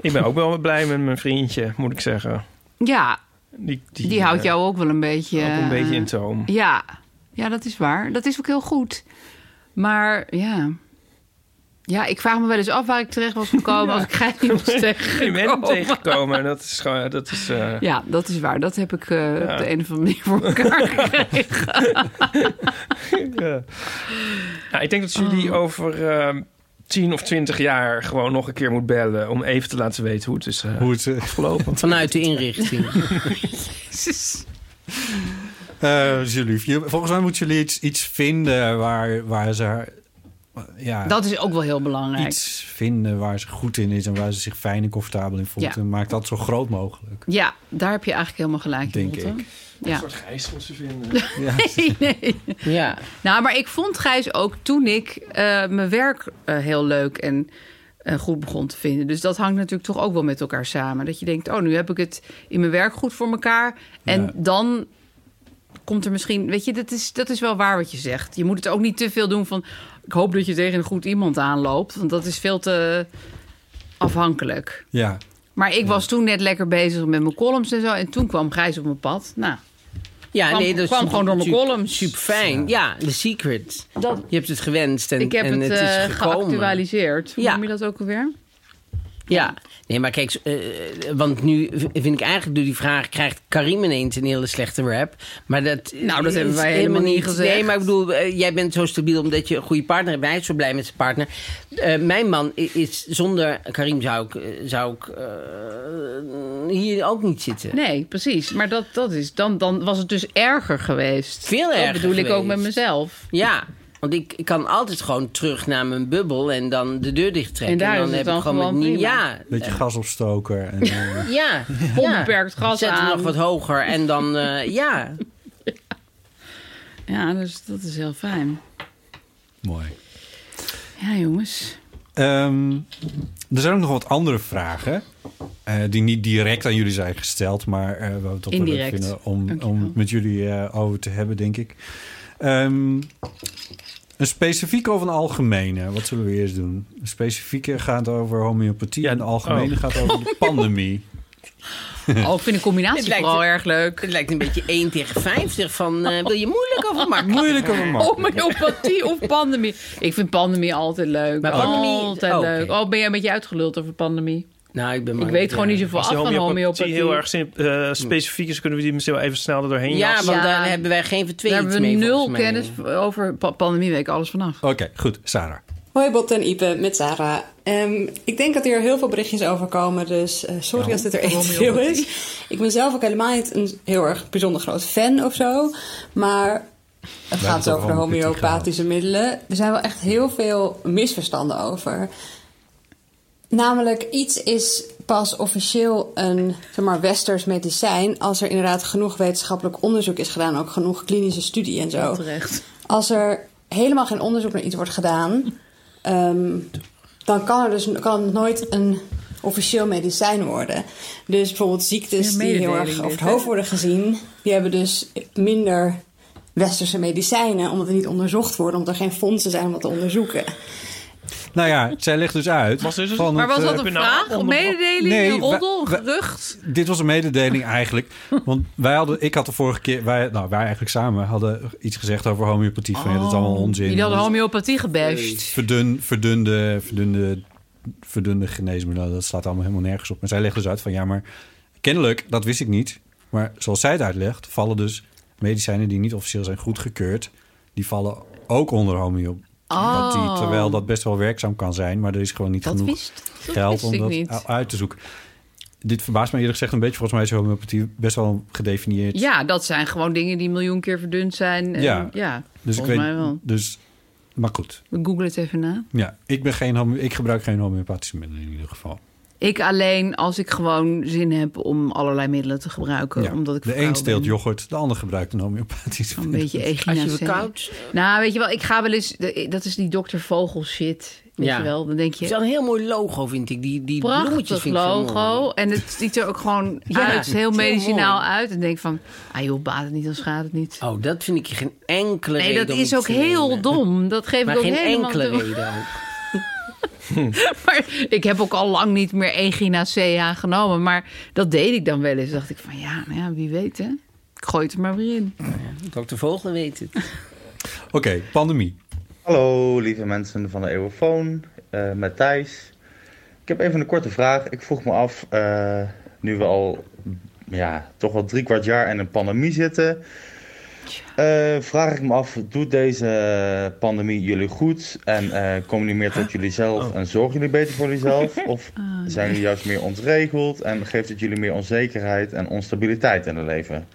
S2: Ik ben ook wel blij met mijn vriendje, moet ik zeggen.
S3: ja,
S2: Die,
S3: die, houdt
S2: eh,
S3: jou ook wel een beetje...
S2: ook een beetje
S3: eh,
S2: in toom.
S3: Ja. ja, dat is waar. Dat is ook heel goed. Maar ja... Ja, ik vraag me wel eens af waar ik terecht was gekomen... als ik grijs niet was
S2: Je bent hem
S3: tegengekomen.
S2: tegengekomen en dat is gewoon... Dat is, eh,
S3: Ja, dat is waar. Dat heb ik eh,
S2: Ja.
S3: op de een of andere manier voor elkaar gekregen.
S2: ja. Nou, ik denk dat jullie over eh 10 of 20 jaar gewoon nog een keer moet bellen... om even te laten weten hoe het is eh, afgelopen.
S4: Vanuit de inrichting.
S5: Eh, dat is heel lief. Je- Volgens mij moeten jullie iets, iets vinden waar, waar ze haar- ja,
S3: Dat is ook wel heel belangrijk.
S5: iets vinden waar ze goed in is en waar ze zich fijn en comfortabel in voelt.
S3: Ja.
S5: En maak dat zo groot mogelijk.
S3: Ja, daar heb je eigenlijk helemaal gelijk in.
S5: Denk
S3: Lotte.
S5: ik.
S3: Ja.
S2: soort gijs moet ze vinden.
S3: Nee, nee.
S4: Ja.
S3: Nou, maar ik vond Gijs ook toen ik eh, mijn werk eh, heel leuk en eh, goed begon te vinden. Dus dat hangt natuurlijk toch ook wel met elkaar samen. Dat je denkt, oh, nu heb ik het in mijn werk goed voor elkaar. En
S10: Ja.
S3: dan komt er misschien... Weet je, dat is, dat is wel waar wat je zegt. Je moet het ook niet te veel doen van... Ik hoop dat je tegen een goed iemand aanloopt. Want dat is veel te afhankelijk.
S5: Ja.
S3: Maar ik was toen net lekker bezig met mijn columns en zo. En toen kwam Gijs op mijn pad. Nou,
S4: Ja,
S3: kwam,
S4: nee, dat is
S3: kwam gewoon door mijn
S4: super-
S3: columns.
S4: Super fijn. Ja, The Secret.
S3: Dat-
S4: je hebt het gewenst en,
S3: ik heb
S4: en
S3: het,
S4: het, is
S3: eh,
S4: gekomen.
S3: geactualiseerd. Hoe noem je dat ook alweer?
S4: Ja. Nee, maar kijk, eh, want nu v- vind ik eigenlijk door die vraag... krijgt Karim ineens een hele slechte rap. Maar dat
S3: Nou, dat hebben
S4: is
S3: wij helemaal niet gezegd.
S4: Nee, maar ik bedoel, eh, jij bent zo stabiel omdat je een goede partner hebt. Hij is zo blij met zijn partner. Eh, mijn man i- is zonder Karim zou ik, eh, zou ik eh, hier ook niet zitten.
S3: Nee, precies. Maar dat, dat is, dan, dan was het dus erger geweest.
S4: Veel erger
S3: Dat bedoel ik ook
S4: geweest.
S3: met mezelf.
S4: Ja, want ik, ik kan altijd gewoon terug naar mijn bubbel en dan de deur dicht trekken.
S3: En daar is
S4: dan
S3: het
S4: heb
S3: dan
S4: ik gewoon,
S3: gewoon
S4: mijn-
S3: prima.
S4: ja,
S5: Beetje gasopstoker. En, eh,
S4: ja,
S3: Onbeperkt gas
S4: Zet hem
S3: aan.
S4: nog wat hoger en dan, eh, ja.
S3: Ja, dus dat is heel fijn.
S5: Mooi.
S3: Ja, jongens.
S5: Ehm, er zijn ook nog wat andere vragen. eh, die niet direct aan jullie zijn gesteld, maar eh waar we toch wel leuk
S3: Indirect.
S5: vinden om, om het met jullie eh, over te hebben, denk ik. Ehm, een specifieke of een algemene? Wat zullen we eerst doen? Een specifieke gaat over homeopathie en de algemene
S4: oh.
S5: gaat over de pandemie.
S3: Oh, ik vind de combinatie
S4: Het lijkt
S3: vooral
S4: een-
S3: erg leuk.
S4: Het lijkt een beetje 1 tegen 50 van, eh, wil je moeilijk of makkelijk?
S5: Moeilijk of makkelijk?
S3: Homeopathie of pandemie. Ik vind pandemie altijd leuk.
S4: Maar pandemie-
S3: altijd
S4: oh, oké.
S3: leuk. Oh, ben jij een beetje uitgeluld over pandemie?
S4: Nou, ik ben
S3: Ik weet gewoon niet zoveel
S2: Als
S3: af
S2: de
S3: van homeopathie.
S2: heel erg sim- eh, specifiek is, kunnen we die misschien wel even snel er doorheen
S4: Ja,
S2: jassen.
S4: want daar hebben wij geen
S3: Daar
S4: vertweeling
S3: hebben we
S4: mee,
S3: nul
S4: volgens mij.
S3: kennis over pa- pandemieweek, alles vanaf.
S5: Oké, goed, Sarah.
S11: Hoi Bob en Ipe, met Sarah. Ehm, ik denk dat hier heel veel berichtjes over komen, dus eh, sorry
S12: Ja,
S11: als dit er één te
S12: waarom,
S11: veel
S12: joh?
S11: is. Ik ben zelf ook helemaal niet een heel erg bijzonder groot fan of zo, maar het
S12: hebben
S11: gaat
S12: het
S11: over de
S12: over homeopathie
S11: homeopathische middelen. Er zijn wel echt heel veel misverstanden over. Namelijk, iets is pas officieel een zeg maar, westers medicijn als er inderdaad genoeg wetenschappelijk onderzoek is gedaan, ook genoeg klinische studie en zo.
S5: Oh.
S3: Heel terecht.
S11: Als er helemaal geen onderzoek naar iets wordt gedaan, ehm, dan kan, er dus, kan het nooit een officieel medicijn worden. Dus bijvoorbeeld ziektes
S3: Ja,
S11: die heel erg
S3: mededeling dit,
S11: over het
S3: hè?
S11: hoofd worden gezien, die hebben dus minder westerse medicijnen, omdat er niet onderzocht worden, omdat er geen fondsen zijn om dat te onderzoeken.
S5: Nou ja, zij legt dus uit.
S2: Was dus
S5: van
S3: maar was
S5: het,
S3: dat
S5: eh,
S3: een vraag? Een mededeling?
S5: Nee,
S3: een roddel? Een
S5: wa-
S3: gerucht?
S5: Dit was een mededeling eigenlijk. Want wij hadden, ik had de vorige keer, wij, nou, wij eigenlijk samen hadden iets gezegd over homeopathie. Van ja, dat is allemaal onzin.
S3: Oh. Jullie hadden
S5: Dat is
S3: homeopathie gebashed.
S5: Verdun, verdunde, verdunde, verdunde geneesmiddelen, dat slaat allemaal helemaal nergens op. Maar zij legt dus uit van ja, maar kennelijk, dat wist ik niet. Maar zoals zij het uitlegt, vallen dus medicijnen die niet officieel zijn goedgekeurd, die vallen ook onder homeopathie.
S3: Oh.
S5: Terwijl dat best wel werkzaam kan zijn, maar er is gewoon niet genoeg
S3: wist- dat
S5: geld Ah,
S3: wist
S5: om
S3: ik
S5: dat
S3: niet.
S5: u- uit te zoeken. Dit verbaast me eerlijk gezegd een beetje. Volgens mij is homeopathie best wel gedefinieerd.
S3: Ja, dat zijn gewoon dingen die een miljoen keer verdund zijn. En, ja,
S5: dus ik
S3: volgens
S5: weet,
S3: mij wel.
S5: Dus, maar goed.
S3: We googlen het even na.
S5: Ja, ik, ben geen, home- ik gebruik geen homeopathische middelen in ieder geval.
S3: Ik alleen als ik gewoon zin heb om allerlei middelen te gebruiken.
S5: Ja,
S3: Omdat ik
S5: de
S3: vrouw
S5: een steelt
S3: ben.
S5: yoghurt, de ander gebruikt een homeopathische
S3: Een beetje echinacea.
S4: Als je verkoudt.
S3: Nou, weet je wel, ik ga wel eens... Dat is die dokter Vogel shit, weet
S4: Ja.
S3: je wel. Dan denk je...
S4: Het is wel een heel mooi logo, vind ik. Die, die bloemetjes
S3: Prachtig
S4: vind ik zo mooi.
S3: logo. En het ziet er ook gewoon
S4: Ja,
S3: uit,
S4: het is
S3: heel
S4: heel
S3: medicinaal
S4: mooi.
S3: uit. En denk van, ah joh, baat het niet, dan schaadt het niet.
S4: Oh, dat vind ik geen enkele
S3: Nee,
S4: reden
S3: dat
S4: om
S3: is
S4: het
S3: ook
S4: te
S3: heel
S4: nemen.
S3: dom. Dat geef
S4: Maar
S3: ik ook
S4: geen
S3: helemaal
S4: enkele
S3: toe.
S4: reden ook.
S3: Maar ik heb ook al lang niet meer echinacea genomen. Maar dat deed ik dan wel eens. dacht ik van, ja, nou ja, wie weet hè. Ik gooi het er maar weer in.
S4: Dokter Vogel weet het.
S5: Oké, pandemie.
S10: Hallo lieve mensen van de Eeuwofoon, eh met Thijs. Ik heb even een korte vraag. Ik vroeg me af, eh, nu we al ja, toch wel drie kwart jaar in een pandemie zitten, eh, vraag ik me af, doet deze pandemie jullie goed? En eh, komen jullie meer tot jullie zelf en zorgen jullie beter voor jezelf? Of zijn jullie juist meer ontregeld en geeft het jullie meer onzekerheid en onstabiliteit in het leven?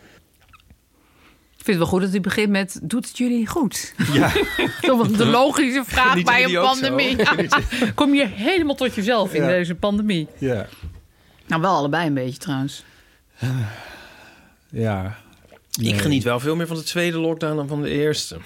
S3: Ik vind het wel goed dat u begint met, doet het jullie goed?
S5: Ja.
S3: Dat is de logische vraag
S5: Genieten
S3: bij
S5: jullie
S3: een
S5: ook zo?
S3: pandemie. Ja. Kom je helemaal tot jezelf in
S5: Ja.
S3: deze pandemie.
S5: Ja,
S3: Nou, wel allebei een beetje trouwens.
S5: ja.
S2: Ik geniet wel veel meer van de tweede lockdown dan van de eerste.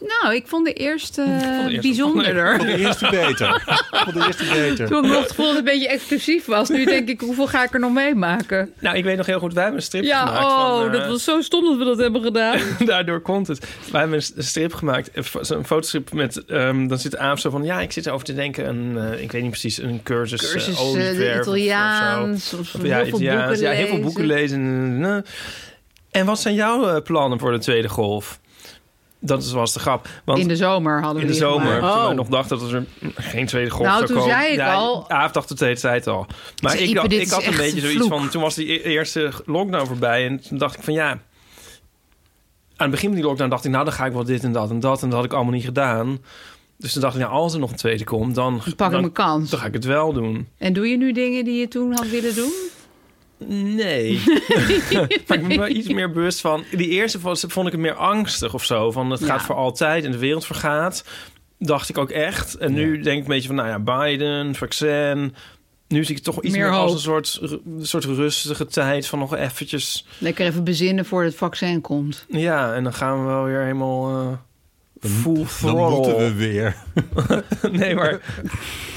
S3: Nou, ik vond de eerste,
S2: eerste-
S3: bijzonderder.
S2: Ik vond de eerste beter.
S5: Ik vond de eerste beter.
S3: Toen ik nog het gevoel dat het een beetje exclusief was. Nu denk ik, hoeveel ga ik er nog meemaken?
S2: Nou, ik weet nog heel goed, wij hebben een strip
S3: Ja,
S2: gemaakt.
S3: oh,
S2: van, eh,
S3: dat was zo stom dat we dat hebben gedaan.
S2: Daardoor komt het. Wij hebben een strip gemaakt, een fo- een fotostrip met... ehm, dan zit Aaf zo van, ja, ik zit erover te denken. Een, eh, ik weet niet precies, een cursus, eh,
S3: Cursus eh,
S2: olieverf of- of zo.
S3: Italiaans. Of,
S2: Of
S3: heel, veel
S2: Italiaans.
S3: boeken
S2: ja, heel veel boeken lezen. En, en wat zijn jouw eh, plannen voor de tweede golf? Dat is- was de grap. Want
S3: In de zomer hadden we
S2: in de
S3: die
S2: zomer,
S3: gemaakt.
S2: toen wij
S3: Oh.
S2: nog dachten dat er mm, geen tweede golf
S3: Nou,
S2: zou
S3: toen
S2: komen.
S3: zei ik
S2: Ja,
S3: al-
S2: Aaf dacht het de hele tijd al. Maar
S3: Ik zei,
S2: ik, dacht-
S3: Ipe, dit is
S2: ik had een
S3: echt
S2: beetje
S3: een
S2: zoiets
S3: vloek.
S2: van... Toen was die e- eerste lockdown voorbij en toen dacht ik van ja... Aan het begin van die lockdown dacht ik... Nou, dan ga ik wel dit en dat en dat. En dat had ik allemaal niet gedaan. Dus toen dacht ik, nou, als er nog een tweede komt, dan...
S3: pak ik
S2: dan-
S3: mijn kans.
S2: Dan ga ik het wel doen.
S3: En doe je nu dingen die je toen had willen doen?
S2: Nee. maar ik ben wel iets meer bewust van... Die eerste was- vond ik het meer angstig of zo. Van het
S3: Ja.
S2: gaat voor altijd en de wereld vergaat. Dacht ik ook echt. En nu denk ik een beetje van, nou ja, Biden, vaccin. Nu zie ik het toch iets
S3: Meer
S2: meer, als
S3: hoop.
S2: een soort, ru- soort rustige tijd van nog eventjes...
S3: Lekker even bezinnen voordat het vaccin komt.
S2: Ja, en dan gaan we wel weer helemaal eh full
S5: Dan
S2: throttle.
S5: moeten we weer.
S2: nee, maar...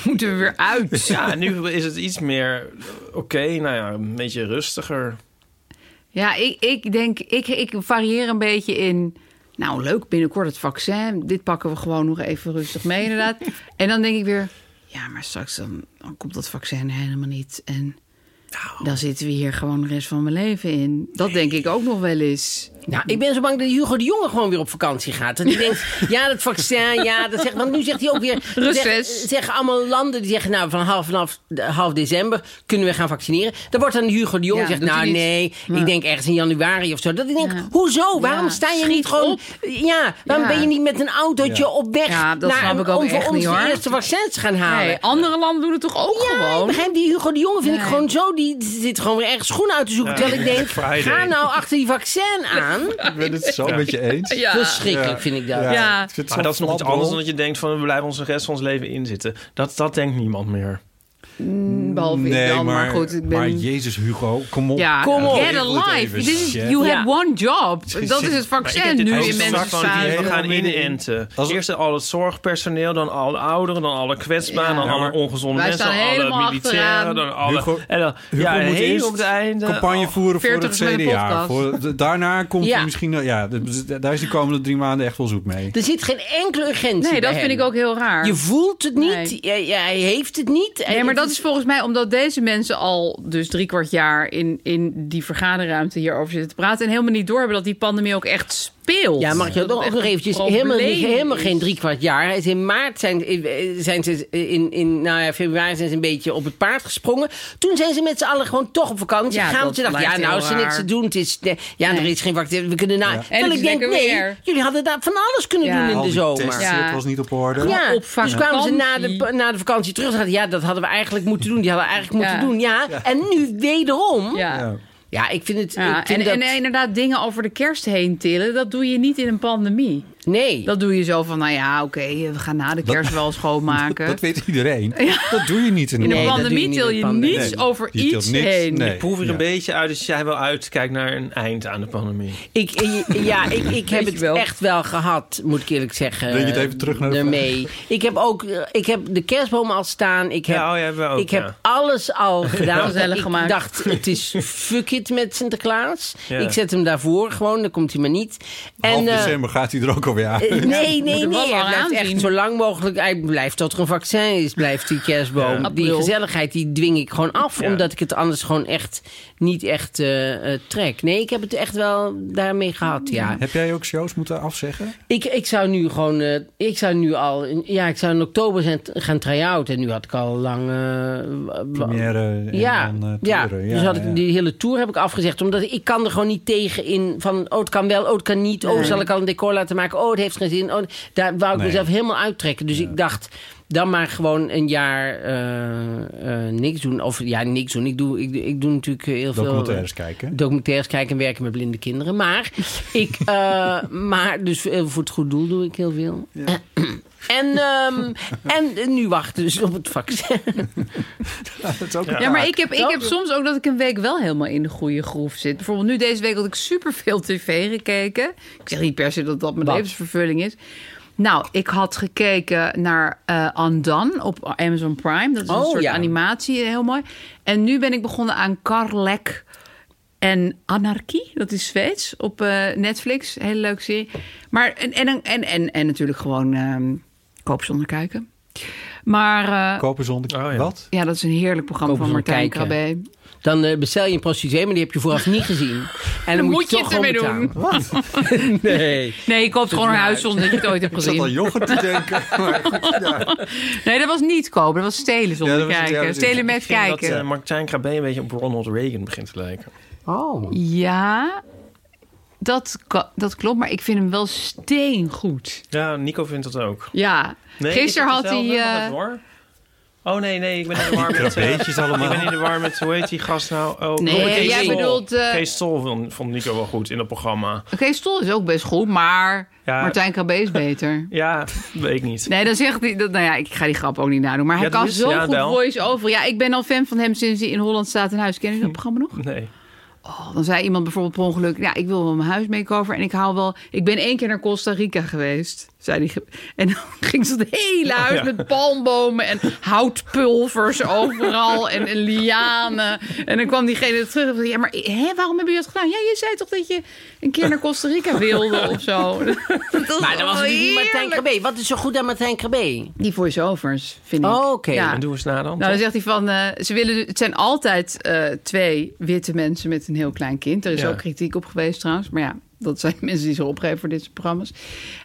S3: Moeten we weer uit.
S2: Ja, nu is het iets meer... Oké, nou ja, een beetje rustiger.
S3: Ja, ik, ik denk, ik, ik varieer een beetje in. Nou, leuk, binnenkort het vaccin. Dit pakken we gewoon nog even rustig mee, inderdaad. en dan denk ik weer, ja, maar straks dan, dan komt dat vaccin helemaal niet. En dan zitten we hier gewoon de rest van mijn leven in. Dat denk ik ook nog wel eens.
S4: Nou, ik ben zo bang dat Hugo de Jonge gewoon weer op vakantie gaat. Dat hij denkt, ja, dat vaccin, ja, dat zegt... Want nu zegt hij ook weer...
S3: Reces.
S4: zeg- Zeggen allemaal landen, die zeggen, nou, van half, vanaf de- half december kunnen we gaan vaccineren. Dan wordt dan Hugo de Jonge
S3: Ja,
S4: zegt,
S3: doet hij
S4: nou,
S3: niet.
S4: nee,
S3: Ja.
S4: ik denk ergens in januari of zo. Dat ik denk, hoezo? Waarom
S3: Ja,
S4: sta je niet
S3: schiet
S4: gewoon...
S3: op.
S4: Ja, waarom
S3: Ja.
S4: ben je niet met een autootje
S3: Ja.
S4: op weg
S3: Ja, dat
S4: naar,
S3: snap ik ook
S4: om voor
S3: echt
S4: ons
S3: niet, hoor.
S4: de eerste vaccins te gaan halen?
S3: Nee, andere landen doen het toch ook
S4: Ja, ik
S3: gewoon?
S4: begrijp die Hugo de Jonge vind ik
S3: Nee.
S4: gewoon zo. Die zit gewoon weer ergens schoenen uit te zoeken.
S2: Ja.
S4: Terwijl ik denk,
S2: Friday.
S4: ga nou achter die vaccin aan.
S5: Ik ben het zo
S2: Ja.
S5: met je eens.
S3: Ja.
S4: Verschrikkelijk vind ik dat.
S3: Ja.
S5: Ik vind het
S2: Maar
S5: zo
S2: dat is nog iets
S5: flapdrol.
S2: anders dan dat je denkt van we blijven ons de rest van ons leven inzitten. Dat, dat denkt niemand meer.
S3: Mm, Behalve
S5: nee,
S3: ik dan, maar,
S5: maar,
S3: goed. Ik ben...
S5: maar Jezus Hugo, kom op.
S3: ja, get a life. This is, you had one job. Dat is het vaccin nu
S5: nou
S3: in
S2: We
S3: mensenverstand.
S2: gaan inenten. Eerst al het zorgpersoneel, dan alle ouderen, dan alle kwetsbaren, dan alle ongezonde
S3: Wij
S2: mensen,
S3: staan
S2: dan alle
S3: helemaal
S2: militairen,
S3: achteraan.
S2: dan alle...
S5: Hugo-
S2: en dan,
S5: Hugo
S2: ja,
S5: moet
S2: heel
S5: eerst
S2: op het einde... Oh.
S5: campagne voeren voor het
S2: 40 met een
S5: CDA.
S2: podcast.
S5: Voor, d- daarna komt
S4: Ja.
S5: hij misschien... nou- Ja, d- d- daar is de komende drie maanden echt wel zoek mee.
S4: Er zit geen enkele urgentie
S3: Nee, dat
S4: bij
S3: vind ik
S4: hem.
S3: ook heel raar.
S4: Je voelt het niet. Jij, jij heeft het niet.
S3: Nee,
S4: En
S3: maar
S4: het
S3: dat is volgens mij omdat deze mensen al dus drie kwart jaar in, in die vergaderruimte hierover zitten te praten. En helemaal niet doorhebben dat die pandemie ook echt speelt.
S4: Ja, mag ik dat
S3: Dat
S4: ook
S3: echt
S4: nog
S3: een
S4: eventjes?
S3: probleem
S4: Helemaal, niet- helemaal
S3: is.
S4: geen drie kwart jaar. Hij is In maart zijn, zijn ze in, in nou ja, februari zijn ze een beetje op het paard gesprongen. Toen zijn ze met z'n allen gewoon toch op vakantie
S3: Ja,
S4: gegaan.
S3: dat
S4: Ze dachten, ja,
S3: lijkt
S4: nou,
S3: heel
S4: als er niks
S3: raar.
S4: te doen, het is, nee, ja, er is geen vaccin. We kunnen nou.
S3: En het
S4: Terwijl
S3: is
S4: ik denk,
S3: lekker
S4: nee,
S3: weer.
S4: jullie hadden daar van alles kunnen
S3: Ja.
S4: doen in
S5: Al
S4: de
S5: die
S4: zomer.
S5: testen, het was niet op orde.
S4: Ja,
S3: op
S4: dus kwamen ze
S3: vakantie.
S4: na de, na de vakantie terug. en Dachten, ja, dat hadden we eigenlijk moeten doen. Die hadden we eigenlijk
S3: Ja.
S4: moeten doen. Ja. en nu wederom.
S3: Ja.
S4: Ja, ik vind het.
S3: Ja,
S4: ik vind
S3: en,
S4: dat...
S3: en inderdaad, dingen over de kerst heen tillen, dat doe je niet in een pandemie.
S4: Nee.
S3: Dat doe je zo van, nou ja, oké, we gaan na de kerst wel schoonmaken.
S5: Dat weet iedereen. Dat doe je niet in
S3: In
S5: een
S3: een
S5: pandemie.
S3: pandemie
S4: niet in
S3: til
S4: een
S3: je
S4: pandemie.
S3: niets
S5: Nee,
S3: over
S5: je tilt
S3: iets
S5: niks.
S3: heen.
S5: Nee.
S2: Ik proef er
S5: Ja.
S2: een beetje uit dat jij wel uitkijkt naar een eind aan de pandemie.
S4: Ik, eh, ja, ik, ik heb
S3: je
S4: het
S3: wel.
S4: echt wel gehad, moet ik eerlijk zeggen.
S5: Breng je het even terug naar de
S4: daarmee. Ik heb ook eh, ik heb de kerstboom al staan. Ik heb,
S2: Ja, oh, ja, hebben we ook,
S4: ik heb
S2: ja.
S4: alles al gedaan.
S3: Gezellig
S4: ik
S3: gemaakt.
S4: dacht, het is fuck it met Sinterklaas.
S5: Ja.
S4: Ik zet hem daarvoor gewoon, dan komt hij maar niet.
S5: Half
S4: eh,
S5: december gaat hij er ook alweer aan.
S4: eh, nee,
S3: moet
S4: nee,
S3: hem wel
S4: nee. Hij
S3: al
S4: blijft echt
S3: aanzien.
S4: zo lang mogelijk. Hij blijft tot er een vaccin is, blijft die kerstboom.
S3: Ja.
S4: Die
S3: April.
S4: gezelligheid, die dwing ik gewoon af.
S2: Ja.
S4: Omdat ik het anders gewoon echt niet echt eh, eh, trek. Nee, ik heb het echt wel daarmee gehad, ja.
S5: Heb jij ook shows moeten afzeggen?
S4: Ik, ik zou nu gewoon... eh, ik zou nu al... in- Ja, ik zou in oktober zijn, gaan try-out. En nu had ik al lang... eh, w- w-
S5: Première en
S4: ja,
S5: dan, eh,
S4: ja.
S5: toeren.
S4: dus had ik
S5: ja.
S4: die hele tour heb ik afgezegd. Omdat ik kan er gewoon niet tegen in van... Oh, het kan wel, oh, het kan niet. Oh,
S3: Nee.
S4: zal ik al een decor laten maken? Oh, het heeft geen zin. Oh, daar wou ik
S5: Nee.
S4: mezelf helemaal uittrekken. Dus ik dacht... Dan maar gewoon een jaar eh, eh, niks doen. Of ja, niks doen. Ik doe, ik, ik doe natuurlijk eh, heel veel... eh,
S5: Documentaires kijken.
S4: documentaires kijken en werken met blinde kinderen. Maar ik, eh, maar dus eh, voor het goed doel doe ik heel veel. En, ehm, en nu wachten dus op het vaccin.
S5: dat is ook
S3: Ja, maar ik heb, ik heb soms ook dat ik een week wel helemaal in de goede groef zit. Bijvoorbeeld nu deze week had ik superveel tv gekeken. Ik zeg niet per se dat dat mijn
S4: Wat?
S3: levensvervulling is. Nou, ik had gekeken naar eh Andan op Amazon Prime. Dat is een
S4: Oh,
S3: soort
S4: ja.
S3: animatie, eh, heel mooi. En nu ben ik begonnen aan Karlek en Anarchie. Dat is Zweeds op eh, Netflix. Hele leuke serie. Maar en, en, en, en, en natuurlijk gewoon ehm, koop zonder kijken. Maar eh,
S5: Kopen zonder... Wat?
S3: ja, dat is een heerlijk programma
S4: Koop
S3: van
S4: zonder
S3: Martijn
S4: kijken.
S3: Krabbe.
S4: Dan eh, bestel je een prostituee, maar die heb je vooraf niet gezien. En dan,
S3: Dan moet je
S4: toch
S3: het ermee
S4: gewoon
S3: doen.
S4: betalen. nee.
S3: Nee, ik koop gewoon een
S4: maar-
S3: huis zonder dat je het ooit hebt
S5: Ik zat
S3: gezien.
S5: al yoghurt te denken. Maar goed, ja.
S3: Nee, dat was niet kopen. Dat was stelen zonder
S5: Ja, dat was- ja,
S3: kijken.
S5: dat is-
S3: stelen met
S2: Ik vind dat
S3: kijken.
S2: eh, Martijn Krabbe een beetje op Ronald Reagan begint te lijken.
S4: Oh.
S3: ja, dat, ka- dat klopt. Maar ik vind hem wel steengoed.
S2: Ja, Nico vindt dat ook.
S3: Ja,
S2: Nee,
S3: gisteren
S2: is
S3: had
S2: het
S3: hij...
S2: hetzelfde? Wacht
S3: eh,
S2: even hoor. Oh nee, nee, ik ben in de war met... eh,
S5: Krabbeetjes allemaal.
S2: Ik ben in de war met, hoe heet die gast nou? Oh,
S3: Nee,
S2: Robert
S3: jij
S2: Sol.
S3: bedoelt, eh,
S2: Kees Sol vond, vond Nico wel goed in dat programma.
S3: Oké, Stol is ook best goed, maar
S2: Ja.
S3: Martijn Krabbe is beter.
S2: Ja, weet ik niet.
S3: Nee, dan zegt hij... Dat, nou ja, ik ga die grap ook niet nadoen. Maar hij
S2: Ja, dat
S3: kan
S2: is-
S3: zo
S2: ja,
S3: goed
S2: wel.
S3: voice-over. Ja, ik ben al fan van hem sinds hij in Holland staat in huis. Ken je dat
S2: Hm.
S3: programma nog?
S2: Nee.
S3: Oh, dan zei iemand bijvoorbeeld per ongeluk... ja, ik wil wel mijn huis makeover en ik haal wel... ik ben één keer naar Costa Rica geweest, zei die. ge- En dan ging ze het hele huis
S2: Oh, ja.
S3: met palmbomen en houtpulvers overal... en, en lianen. En dan kwam diegene terug en zei... ja, maar hè, waarom hebben jullie dat gedaan? Ja, je zei toch dat je een keer naar Costa Rica wilde of zo?
S4: Maar dat
S3: wel
S4: was natuurlijk niet Martijn
S3: heerlijk.
S4: Krabbe. Wat is zo goed aan Martijn Krabbe?
S3: Die voice-overs, vind ik.
S4: Oh, oké.
S3: Ja.
S2: En doe eens na dan.
S3: Nou, dan
S2: toch?
S3: zegt hij van, eh, ze willen, het zijn altijd eh, twee witte mensen met een heel klein kind. Er is
S2: Ja.
S3: ook kritiek op geweest trouwens, maar ja, dat zijn mensen die zich opgeven voor dit soort programma's.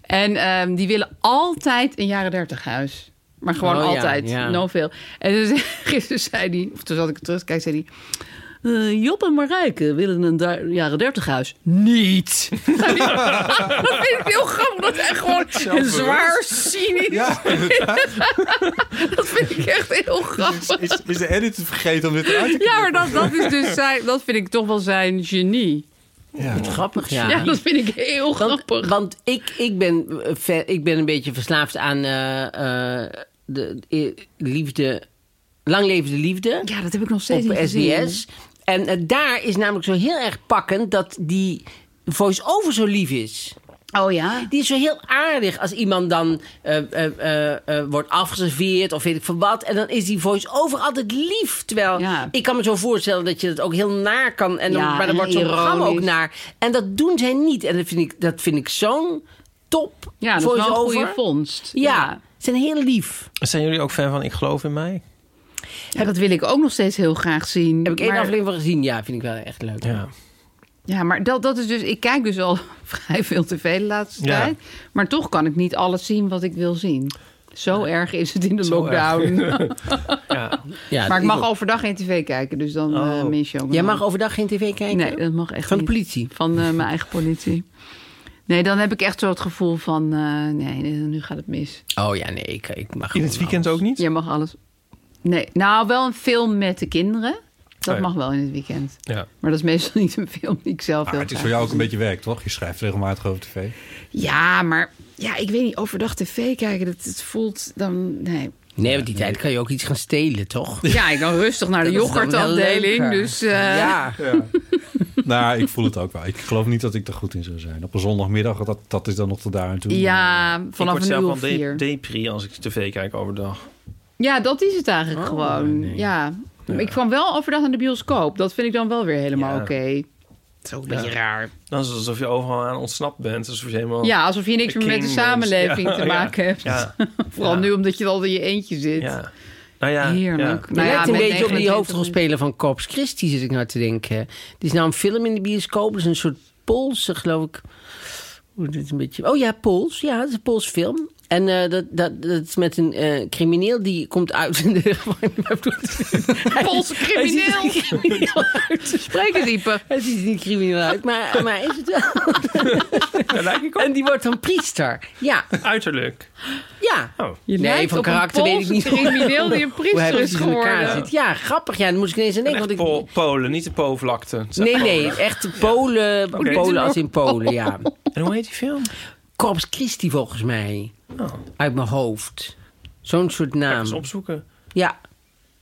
S3: En ehm, die willen altijd een jaren dertig huis. Maar gewoon
S4: Oh, ja,
S3: altijd,
S4: ja.
S3: no veel. En dus, gisteren zei hij, of toen zat ik terug te kijken, zei hij... "Eh, Job en Marijke willen een da- jaren dertig huis. Niet! dat vind ik heel grappig. Dat hij gewoon een
S5: Zelfbewust.
S3: zwaar cynisch...
S5: Ja,
S3: Dat vind ik echt heel grappig.
S5: is, is de editor vergeten om dit eruit te
S3: Ja, maar dat, dat is dus zijn, dat vind ik toch wel zijn genie.
S5: Ja.
S4: Grappig,
S3: Ja, dat vind ik heel grappig.
S4: Want ik, ik, ben, eh, ver- ik ben een beetje verslaafd aan eh, eh, de, eh, e- liefde Lang leven de liefde.
S3: Ja, dat heb ik nog steeds
S4: Op
S3: niet gezien.
S4: SBS. En eh, daar is namelijk zo heel erg pakkend dat die voice-over zo lief is.
S3: Oh ja?
S4: Die is zo heel aardig als iemand dan eh, eh, eh, eh, wordt afgeserveerd of weet ik van wat. En dan is die voice-over altijd lief. Terwijl ik kan me zo voorstellen dat je dat ook heel naar kan. En dan,
S3: Ja,
S4: maar dan
S3: en
S4: wordt zo'n programma ook
S3: ironisch.
S4: naar. En dat doen zij niet. En dat vind ik, dat vind ik zo'n top
S3: Ja, dat is wel een
S4: voice-over.
S3: goede vondst.
S4: Ja, ze zijn heel lief.
S3: dus-
S12: Zijn jullie ook fan van Ik geloof in mij?
S3: Ja, dat wil ik ook nog steeds heel graag zien.
S4: Heb ik één
S3: maar-
S4: aflevering van gezien? Ja, vind ik wel echt leuk.
S12: Ja.
S3: Ja, maar dat, dat is dus... Ik kijk dus al vrij veel tv de laatste
S4: Ja.
S3: tijd. Maar toch kan ik niet alles zien wat ik wil zien. Zo erg is het in de
S4: Zo
S3: lockdown.
S4: Ja,
S3: maar ik mag
S4: iemand-
S3: overdag geen tv kijken, dus dan eh
S12: Oh.
S4: Oh.
S3: mis je ook
S4: Jij
S3: nog.
S4: mag overdag geen tv kijken?
S3: Nee, dat mag echt
S4: Van de
S3: niet.
S4: politie?
S3: Van eh, mijn eigen politie. Nee, dan heb ik echt zo het gevoel van... eh, nee, nee, nu gaat het mis.
S4: Oh ja, nee, ik, ik mag
S12: In het weekend ook niet?
S3: Jij mag alles. Nee, nou wel een film met de kinderen. Dat
S5: Oh ja.
S3: mag wel in het weekend.
S12: Ja.
S3: Maar dat is meestal niet een film die ik zelf
S5: Maar
S3: wil
S5: het is
S3: graag
S5: voor jou ook een
S3: zien.
S5: beetje werk, toch? Je schrijft regelmatig over tv.
S3: Ja, maar ja, ik weet niet, overdag tv kijken, dat het voelt dan... Nee.
S4: Nee, want die tijd kan je ook iets gaan stelen, toch?
S3: Ja, ik kan rustig naar de
S4: Dat is dan wel
S3: yoghurtafdeling,
S4: leuker.
S3: dus... eh,
S4: Ja.
S5: nou, ik voel het ook wel. Ik geloof niet dat ik er goed in zou zijn. Op een zondagmiddag, dat, dat is dan nog tot daar aan toe.
S3: Ja,
S2: ik
S3: vanaf
S2: word
S3: een
S2: zelf
S3: uur
S2: wel
S3: of
S2: de
S3: vier.
S2: depri als ik tv kijk overdag.
S3: Ja, dat is het eigenlijk
S5: Oh,
S3: gewoon. Ja. Ik kwam wel overdag naar de bioscoop. Dat vind ik dan wel weer helemaal
S2: Ja.
S3: oké. Het is ook een beetje raar.
S2: Dan is het alsof je overal aan ontsnapt bent. Alsof je
S5: Oh.
S2: helemaal
S3: Ja, alsof je niks
S2: de
S3: meer met de
S2: king bent.
S3: samenleving
S2: Ja,
S3: te
S2: ja,
S3: maken hebt.
S2: ja.
S3: Vooral
S2: Ja.
S3: nu omdat je al in je eentje zit.
S2: Ja. Nou ja,
S3: Heerlijk.
S4: Je
S3: Nou ja,
S4: lijkt een
S3: met
S4: beetje op die
S3: 29
S4: hoofdrolspeler van Corpus Christi, zit ik nou te denken. Er is nou een film in de bioscoop, dat is een soort Poolse, geloof ik. Oeh, dit is een beetje... Oh ja, Pools. Ja, dat is een Pools film. En eh, dat, dat, dat is met een eh, crimineel die komt uit in de...
S3: Poolse crimineel.
S4: Hij ziet er niet crimineel uit.
S3: Spreek eens, Ipe.
S4: Hij ziet er niet crimineel uit, maar, maar hij is het wel. En die wordt dan priester. Ja,
S2: uiterlijk.
S3: Oh,
S4: ja.
S3: Je
S4: nee,
S3: lijkt
S4: van
S3: op een
S4: karakter weet ik
S3: Poolse
S4: niet.
S3: crimineel die een
S4: hoe
S3: priester
S4: hij
S3: is
S4: precies in elkaar
S3: geworden.
S4: zit. Ja, grappig. Ja, dan moest ik ineens aan denken.
S2: Echt
S4: Want ik,
S2: Pol- Polen, niet de Po-vlakte.
S4: Nee, nee, echt de Polen,
S2: Oké. Oh.
S4: Polen als in Polen, ja.
S2: En hoe heet die film?
S4: Corpus Christi volgens mij.
S2: Oh.
S4: Uit mijn hoofd. Zo'n soort naam.
S2: Eens opzoeken.
S4: Ja.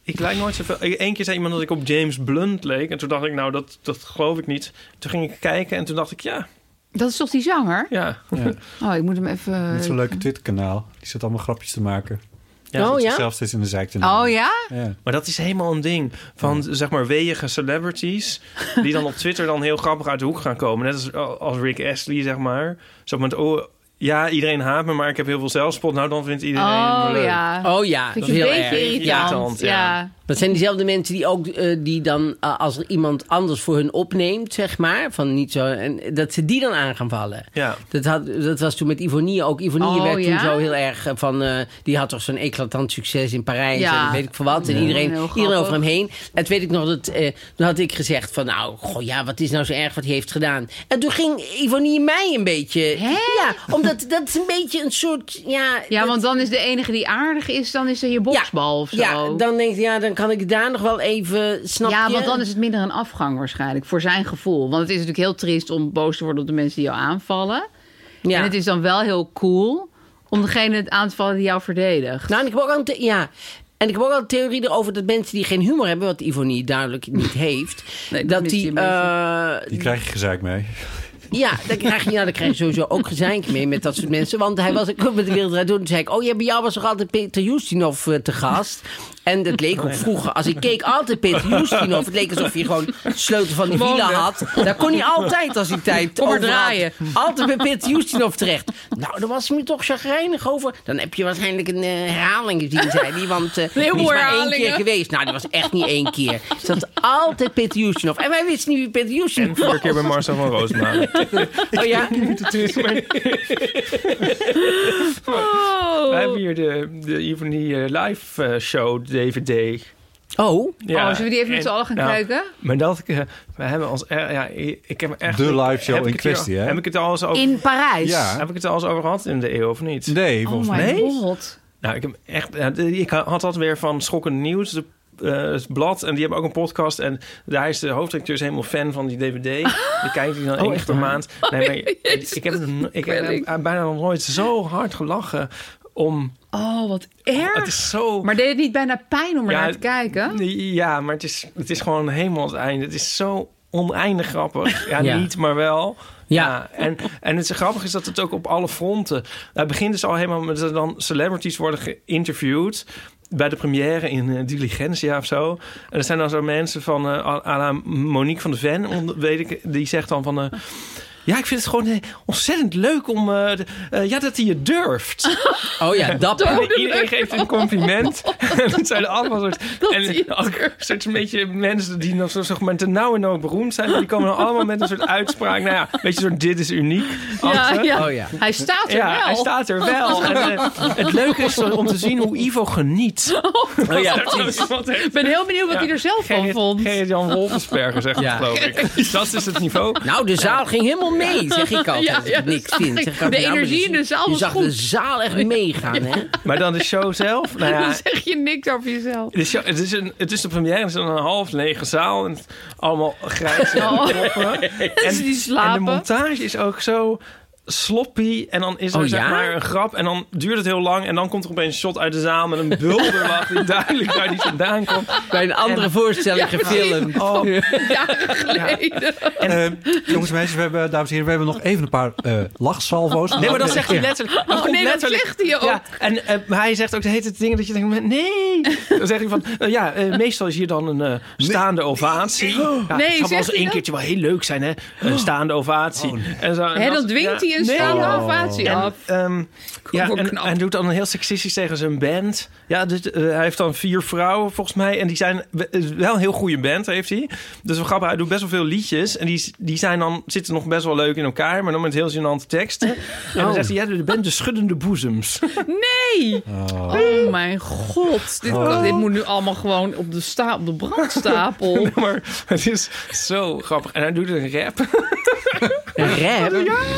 S2: Ik lijk nooit zoveel. Eén keer zei iemand dat ik op James Blunt leek. En toen dacht ik, nou, dat, dat geloof ik niet. Toen ging ik kijken en toen dacht ik, ja.
S3: Dat is toch die zanger?
S2: Ja.
S3: Oh, ik moet hem even...
S5: Met zo'n leuke Twitter-kanaal. Die zit allemaal grapjes te maken.
S2: Ja.
S5: Zit
S2: Oh, ja?
S5: zichzelf steeds in de zeik te nemen.
S3: Oh ja?
S5: Ja.
S2: Maar dat is helemaal een ding. Van zeg maar weeige celebrities. die dan op Twitter dan heel grappig uit de hoek gaan komen. Net als, als Rick Astley, zeg maar. Zo met. Oh, ja, iedereen haat me, maar ik heb heel veel zelfspot. Nou, dan vindt iedereen
S3: Oh,
S2: me leuk.
S3: ja.
S4: Oh ja,
S3: Vind
S4: dat is
S3: je
S4: heel
S3: een beetje
S4: erg.
S3: irritant, Ja. ja.
S4: Dat zijn diezelfde mensen die ook eh, die dan, eh, als er iemand anders voor hun opneemt, zeg maar, van niet zo, en dat ze die dan aan gaan vallen.
S2: Ja.
S4: Dat, had, dat was toen met Ivonie ook. Ivonie
S3: Oh,
S4: werd toen
S3: ja?
S4: zo heel erg eh, van... eh, die had toch zo'n eclatant succes in Parijs
S3: Ja.
S4: en weet ik veel wat. En
S3: Ja,
S4: iedereen,
S3: heel grappig.
S4: iedereen over hem heen. En toen weet ik nog, dat, eh, toen had ik gezegd van... Nou, goh, ja, wat is nou zo erg wat hij heeft gedaan. En toen ging Ivonie mij een beetje... Ja, omdat dat is een beetje een soort... Ja,
S3: Ja,
S4: dat-
S3: want dan is de enige die aardig is, dan is er je boksbal of zo.
S4: ja, dan denk ik, ja, dan kan ik daar nog wel even... Snap
S3: ja,
S4: je?
S3: want dan is het minder een afgang waarschijnlijk voor zijn gevoel. Want het is natuurlijk heel triest om boos te worden op de mensen die jou aanvallen.
S4: Ja.
S3: En het is dan wel heel cool om degene het aan te vallen die jou verdedigt.
S4: Nou, en ik heb ook al een, the- ja. en ik heb ook al een theorie erover dat mensen die geen humor hebben, wat Ivonie duidelijk niet heeft, dat die. eh,
S5: Die krijg je gezeik mee.
S4: ja, daar krijg, je, ja, daar krijg je sowieso ook gezeik mee met dat soort mensen. Want hij was ook met de wereld Draait Door. Toen zei ik: Oh ja, bij jou was toch altijd Peter Justinov eh, te gast? En dat leek ook vroeger. Als ik keek, altijd Peter Justinov. Het leek alsof hij gewoon sleutel van die
S3: Gewoon,
S4: villa
S3: hè?
S4: had. Daar kon hij altijd, als hij tijd
S3: Kom maar
S4: over had,
S3: draaien.
S4: altijd bij Peter Justinov terecht. Nou, daar was hij me toch chagrijnig over. Dan heb je waarschijnlijk een eh, herhaling gezien, zei hij. Want eh, die
S3: Heel
S4: is
S3: veel
S4: maar één keer
S3: herhalingen.
S4: geweest. Nou, die was echt niet één keer. Er zat altijd Peter Justinov. En wij wisten niet wie Peter Justinov was.
S2: Vorige keer bij Marcel van Roosmalen.
S4: Oh ja?
S3: Oh.
S2: We hebben hier de, de Ivonie eh, live eh, show DVD.
S4: Oh.
S3: Oh, zullen we die even met z'n allen gaan kijken?
S2: Maar dat, eh, we hebben als, eh, ja, ik ik heb echt...
S5: De live show
S2: heb ik
S5: in
S2: het hier-
S5: kwestie, hè?
S2: Heb ik het al eens over...
S3: In Parijs? Ja.
S2: Heb ik het al eens over gehad in de eeuw of niet?
S5: Nee,
S3: Oh my
S2: Nee?
S3: god.
S2: Nou, ik heb echt. ja, de- Ik had dat weer van Schokken Nieuws. De, eh, het blad en die hebben ook een podcast en daar is de hoofdredacteur is helemaal fan van die DVD. Die kijkt hij dan één keer per maand. Nee, maar ik, ik heb, ik heb bijna nog nooit zo hard gelachen om...
S3: Oh, wat erg.
S2: Het is zo...
S3: Maar deed het niet bijna pijn om ernaar te kijken?
S2: Ja, maar het is, het is gewoon helemaal het einde. Het is zo oneindig grappig. Ja,
S3: Ja.
S2: niet, maar wel. Ja. en, en het grappige is dat het ook op alle fronten... Het begint dus al helemaal met dat er dan celebrities worden geïnterviewd... Bij de première in eh, Diligentia of zo. En er zijn dan zo mensen van... eh à à la Monique van de Ven, on- weet ik, die zegt dan van... eh, ja, ik vind het gewoon eh, ontzettend leuk om... eh, de- eh, ja, dat hij het durft.
S4: Oh ja, dapper.
S2: En iedereen geeft een compliment. en het zijn allemaal soort... en ook soort een beetje mensen die nog zo, zeg maar, ten nauw en nauw beroemd zijn. maar Die komen dan allemaal met een soort uitspraak. Nou ja, een beetje zo'n dit is uniek. achter.
S3: ja. Oh ja. Hij staat er
S2: ja,
S3: wel.
S2: hij staat er wel. En, eh, het leuke is om te zien hoe Ivo geniet.
S3: Oh ja, precies. Ik ben heel benieuwd wat hij er zelf van vond.
S2: Jan Wolfensperger zegt het, geloof ik. Dat is het niveau.
S4: Nou, de zaal ging helemaal mee, zeg ik altijd.
S3: Ja,
S4: als
S3: ja,
S4: ik niks
S3: dat
S4: vind.
S3: zag
S4: Zeg ik
S3: ik.
S4: altijd,
S3: De
S4: nou, maar
S3: energie
S4: dus-
S3: in de zaal
S4: Je
S3: was
S4: zag
S3: goed.
S4: de zaal echt meegaan, hè?
S2: Maar dan de show zelf. Nou ja,
S3: Dan zeg je niks over jezelf.
S2: Het is, het, is een, het is de première, het is een half lege zaal. En het, allemaal grijs en
S3: Oh.
S2: kloppen. En,
S3: die
S2: en de
S3: slapen.
S2: montage is ook zo sloppy. En dan is er
S4: Oh,
S2: zeg
S4: ja?
S2: maar een grap. En dan duurt het heel lang. En dan komt er opeens een shot uit de zaal met een bulderlach... die duidelijk waar die vandaan komt.
S4: Bij een andere voorstelling
S2: Ja,
S4: gefilmd.
S2: Oh,
S5: Eh, jongens en meisjes, we hebben, dames en heren, we hebben nog even een paar eh lachsalvo's.
S2: Nee, maar dat zegt hij letterlijk.
S3: Oh,
S2: komt
S3: nee, dat
S2: letterlijk.
S3: zegt hij ook.
S2: Ja, en eh, maar hij zegt ook de hele tijd dingen dat je denkt, maar nee. Dan zegt hij van, eh, ja, eh, meestal is hier dan een eh, staande ovatie. Ja,
S3: Nee,
S2: het zou
S3: zegt
S2: wel eens
S3: hij
S2: één
S3: dat?
S2: keertje wel heel leuk zijn, hè? Een staande ovatie. en zo, en
S3: Hè,
S2: dat-
S3: dan dwingt
S2: ja,
S3: hij een
S2: nee.
S3: staande ovatie
S2: En,
S3: af.
S2: ehm, ja,
S3: wel
S2: en, en doet dan heel seksistisch tegen zijn band. Ja, dus, eh, hij heeft dan vier vrouwen volgens mij. En die zijn we- is wel een heel goede band, heeft hij. Dus wel grappig, hij doet best wel veel liedjes. En die, die zijn dan, zitten nog best wel leuk in elkaar. Maar dan met heel gênante teksten. En dan
S3: Oh.
S2: zegt hij, ja, de band De Schuddende Boezems.
S3: Nee! Oh, mijn god. Dit,
S2: Oh.
S3: dit moet nu allemaal gewoon op de, sta, op de brandstapel.
S2: Nee, maar het is zo grappig. En hij doet een rap.
S3: Oh,
S4: Rap?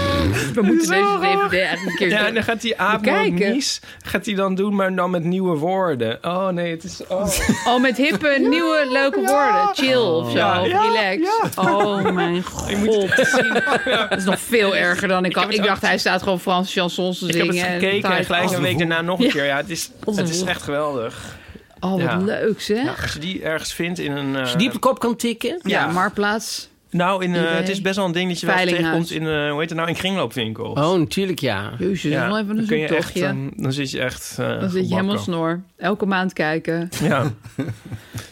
S3: We moeten
S2: Zo
S3: deze
S2: raar.
S3: DVD echt een keer
S2: Ja, en dan gaat hij Abonies, gaat hij dan doen, maar dan met nieuwe woorden. Oh nee, het is... Oh.
S3: Oh, met hippe, nieuwe, leuke woorden. Chill of zo.
S2: Ja, ja,
S3: Relax. Oh, mijn god. Dat is nog veel erger dan ik had. Ik dacht, hij staat gewoon Franse chansons te
S2: Ik heb
S3: zingen.
S2: het gekeken en
S3: Thai-
S2: gelijk een week daarna nog een keer. Ja, het is,
S3: Onze
S2: het is
S3: woe.
S2: echt geweldig.
S3: Oh, wat
S2: Ja.
S3: leuk zeg.
S2: Ja, als je die ergens vindt in een... eh,
S4: Als je die op de kop kan tikken.
S3: Ja, Marktplaats.
S2: nou, in, eh,
S3: eBay.
S2: het is best wel een ding dat je wel eens
S3: Veilinghuis.
S2: tegenkomt in, eh, hoe heet het nou, in kringloopwinkel.
S4: Oh, natuurlijk ja.
S3: Jezus, wel even een
S2: kun je echt,
S3: zoektochtje.
S2: ehm, dan zit je echt... eh,
S3: Dan zit je helemaal
S2: gebakken.
S3: snor. Elke maand kijken.
S2: Ja,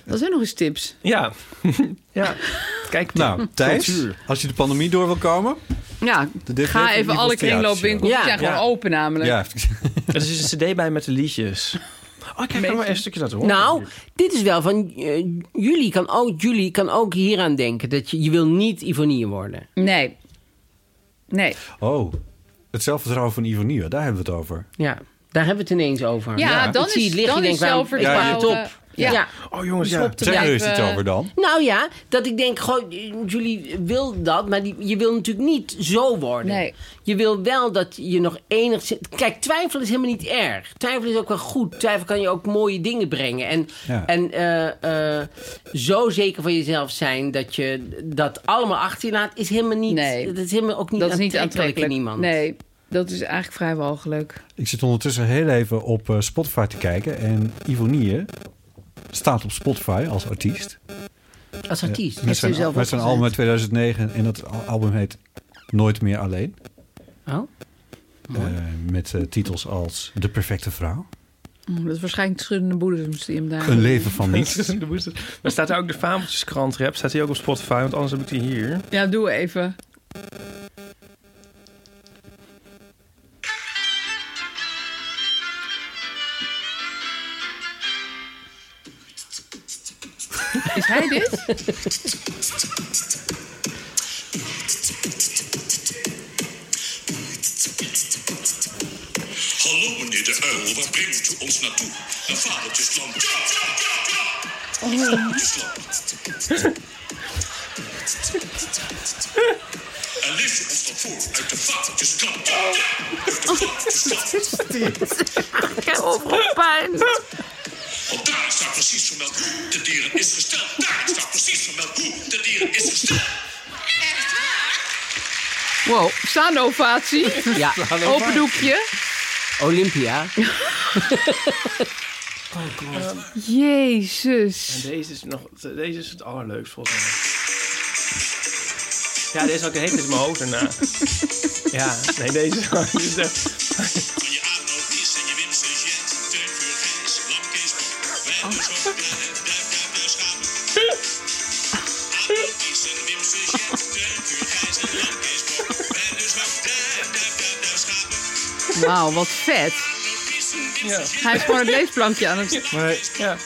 S3: Dat zijn nog eens tips.
S2: ja. ja. Kijk,
S5: Nou, Thijs, als je de pandemie door wil komen...
S3: Ja,
S5: DVD van
S3: ga even
S5: Ivo
S3: alle
S5: Theatershow.
S3: kringloopwinkels. Die
S5: Ja.
S3: zijn gewoon
S5: Ja.
S3: open namelijk.
S5: Ja,
S2: er is een cd bij met de liedjes. Oh, ik heb er maar een stukje laten horen.
S4: Nou, dit is wel van... eh, jullie, kan ook, jullie kan ook hieraan denken. Dat je, je wil niet Ivonier worden.
S3: Nee. Nee.
S5: Oh, het zelfvertrouwen van Ivonie, daar hebben we het over.
S4: Ja, daar hebben we het ineens over.
S3: Ja, dan
S4: Ik zie
S3: is-
S4: het liggen,
S3: dan
S4: ik
S3: is
S4: denk, waarom-
S3: zelfvertrouwen,
S4: ik pak het op.
S3: ja.
S4: ja.
S2: Oh jongens,
S5: ja.
S4: Stop te
S5: Zeg er eens
S4: blijven-
S3: eh,
S5: iets over dan.
S4: Nou ja, dat ik denk, goh, jullie wil dat, maar die, je wil natuurlijk niet zo worden.
S3: Nee.
S4: Je wil wel dat je nog enigszins... Kijk, twijfel is helemaal niet erg. Twijfel is ook wel goed. Twijfel kan je ook mooie dingen brengen. En,
S13: Ja.
S4: en eh, eh, zo zeker van jezelf zijn dat je dat allemaal achter je laat, is helemaal niet...
S3: Nee.
S4: Dat is helemaal ook niet
S3: dat is niet
S4: aantrekkelijk in
S3: aantrekkelijk.
S4: iemand.
S3: Nee, dat is eigenlijk vrij walgelijk.
S5: Ik zit ondertussen heel even op eh, Spotify te kijken. En Ivonie staat op Spotify als artiest.
S4: Als artiest.
S5: Eh, met zijn, met zijn album uit 2009. En dat al- album heet Nooit meer alleen.
S4: Oh.
S5: Eh, met eh, titels als De Perfecte Vrouw.
S3: Oh, dat is waarschijnlijk de schuddende boedems die hem daar...
S5: Een leven van niets.
S2: De boezer. Maar staat daar ook de Fabeltjeskrant rap? Staat die ook op Spotify? Want anders heb ik die hier.
S3: Ja, doe even. Is hij dit?
S14: Hallo meneer de uil, waar brengt u ons naartoe? Naar vadertjesland. Ja, ja, ja, ja! Vadertjesland. En lees je ons dan voor uit de vadertjeskrant. Ja, ja, uit de vadertjeskrant.
S3: Ik heb overal pijn.
S14: Want daar staat precies vermeld hoe de dieren is gesteld. Daar staat precies vermeld hoe de dieren is gesteld.
S3: Wow, staande ovatie.
S4: Ja.
S3: Open doekje.
S4: Olympia.
S3: Jezus.
S2: En deze is, nog, deze is het allerleukst volgens mij. Ja, deze had ik een hele in mijn hoofd daarna. Ja, nee, deze is echt...
S3: Wauw, wat vet. Hij is gewoon het leesplankje aan het...
S5: Nee.
S2: Ja.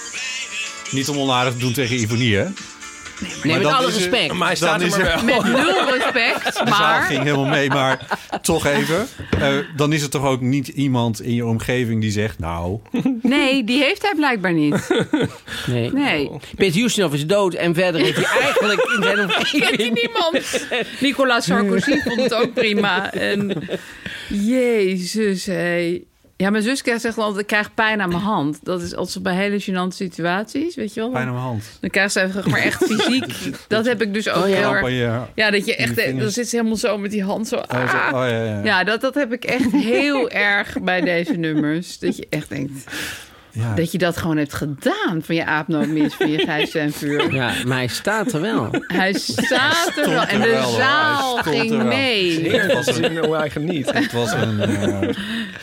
S5: Niet om onaardig te doen tegen Ivonie, hè?
S3: Nee,
S5: Maar
S3: met
S5: dan
S3: alle
S5: is
S4: eh,
S5: er-
S3: respect.
S5: Maar hij staat Dan er is maar er- wel.
S3: Met nul respect,
S5: Oh. De zaal
S3: maar...
S5: ging helemaal mee, maar toch even. Eh, dan is er toch ook niet iemand in je omgeving die zegt... nou,
S3: Nee, die heeft hij blijkbaar niet.
S4: Nee.
S3: Nee.
S5: Oh.
S4: Pit Justinov is dood en verder heeft hij eigenlijk in zijn omgeving...
S3: Kent hij niemand? Nicolas Sarkozy vond het ook prima. En, jezus, hé. Ja, mijn zus krijgt zegt altijd, ik krijg pijn aan mijn hand. Dat is altijd bij hele gênante situaties, weet je wel.
S5: pijn aan mijn hand.
S3: Dan krijgt ze even, maar echt fysiek. Dat heb ik dus ook
S5: Oh, ja.
S3: heel
S5: Knap aan je-
S3: erg. Ja, dat je
S5: in je
S3: echt, eh,
S5: vingers.
S3: dan zit ze helemaal zo met die hand zo.
S5: Oh, zo-
S3: ah.
S5: oh, ja, ja.
S3: Ja, dat, dat heb ik echt heel erg bij deze nummers. Dat je echt denkt,
S4: Ja.
S3: dat je dat gewoon hebt gedaan van je aapnoodmis, van je gijs en vuur.
S4: Ja, maar hij staat er wel.
S3: Hij staat er wel en
S4: er
S3: de
S4: wel, hoor.
S3: zaal
S4: Hij stond
S3: ging
S4: er wel.
S3: mee.
S4: Heerlijk om te
S2: zien hoe hij geniet.
S5: Het was een eh,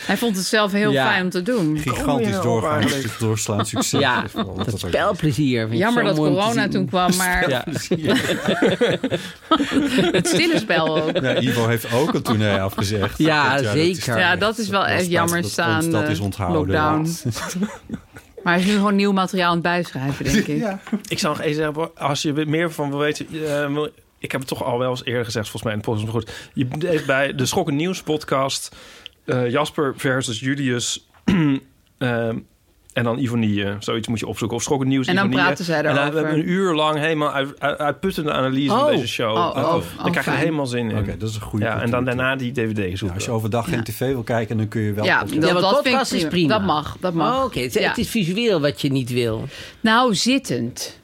S3: Hij vond het zelf heel
S5: Ja.
S3: fijn om te doen.
S5: gigantisch doorgaans doorslaan succes.
S4: Ja,
S5: Vooral
S4: dat
S5: ook-
S4: spelplezier. vind ik
S3: Jammer
S4: zo
S3: dat
S4: mooi om te
S3: corona
S4: zien.
S3: toen kwam, maar
S4: Ja.
S3: het stille spel ook.
S5: Ja, Ivo heeft ook een toernooi afgezegd.
S4: Ja,
S5: Dat, dat is
S4: zeker.
S5: daar
S3: Ja,
S5: echt-
S3: dat is wel echt
S5: staat-
S3: jammer
S5: dat ons
S3: staan.
S5: Dat is
S3: eh,
S5: onthouden.
S3: Lockdown.
S5: ja.
S3: Maar hij is nu gewoon nieuw materiaal aan het bijschrijven, denk ik.
S2: Ik zou nog eens zeggen, als je er meer van wil weten... eh, wil- ik heb het toch al wel eens eerder gezegd, volgens mij in de podcast. Maar goed, je deed bij de Schokken Nieuws podcast... eh, Jasper versus Julius... ehm, en dan Ivonie, eh, zoiets moet je opzoeken. Of Schokken Nieuws,
S3: En dan
S2: Ivonie.
S3: praten zij
S2: En dan- we
S3: daarover.
S2: hebben een uur lang helemaal uit, uit- uitputtende analyse
S3: Oh.
S2: van deze show.
S3: Oh, oh,
S2: Dan
S3: oh,
S2: krijg je
S3: fijn.
S2: helemaal zin in.
S5: Oké, dat is een goede
S2: Ja, en dan daarna die dvd's. zoeken.
S5: Als je overdag geen tv wil kijken, dan kun je wel...
S3: Ja,
S5: podcast-
S3: dat,
S4: Ja, want
S3: dat vind ik
S4: podcast is prima.
S3: Dat mag, dat mag.
S4: Oh, Oké, het,
S3: Ja.
S4: het is visueel wat je niet wil.
S3: Nou, zittend.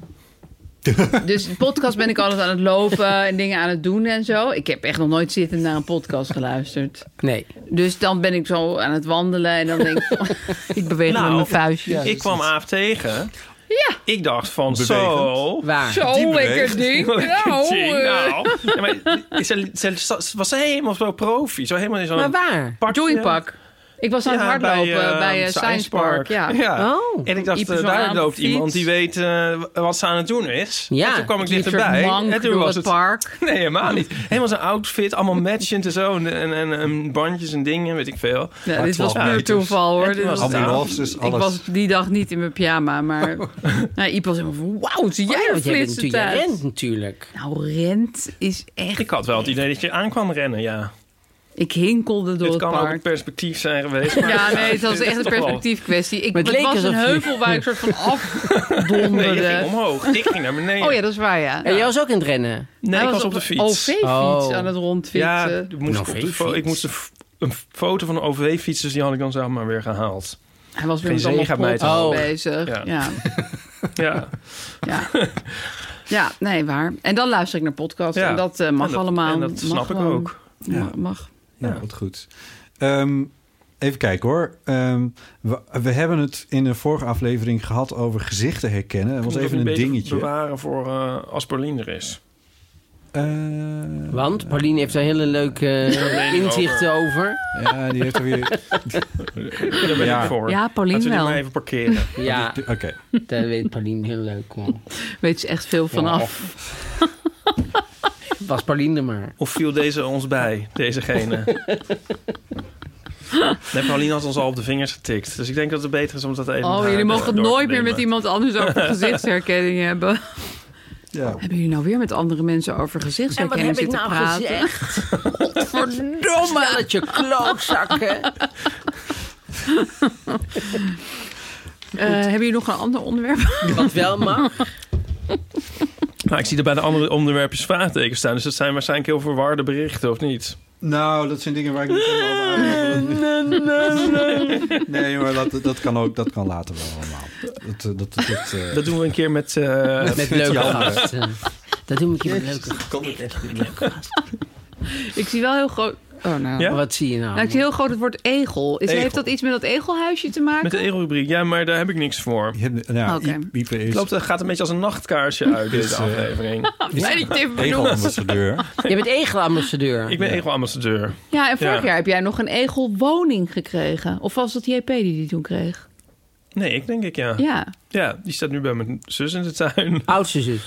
S3: dus de podcast ben ik altijd aan het lopen en dingen aan het doen en zo. Ik heb echt nog nooit zittend naar een podcast geluisterd.
S4: Nee.
S3: Dus dan ben ik zo aan het wandelen en dan denk ik... van, ik beweeg met mijn vuistjes.
S2: Nou, ik kwam Aaf tegen.
S3: Ja.
S2: Ik dacht van
S4: Bewegend.
S2: zo.
S4: Waar?
S3: Zo
S2: die
S3: lekker
S2: beweegt.
S3: ding.
S2: Lekker
S3: Nou,
S2: ding,
S3: eh.
S2: nou. Ja, maar ze, ze- ze- was ze helemaal zo profi. Zo helemaal in zo'n
S3: Maar waar?
S2: pakje.
S3: Joypak. Ik was aan het
S2: Ja,
S3: hardlopen bij,
S2: eh,
S3: eh, Science Park. Ja. Oh.
S4: Oh.
S2: En ik dacht,
S3: Iep
S2: eh,
S3: is wel aan
S2: daar
S3: de
S2: loopt
S3: fiets.
S2: iemand die weet eh, wat ze aan het doen is.
S3: Ja,
S2: En toen kwam ik
S3: die
S2: dichterbij.
S3: soort mank
S2: en toen
S3: door
S2: was
S3: het park.
S2: Nee, helemaal niet. Helemaal zijn outfit, allemaal matchend en zo. En, en, en, en bandjes en dingen, weet ik veel.
S3: Ja, dit was puur toeval hoor. Dit was Ik was die dag niet in mijn pyjama, maar nou, Iep was helemaal van, wauw, zie jij
S4: Oh,
S3: een
S4: want jij bent
S3: flitsen
S4: natuurlijk- jij
S3: thuis?
S4: rent natuurlijk.
S3: Nou, rent is echt...
S2: Ik had wel het idee dat je aan kwam rennen, ja.
S3: Ik hinkelde door
S2: Het
S3: het,
S2: kan ook
S3: park.
S2: een perspectief zijn geweest. maar-
S3: Ja, nee, het was
S2: dit is
S3: echt een
S2: toch wel-
S3: perspectief kwestie. Ik,
S2: Maar
S3: het
S2: het leek
S3: was een
S2: alsof je-
S3: heuvel waar ik soort van
S2: Nee, je ging
S3: afdonderde.
S2: omhoog. Ik ging naar beneden.
S3: Oh ja, dat is waar, ja.
S4: En jij was ook in het rennen?
S2: Nee,
S3: Hij
S2: ik was op de fiets.
S3: een OV-fiets
S2: Oh.
S3: aan het
S2: Ja,
S3: rondfietsen.
S2: ik moest, op de fo- ik moest een, f- een foto van de OV-fiets, dus die had ik dan zeg maar weer gehaald.
S3: Hij was weer
S2: Geen
S3: met allemaal
S2: zegen bij het
S3: podcasts
S2: houden.
S3: bezig.
S2: Ja.
S3: ja.
S2: Ja.
S3: Ja, nee, waar. En dan luister ik naar podcasts.
S5: Ja.
S3: En dat eh, mag
S5: En dat-
S3: allemaal.
S5: en dat snap
S3: Mag
S5: ik
S3: gewoon.
S5: ook.
S3: Ja,
S5: Ja.
S3: mag.
S5: Ja, wat goed. Ehm, even kijken hoor. Ehm, we, we hebben het in de vorige aflevering gehad over gezichten herkennen. Dat was
S2: Moet ik
S5: even
S2: ook
S5: een
S2: beter
S5: dingetje.
S2: bewaren voor eh, als Paulien er is.
S4: Want Pauline heeft daar hele leuke
S2: weet ik
S4: inzichten
S2: over.
S4: over.
S5: Ja, die heeft er weer...
S2: Daar ben
S5: Ja.
S2: ik voor.
S3: Ja, Paulien
S2: Laten we die
S3: wel.
S2: maar even parkeren.
S4: Ja,
S5: Oké.
S4: daar weet Pauline heel leuk om.
S3: Weet ze echt veel
S2: Oh.
S3: vanaf.
S4: Was Pauline er maar.
S2: Of viel deze ons bij, dezegene? nee, Paulien had ons al op de vingers getikt. Dus ik denk dat het beter is om dat even...
S3: Oh,
S2: haar
S3: jullie
S2: door-
S3: mogen het
S2: door te
S3: nooit meer
S2: nemen.
S3: met iemand anders over gezichtsherkenning hebben.
S5: Ja.
S3: Hebben jullie nou weer met andere mensen over gezichtsherkenning
S4: En wat heb ik
S3: zitten
S4: nou
S3: praten?
S4: gezegd?
S3: Godverdomme!
S4: Stelletje klootzakken.
S3: Eh, hebben jullie nog een ander onderwerp?
S4: Wat wel mag.
S2: Nou, ik zie er bij de andere onderwerpjes vraagtekens staan. Dus dat zijn waarschijnlijk heel verwarde berichten, of niet?
S5: Nou, dat zijn dingen waar ik niet helemaal over heb. Nee hoor, dat, dat kan ook. Dat kan later wel allemaal. Dat, eh, dat, dat, eh,
S2: Dat doen we een keer met... eh,
S5: Met
S2: met
S5: leuke
S2: Jan.
S5: gasten.
S4: Dat doen we een keer met
S2: Jezus,
S4: leuke
S2: dat kan ik echt niet.
S3: Ik zie wel heel groot. Oh, nou.
S2: Ja?
S4: Wat zie je nou?
S3: Nou, ik zie heel groot het woord egel. Is,
S2: Egel.
S3: Heeft dat iets met dat egelhuisje te maken?
S2: Met de egelrubriek. Ja, maar daar heb ik niks voor.
S3: ja, Oké. Iep-
S5: Iepen
S2: Het loopt, het gaat een beetje als een nachtkaarsje uit,
S5: Is,
S2: deze
S5: eh,
S2: aflevering.
S3: Blij dat je het even benoemt.
S4: Je bent egelambassadeur.
S2: Ik ben egelambassadeur.
S3: Ja, en vorig
S2: Ja.
S3: jaar heb jij nog een egelwoning gekregen. Of was dat JP die die toen kreeg?
S2: Nee, ik denk ik ja.
S3: Ja.
S2: Ja, die staat nu bij mijn zus in de tuin.
S4: Oudste zus.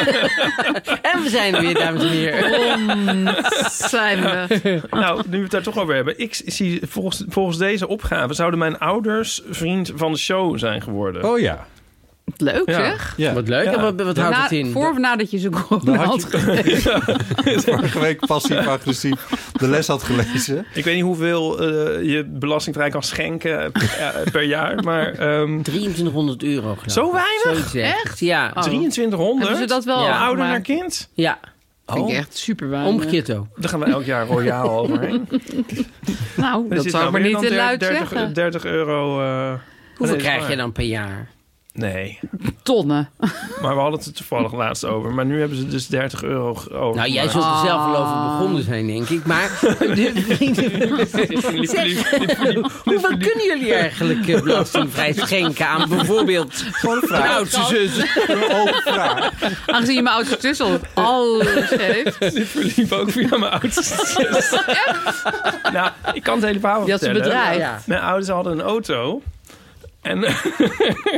S4: En we zijn er weer, dames en
S3: heren. zijn we.
S2: Nou, nu we het daar toch over hebben. Ik zie, volgens, volgens deze opgave zouden mijn ouders vriend van de show zijn geworden.
S5: Oh ja.
S3: Leuk
S2: Ja.
S3: zeg.
S5: Ja.
S4: Wat leuk.
S2: Ja.
S4: En wat, wat houdt
S3: Na-
S4: het in?
S3: Voor of nadat je ze corona had gegeven.
S5: Vorige week passief-agressief de les had gelezen.
S2: Ik weet niet hoeveel eh, je belastingvrij kan schenken eh, per, per jaar, maar... ehm
S4: 2300 euro. geloof
S2: Zo
S4: ik.
S2: weinig?
S4: Zoiets Echt? Ja.
S3: Oh.
S2: 2300?
S3: Hebben ze dat wel
S2: Van ouder
S3: overgemaakt?
S2: naar kind?
S4: Ja.
S3: Vind ik echt super weinig.
S4: Omgekeerd ook.
S2: Daar gaan we elk jaar royaal overheen.
S3: Nou,
S2: Er
S3: dat
S2: zit
S3: zou ik
S2: nou
S3: maar
S2: weer
S3: niet
S2: dan
S3: te
S2: der-
S3: luid
S2: 30,
S3: zeggen.
S2: 30 euro. eh,
S4: Hoeveel
S2: nee,
S4: krijg
S2: maar-
S4: je dan per jaar?
S2: Nee,
S3: Tonnen.
S2: maar we hadden het er toevallig laatst over. Maar nu hebben ze dus 30 euro g- over.
S4: Nou, jij zult er zelf wel over begonnen zijn, denk ik. Maar de vrienden... zeg, hoeveel kunnen jullie eigenlijk eh, belastingvrij schenken aan bijvoorbeeld... Gewoon
S3: vraag.
S4: oudste zus.
S3: Aangezien je mijn oudste zus al alles heeft.
S2: Dit verliep ook via mijn oudste zus. nou, ik kan het hele verhaal
S3: Die had ze
S2: vertellen.
S3: bedreigd.
S2: Ja. Mijn ouders hadden een auto. En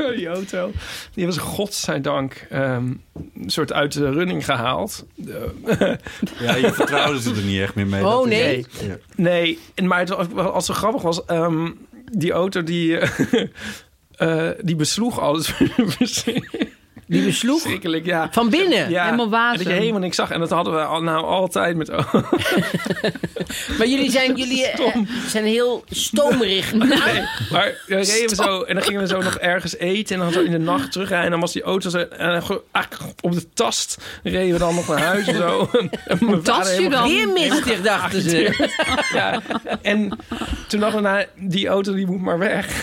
S2: Oh, die auto, die was godzijdank ehm, een soort uit de running gehaald. Eh,
S5: Ja, je vertrouwde ze er niet echt meer mee.
S2: Oh,
S5: Dat is-
S2: nee.
S5: Ja.
S2: Nee, en- maar het was- als het grappig was, ehm, die auto die, eh, eh, die besloeg alles.
S4: Die besloeg?
S2: Schrikkelijk, ja.
S4: Van binnen?
S2: ja.
S3: Helemaal
S2: En
S3: wazig.
S2: Dat je helemaal niks zag. En dat hadden we al, nou altijd met...
S4: Maar jullie zijn, jullie, eh, zijn heel stomerig.
S2: Maar dan reden we zo en dan gingen we zo nog ergens eten. En dan hadden we in de nacht terugrijden. En dan was die auto zo, en dan gewoon, ah, op de tast. reden we dan nog naar huis en zo. En mijn vader
S4: Tastje
S2: helemaal
S4: dan? Weer mistig, dachten ze.
S2: ja, en toen dachten we, nou, die auto die moet maar weg.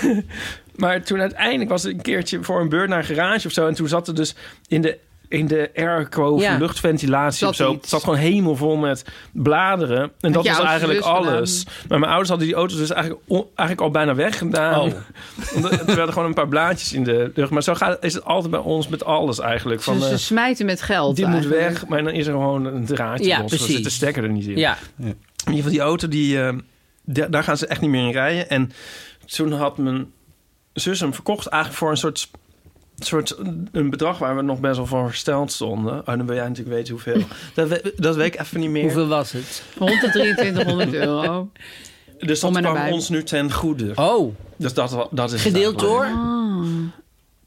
S2: Maar toen uiteindelijk was het een keertje voor een beurt naar een garage of zo. En toen zat er dus in de, in de airco of
S3: Ja.
S2: luchtventilatie
S3: Zat
S2: of zo.
S3: iets.
S2: Het zat gewoon hemelvol met bladeren. En dat
S3: je
S2: was
S3: oudste
S2: eigenlijk
S3: zus gedaan.
S2: alles. Maar mijn ouders hadden die auto's dus eigenlijk, o- eigenlijk al bijna weggedaan. Omdat- er werden gewoon een paar blaadjes in de lucht. Maar zo gaat, is het altijd bij ons met alles eigenlijk. Van,
S3: Ze, ze
S2: eh,
S3: smijten met geld.
S2: dit moet
S3: eigenlijk.
S2: weg, maar dan is er gewoon een draadje
S3: Ja,
S2: los. Dan
S3: precies.
S2: zit de stekker er niet in.
S3: Ja.
S2: In ieder geval die auto, die, eh, da- daar gaan ze echt niet meer in rijden. En toen had mijn zus hem verkocht eigenlijk voor een soort, soort een bedrag waar we nog best wel van versteld stonden. Oh, dan wil jij natuurlijk weten hoeveel. dat, we- dat weet ik even niet meer.
S4: Hoeveel was het?
S3: 12300 euro.
S2: Dus dat
S3: Om en
S2: kwam
S3: nabij.
S2: ons nu ten goede.
S4: Oh.
S2: Dus dat, wa- dat is
S4: Gedeeld door?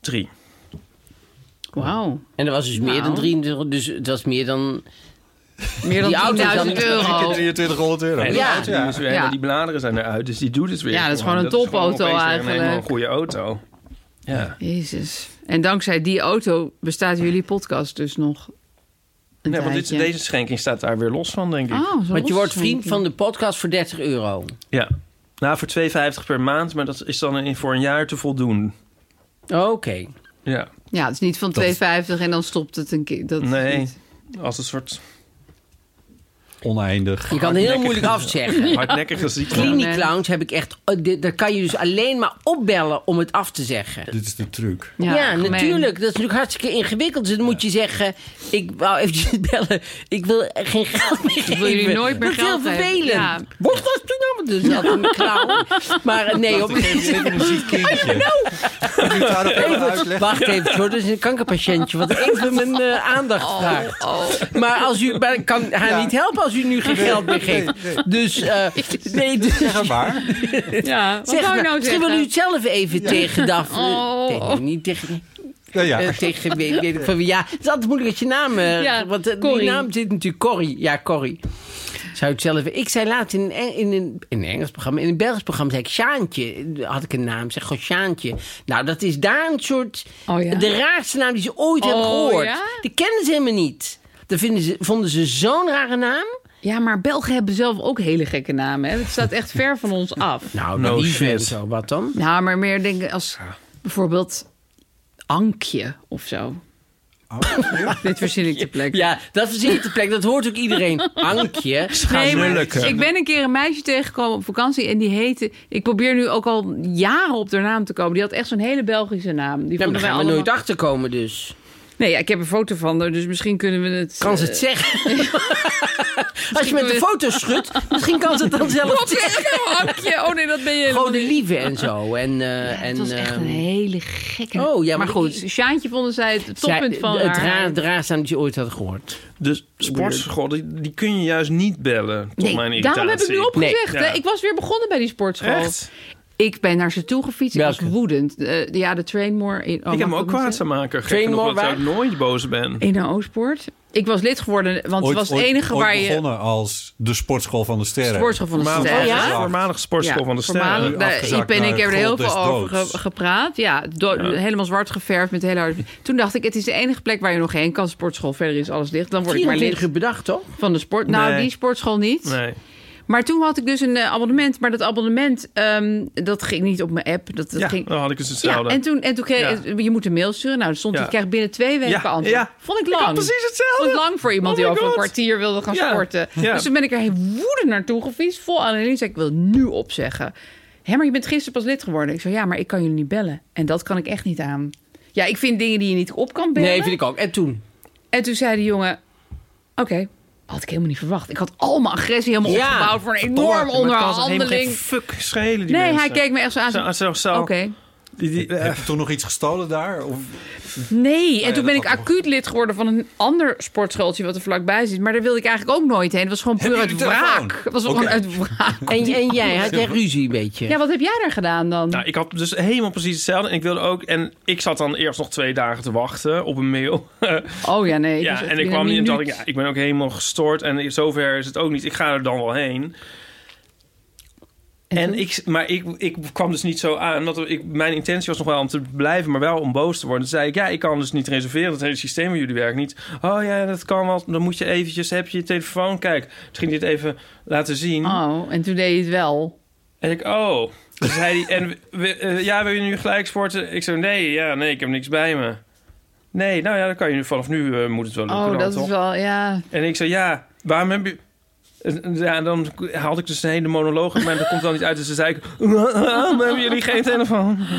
S2: Drie.
S3: Wauw.
S4: En dat was dus meer dan
S3: Nou.
S4: 23, dus dat was meer dan...
S3: Meer dan
S4: Die auto is dan-
S3: 10.000 euro.
S5: 2300 euro.
S2: En
S3: Ja.
S2: ja. Oh, Die, is weer,
S3: Ja.
S2: die bladeren zijn eruit, dus die doet het weer.
S3: Ja, dat is gewoon een topauto
S2: opeens weer
S3: eigenlijk.
S2: Een, helemaal goede auto. Ja.
S3: Jezus. En dankzij die auto bestaat jullie podcast dus nog een
S2: Nee, want dit-
S3: tijdje.
S2: deze schenking staat daar weer los van, denk ik.
S3: Oh, zo'n
S4: Want je wordt vriend
S3: losschenking.
S4: van de podcast voor 30 euro.
S2: Ja. Nou, voor 2,50 per maand, maar dat is dan in- voor een jaar te voldoen.
S4: Oké.
S2: Ja.
S3: Ja, het is niet van
S2: Dat-
S3: 2,50 en dan stopt het een keer. Dat is
S2: Nee,
S3: niet.
S2: als een soort...
S5: Oneindig.
S4: Je kan heel moeilijk afzeggen.
S2: Hardnekkige ziekte.
S4: Clinic Lounge heb ik echt... oh, dit- Daar kan je dus alleen maar opbellen om het af te zeggen.
S5: Dit is de truc.
S4: Ja,
S3: gemeen.
S4: natuurlijk. Dat is natuurlijk hartstikke ingewikkeld. Dus dan moet je zeggen... Ik wou eventjes bellen. Ik wil geen geld meer geven.
S3: wil jullie nooit meer
S4: Dat is
S3: geld
S4: heel
S3: geven.
S4: vervelend.
S3: Ja.
S4: Wordt dat toen allemaal? Dus dat een klauw. Maar eh, nee, op Even, wacht even, hoor. Dat is een kankerpatiëntje. Wat even mijn eh, aandacht
S3: Oh.
S4: vraagt. Maar, als u, maar ik kan haar niet helpen als u nu geen geld meer geeft. Dus, eh, nee, dus, zeg
S5: maar.
S3: Ja, wat
S4: Zeg
S3: wou ik
S4: maar.
S3: nou
S4: Misschien wil
S3: zeggen?
S4: u het zelf even
S3: Ja.
S4: tegen Daphne.
S3: Oh.
S4: Tegen, niet tegen...
S5: Ja, ja.
S4: eh, tegen, weet, weet ik van wie. Ja, het is altijd moeilijk als je naam... eh,
S3: Ja,
S4: want eh, die
S3: Corrie.
S4: naam zit natuurlijk... Corrie. Ja, Corrie. Zou het zelf... Ik zei laatst in een, Eng- in een, in een Engels programma... In een Belgisch programma zei ik Sjaantje. Had ik een naam. Zeg gewoon Sjaantje. Nou, dat is daar een soort...
S3: Oh, ja?
S4: De raarste naam die ze ooit hebben
S3: Oh,
S4: gehoord.
S3: ja?
S4: Die kennen ze helemaal niet. Dat vinden ze, vonden ze zo'n rare naam.
S3: Ja, maar Belgen hebben zelf ook hele gekke namen. Hè? Het staat echt ver van ons af.
S4: Nou,
S2: No
S4: lieve
S2: shit.
S4: en zo. Wat dan?
S3: Nou, maar meer denken als bijvoorbeeld Ankje of zo. Dit verzin ik te plek.
S4: Ja, dat verzin ik te plek. Dat hoort ook iedereen. Ankje.
S3: Nee, maar ik ben een keer een meisje tegengekomen op vakantie en die heette... Ik probeer nu ook al jaren op haar naam te komen. Die had echt zo'n hele Belgische naam. Die
S4: Ja, maar
S3: vonden
S4: daar
S3: wij
S4: gaan we
S3: allemaal-
S4: nooit achterkomen dus.
S3: Nee, ja, ik heb een foto van haar, dus misschien kunnen we het...
S4: Kan ze het
S3: eh,
S4: zeggen? Als je met de foto's schudt, misschien kan ze het dan zelf
S3: Wat is het nou, Ankje? Oh nee, dat ben je...
S4: Gewoon de lieve en zo. En, eh, en,
S3: Het was echt een
S4: eh,
S3: hele gekke...
S4: Oh, ja, maar
S3: goed. Sjaantje vonden zij het toppunt
S4: zij-
S3: van
S4: Het
S3: haar.
S4: raar, het raarste aan dat je ooit had gehoord.
S2: Dus sportschool, die, die kun je juist niet bellen. Tot
S3: Nee,
S2: mijn
S3: daarom heb ik nu
S2: irritatie.
S3: opgezegd.
S2: Ja.
S3: hè. Ik was weer begonnen bij die sportschool.
S2: Echt?
S3: Ik ben naar ze toe gefietst. Ik was woedend. Eh, ja, de Trainmore. In, oh,
S2: ik heb me
S3: mag
S2: ook
S3: dat
S2: kwaad te
S3: zeggen?
S2: maken. Gek genoeg dat ik nooit boos ben.
S3: In de Oostpoort. Ik was lid geworden, want
S5: Ooit-
S3: het was het
S5: ooit-
S3: enige
S5: ooit
S3: waar je...
S5: begonnen als de sportschool van de sterren.
S3: Sportschool van de Sterren.
S5: afgezakt.
S2: Voormalig sportschool van de Sterren.
S3: voormalig.
S2: Nu
S3: Daar-
S2: afgezakt
S3: ik ben
S2: naar
S3: ik heb er heel
S2: God
S3: veel
S2: des
S3: over
S2: doods.
S3: ge- gepraat. Ja, do-
S2: Ja.
S3: helemaal zwart geverfd met hele harde... Toen dacht ik, het is de enige plek waar je nog heen kan. Sportschool, verder is alles dicht. Dan word ik maar lid
S4: 24 uur bedacht, toch?
S3: van de sport. Nou,
S4: Nee.
S3: die sportschool niet.
S2: Nee.
S3: Maar toen had ik dus een eh, abonnement. Maar dat abonnement, ehm, dat ging niet op mijn app. Dat, dat
S2: Ja,
S3: ging...
S2: dan had ik dus
S3: Ja,
S2: hetzelfde.
S3: en toen, en toen kreeg eh,
S2: Ja.
S3: je moet een mail sturen. Nou, er stond
S2: Ja.
S3: ik krijg binnen twee weken
S2: Ja,
S3: antwoord.
S2: ja.
S3: Vond ik
S2: Ik
S3: lang.
S2: had precies hetzelfde.
S3: Vond ik lang voor iemand
S2: Oh
S3: die
S2: my
S3: over een
S2: God.
S3: kwartier wilde gaan
S2: Ja,
S3: sporten.
S2: ja.
S3: Dus toen ben ik er heel woedend naartoe gefietst. Vol analyse. Ik wil nu opzeggen. Hé, maar je bent gisteren pas lid geworden. Ik zei, ja, maar ik kan jullie niet bellen. En dat kan ik echt niet aan. Ja, ik vind dingen die je niet op kan bellen.
S4: Nee, vind ik ook. En toen?
S3: En toen zei de jongen, oké. Had ik helemaal niet verwacht. Ik had al mijn agressie helemaal
S4: Ja,
S3: opgebouwd voor een
S4: verdomme,
S3: enorm
S4: maar het kan toch helemaal
S3: onderhandeling.
S2: geen fuck schelen
S3: Nee, hij keek me echt zo aan.
S2: Zo, oh. zo, zo.
S3: Oké.
S5: Heb je toen nog iets gestolen daar? Of...
S3: Nee, en
S5: ja,
S3: toen
S5: dat
S3: ben ik
S5: had nog-
S3: acuut lid geworden van een ander sportschooltje wat er vlakbij zit. Maar daar wilde ik eigenlijk ook nooit heen. Het was gewoon puur uit wraak. Het was gewoon uit wraak.
S4: En, en jij had jij ruzie een beetje.
S3: Ja, wat heb jij daar gedaan dan?
S2: Nou, ik had dus helemaal precies hetzelfde. En ik wilde ook. En ik zat dan eerst nog twee dagen te wachten op een mail.
S3: oh ja, nee. ik was echt
S2: ja, en ik
S3: binnen
S2: kwam
S3: een
S2: niet en dacht ik,
S3: minuut.
S2: ja, ik ben ook helemaal gestoord. En in zover is het ook niet. Ik ga er dan wel heen. En ik, maar ik, ik kwam dus niet zo aan. Want ik, mijn intentie was nog wel om te blijven, maar wel om boos te worden. Toen zei ik, ja, ik kan dus niet reserveren. Dat hele systeem van jullie werkt niet. Oh ja, dat kan wel. Dan moet je eventjes, heb je je telefoon? Kijk, toen ging hij het even laten zien.
S3: Oh, en toen deed je het wel.
S2: En ik, oh. Toen zei hij, en we- eh, ja, wil je nu gelijk sporten? Ik zei, nee, ja, nee, ik heb niks bij me. Nee, nou ja, dan kan je nu vanaf nu eh, moet het wel lukken.
S3: Oh,
S2: dan,
S3: dat
S2: toch?
S3: is wel, ja.
S2: En ik zei, ja, waarom heb je... En- en Ja, dan had ik dus een hele monoloog, maar dat komt dan niet uit. Dus ze zei ik, waarom hebben jullie geen telefoon?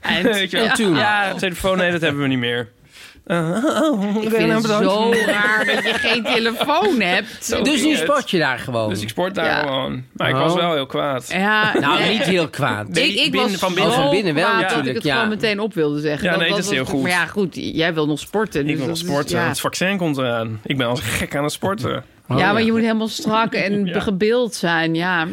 S3: En,
S2: Weet je wel.
S3: en toen?
S2: Ja, telefoon, nee, dat hebben we niet meer. Eh, oh,
S3: ik
S2: ben
S3: vind het
S2: nou, bedankt.
S3: zo raar dat je geen telefoon hebt.
S2: Zo
S4: dus
S2: ging
S4: nu
S2: het.
S4: sport je daar gewoon.
S2: Dus ik sport daar
S3: Ja.
S2: gewoon. Maar ik was
S4: Oh.
S2: wel heel kwaad.
S3: Ja,
S4: Nou,
S3: nee.
S4: niet heel kwaad. Oh,
S3: Ik, ik was
S2: van binnen.
S3: zo
S4: Van binnen wel
S3: kwaad dat ik
S2: natuurlijk,
S3: het
S2: ja.
S3: gewoon meteen op wilde zeggen.
S2: Ja, nee,
S3: was
S2: dat is heel
S3: het-
S2: goed.
S3: Maar ja, goed, jij wil nog sporten. dus
S2: Ik wil
S3: dat
S2: nog
S3: is-
S2: sporten.
S3: ja.
S2: Het vaccin komt eraan. Ik ben als gek aan het sporten.
S4: Oh,
S3: ja, maar je moet helemaal strak en gebeeld zijn. Ja,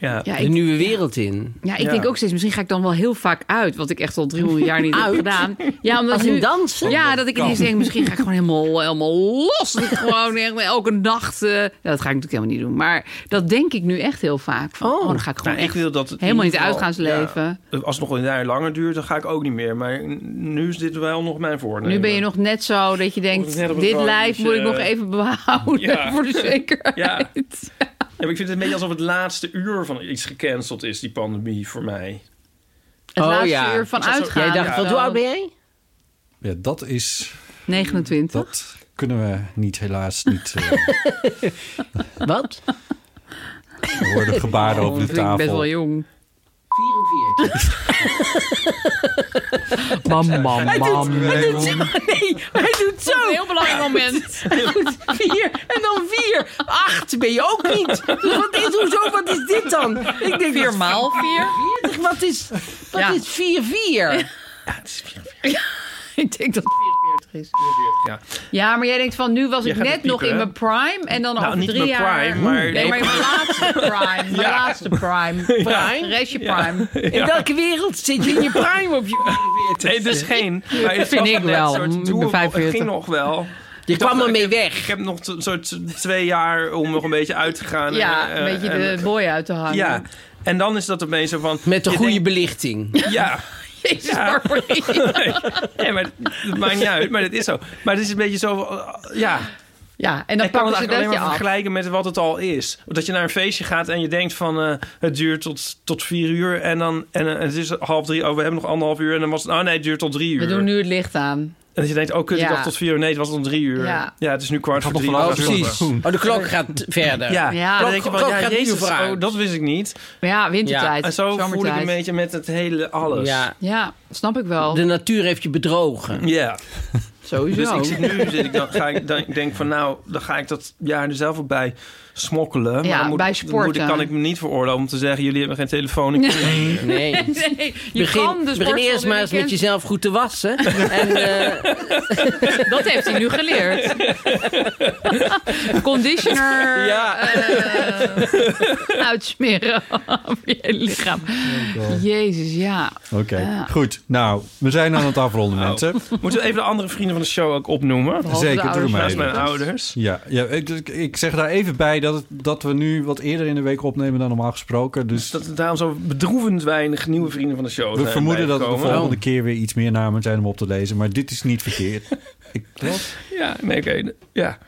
S2: Ja.
S3: Ja,
S4: de
S3: ik-
S4: nieuwe wereld in.
S3: ja ik denk ook steeds, misschien ga ik dan wel heel vaak uit. Wat ik echt al 300 jaar niet heb
S4: Uit?
S3: gedaan. Ja, omdat
S4: Als in
S3: nu-
S4: dansen?
S3: Ja, dat ik
S4: Kan.
S3: ineens denk, misschien ga ik gewoon helemaal, helemaal los. Dat ik gewoon echt elke nacht... eh, ja, dat ga ik natuurlijk helemaal niet doen. Maar dat denk ik nu echt heel vaak. Van, oh. dan ga ik gewoon
S2: Nou,
S3: echt
S2: wil dat het
S3: helemaal in het
S2: ieder geval-
S3: uitgaansleven.
S2: ja, als het nog een jaar langer duurt, dan ga ik ook niet meer. Maar nu is dit wel nog mijn voornemen.
S3: Nu ben je nog net zo dat je denkt,
S2: net op het
S3: dit
S2: randje,
S3: lijf moet ik nog
S2: eh,
S3: even behouden
S2: ja.
S3: voor de zekerheid.
S2: Ja. ja, maar ik vind het een beetje alsof het laatste uur van iets gecanceld is, die pandemie, voor mij.
S3: Het
S4: Oh,
S3: laatste uur van
S2: Ik zat zo-
S3: uitgaan.
S2: Jij dacht,
S3: Ja.
S2: wat, hoe oud ben
S4: jij?
S5: Ja, dat is...
S3: 29.
S5: Dat kunnen we niet, helaas niet. eh,
S4: Wat?
S5: Er worden gebaren
S3: Oh,
S5: over
S3: dat
S5: de
S3: vind ik
S5: tafel.
S3: best wel jong.
S4: 44. mam, mam, mam.
S3: Hij doet zo, nee, hij doet zo. Een heel belangrijk moment.
S4: Hij doet vier en dan vier. Acht ben je ook niet. Dus wat is, hoezo, wat is dit dan? Ik denk,
S3: Vier
S4: wat-
S3: maal vier?
S4: 40, wat is, wat
S3: Ja.
S4: is vier, vier?
S3: Ik denk dat het 44 is.
S2: Ja.
S3: Ja, maar jij denkt van nu was
S2: Jij
S3: ik
S2: gaat
S3: net
S2: het
S3: nog
S2: piepen,
S3: in
S2: hè?
S3: mijn prime en dan
S2: Nou,
S3: over
S2: niet
S3: drie
S2: mijn
S3: jaar.
S2: prime, maar-
S3: Nee, maar in mijn
S2: Nee.
S3: laatste prime. Mijn
S2: Ja.
S3: laatste prime. Prime? Rest je prime.
S4: In welke wereld zit je in je prime op je 44?
S2: Nee, dus geen. Maar
S4: Dat
S2: het
S4: vind
S2: was
S4: ik
S2: net
S4: wel.
S2: een soort
S4: Ik ben
S2: doel-
S4: 45.
S2: Het ging nog wel.
S4: Je
S2: Ik
S4: kwam
S2: dacht,
S4: er mee
S2: ik heb- Ik heb nog t- een soort twee jaar om nog een beetje uit te gaan.
S3: Ja,
S2: en,
S3: een
S2: eh,
S3: beetje
S2: en-
S3: de boy uit te hangen.
S2: Ja, en dan is dat opeens zo van...
S4: Met de
S2: je
S4: goede
S2: denkt-
S4: belichting.
S2: Ja.
S3: Jezus,
S2: Ja.
S3: waarvoor
S2: Nee, maar dat maakt niet uit. Maar dat is zo. Maar het is een beetje zo... van, eh, Ja.
S3: Ja, en dan
S2: ik kan
S3: pakken
S2: het
S3: ze dat
S2: eigenlijk alleen
S3: je
S2: maar
S3: af.
S2: vergelijken met wat het al is. Dat je naar een feestje gaat en je denkt van... eh, het duurt tot, tot vier uur en dan... En eh, het is half drie. Oh, we hebben nog anderhalf uur. En dan was het... Oh nee, het duurt tot drie uur.
S3: We doen nu het licht aan.
S2: En dat je denkt, oh kut, ik
S4: Ja.
S2: dacht tot vier uur. Nee, het was om drie uur.
S4: Ja.
S2: Ja, het is nu kwart voor
S4: nog
S2: drie.
S4: van
S2: laten
S4: alles
S2: we
S4: precies.
S2: stoppen.
S4: Oh, de klok gaat verder.
S2: Ja,
S3: Ja,
S2: dan
S3: klok-
S2: denk je wel,
S3: klok
S2: ja,
S3: gaat niet
S2: jezus,
S3: vooruit.
S2: oh, dat wist ik niet.
S3: Maar ja, wintertijd.
S2: En zo voel ik
S3: zomertijd.
S2: een beetje met het hele alles.
S3: Ja. ja, snap ik wel.
S4: De natuur heeft je bedrogen.
S2: Ja.
S3: Sowieso.
S2: Dus ik zit nu, zit ik, dan ga ik, dan, ik denk van nou, dan ga ik dat jaar er zelf wel bij smokkelen. Maar
S3: Ja,
S2: dan moet,
S3: bij
S2: dan
S3: sporten.
S2: moet ik- kan ik me niet veroorloven om te zeggen, jullie hebben geen telefoon. Ik
S4: Nee. Nee.
S3: Nee, je
S4: begin,
S3: kan dus de
S4: begin
S3: sportschool
S4: eerst
S3: nu
S4: maar eens met
S3: weekend-
S4: jezelf goed te wassen. en, eh,
S3: Dat heeft hij nu geleerd. Conditioner eh, uitsmeren op je lichaam. Jezus, ja.
S5: Oh, Oké,
S3: Ja.
S5: goed. Nou, we zijn aan het afronden, mensen.
S2: Moeten we even de andere vrienden van de show ook opnoemen?
S5: Zeker, doe maar
S2: Naast
S5: even.
S2: mijn ouders.
S5: Ja, ja ik, ik- ik zeg daar even bij dat, het- dat we nu wat eerder in de week opnemen dan normaal gesproken. Dus
S2: Dat er daarom zo bedroevend weinig nieuwe vrienden van de show
S5: we
S2: zijn
S5: vermoeden dat er de
S2: bijgekomen.
S5: volgende keer weer iets meer namen zijn om op te lezen. Maar dit is niet verkeerd. ik,
S2: Ja, nee, oké. Ja.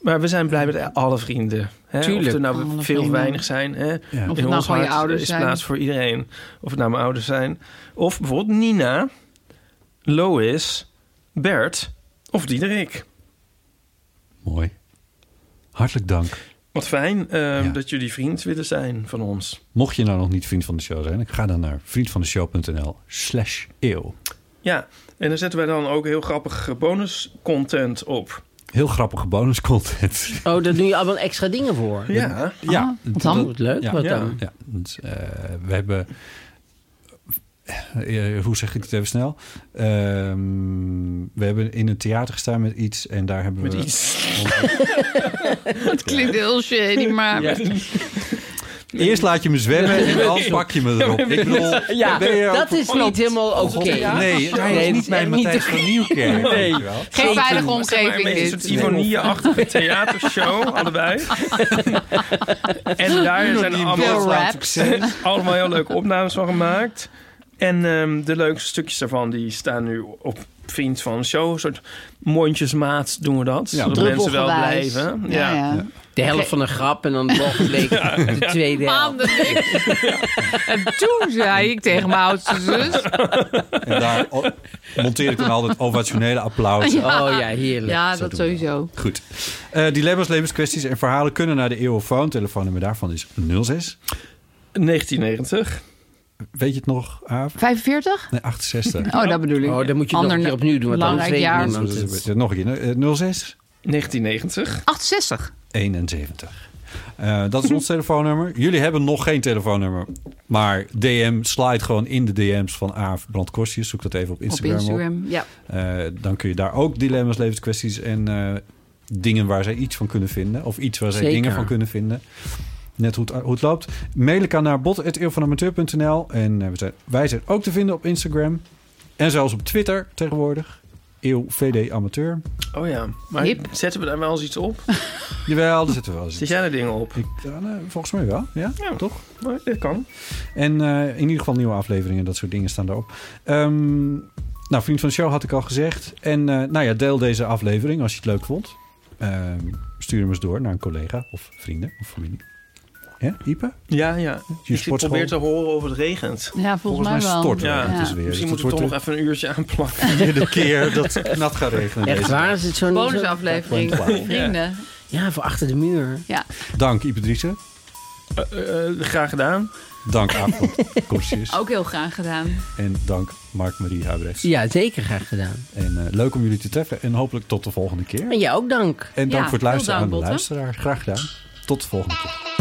S2: Maar we zijn blij met alle vrienden. Hè?
S5: Tuurlijk.
S2: Of er nou
S5: Alle
S2: veel
S5: vrienden.
S2: weinig zijn. Hè?
S5: het nou
S2: In ons
S5: gewoon je
S2: hart
S5: ouders
S2: is
S5: zijn.
S2: plaats voor iedereen. Of het nou mijn ouders zijn. Of bijvoorbeeld Nina, Lois, Bert of Diederik.
S5: Mooi. Hartelijk dank.
S2: Wat fijn eh, dat jullie vriend willen zijn van ons.
S5: Mocht je nou nog niet vriend van de show zijn, ik ga dan naar vriendvandeshow.nl slash eeuw.
S2: Ja, en daar zetten wij dan ook heel grappig bonus content op.
S5: Heel grappige bonuscontent.
S4: oh, daar doe je allemaal extra dingen voor.
S2: Ja.
S5: Ja,
S3: Ah,
S4: wat dan?
S5: dat-
S4: Wat leuk,
S5: Ja,
S4: wat
S5: ja,
S4: dan?
S5: ja. Dus, eh, we hebben. eh, hoe zeg ik het even snel? Ehm, we hebben in een theater gestaan met iets en daar hebben
S3: Met
S5: we.
S3: iets. Dat klinkt heel shady, maar...
S5: Eerst laat je me zwemmen en dan pak je me erop. Ik bedoel,
S4: ja,
S5: ben je
S4: dat
S5: ook-
S4: is niet helemaal oké.
S5: Nee, hij is niet mijn Matthijs van Nieuwkerk.
S2: Nee.
S5: weet je wel.
S3: Geen veilige
S2: Maar een
S3: omgeving
S2: beetje
S3: dit.
S2: een soort Ivonie-achtige theatershow, allebei. en daar
S3: Nog
S2: zijn
S3: die
S2: allemaal,
S3: Bill raps.
S2: allemaal heel leuke opnames van gemaakt. En ehm, de leukste stukjes daarvan die staan nu op Vriend van de Show. Een soort mondjesmaat doen we dat.
S4: Ja.
S2: zodat mensen wel
S4: Druppelgewijs.
S2: blijven.
S4: Ja, ja. De helft van een grap en dan de volgende week de tweede helft.
S3: Maanden niks. En toen zei ik tegen mijn oudste zus...
S5: En daar o- monteer ik dan altijd ovationele applaus.
S3: Oh,
S4: Oh
S3: Ja, dat
S5: doen we.
S3: sowieso.
S5: Goed. Eh, dilemma's, levenskwesties en verhalen kunnen naar de Eeuwofoon. Telefoonnummer daarvan is 06.
S2: 1990.
S5: Weet je het nog, Aaf?
S3: 45?
S5: Nee, 68.
S3: Oh, dat bedoel ik.
S4: Oh, dat moet je nog
S3: Ander
S4: een keer opnieuw doen, want anders
S3: belangrijk
S4: weet
S3: jaar.
S4: niemand.
S5: Eh, Nog een keer. eh, 06
S2: 1990.
S3: 68.
S5: 71. Eh, dat is ons telefoonnummer. Jullie hebben nog geen telefoonnummer. Maar DM slide gewoon in de DM's van Aaf Brandkostjes. Zoek dat even op Instagram op.
S3: op Instagram. Ja.
S5: Eh, dan kun je daar ook dilemma's, levenskwesties en eh, dingen waar zij iets van kunnen vinden. Of iets waar zij
S4: Zeker.
S5: dingen van kunnen vinden. Net hoe het, hoe het loopt. Mail ik aan naar bot.eeuwvanamateur.nl. En eh, we zijn, wij zijn ook te vinden op Instagram. En zelfs op Twitter tegenwoordig. Eeuw VD Amateur.
S2: Oh ja, maar
S3: Hip.
S2: zetten we daar wel eens iets op?
S5: Jawel, daar zitten we wel eens.
S2: Zet jij er dingen op?
S5: Ja, nou, volgens mij wel, ja. Toch?
S2: Nou, Dat kan.
S5: En eh, in ieder geval nieuwe afleveringen, dat soort dingen staan daarop. Ehm, nou, vriend van de show had ik al gezegd. En eh, nou ja, deel deze aflevering als je het leuk vond. Ehm, stuur hem eens door naar een collega of vrienden of familie. Ja, Ipe?
S2: Ja, ja. Ik
S5: sportschool?
S2: probeer te horen of het regent.
S3: Ja, volgens Volgens mij mij wel.
S5: stort het dus weer. Dus
S2: Misschien
S5: het
S2: moeten we toch
S5: wordt
S2: nog even een uurtje aanplakken.
S5: Iedere keer dat het nat gaat regenen.
S4: Echt
S5: deze
S4: waar?
S5: dag.
S4: Is het zo'n...
S3: Bonusaflevering. Vrienden.
S4: Ja, voor achter de muur.
S3: Ja.
S5: Dank Ipe Driessen.
S2: Eh, eh, graag gedaan.
S5: Dank Avond Korsjes.
S3: Ook heel graag gedaan.
S5: En dank Mark-Marie Huibrechts.
S4: Ja, zeker graag gedaan.
S5: En eh, leuk om jullie te treffen. En hopelijk tot de volgende keer.
S4: En jij ook dank.
S5: En dank
S4: Ja,
S5: voor het
S4: heel
S5: luisteren
S4: dank,
S5: aan de
S4: Botte.
S5: luisteraar. Graag gedaan. Tot de volgende keer.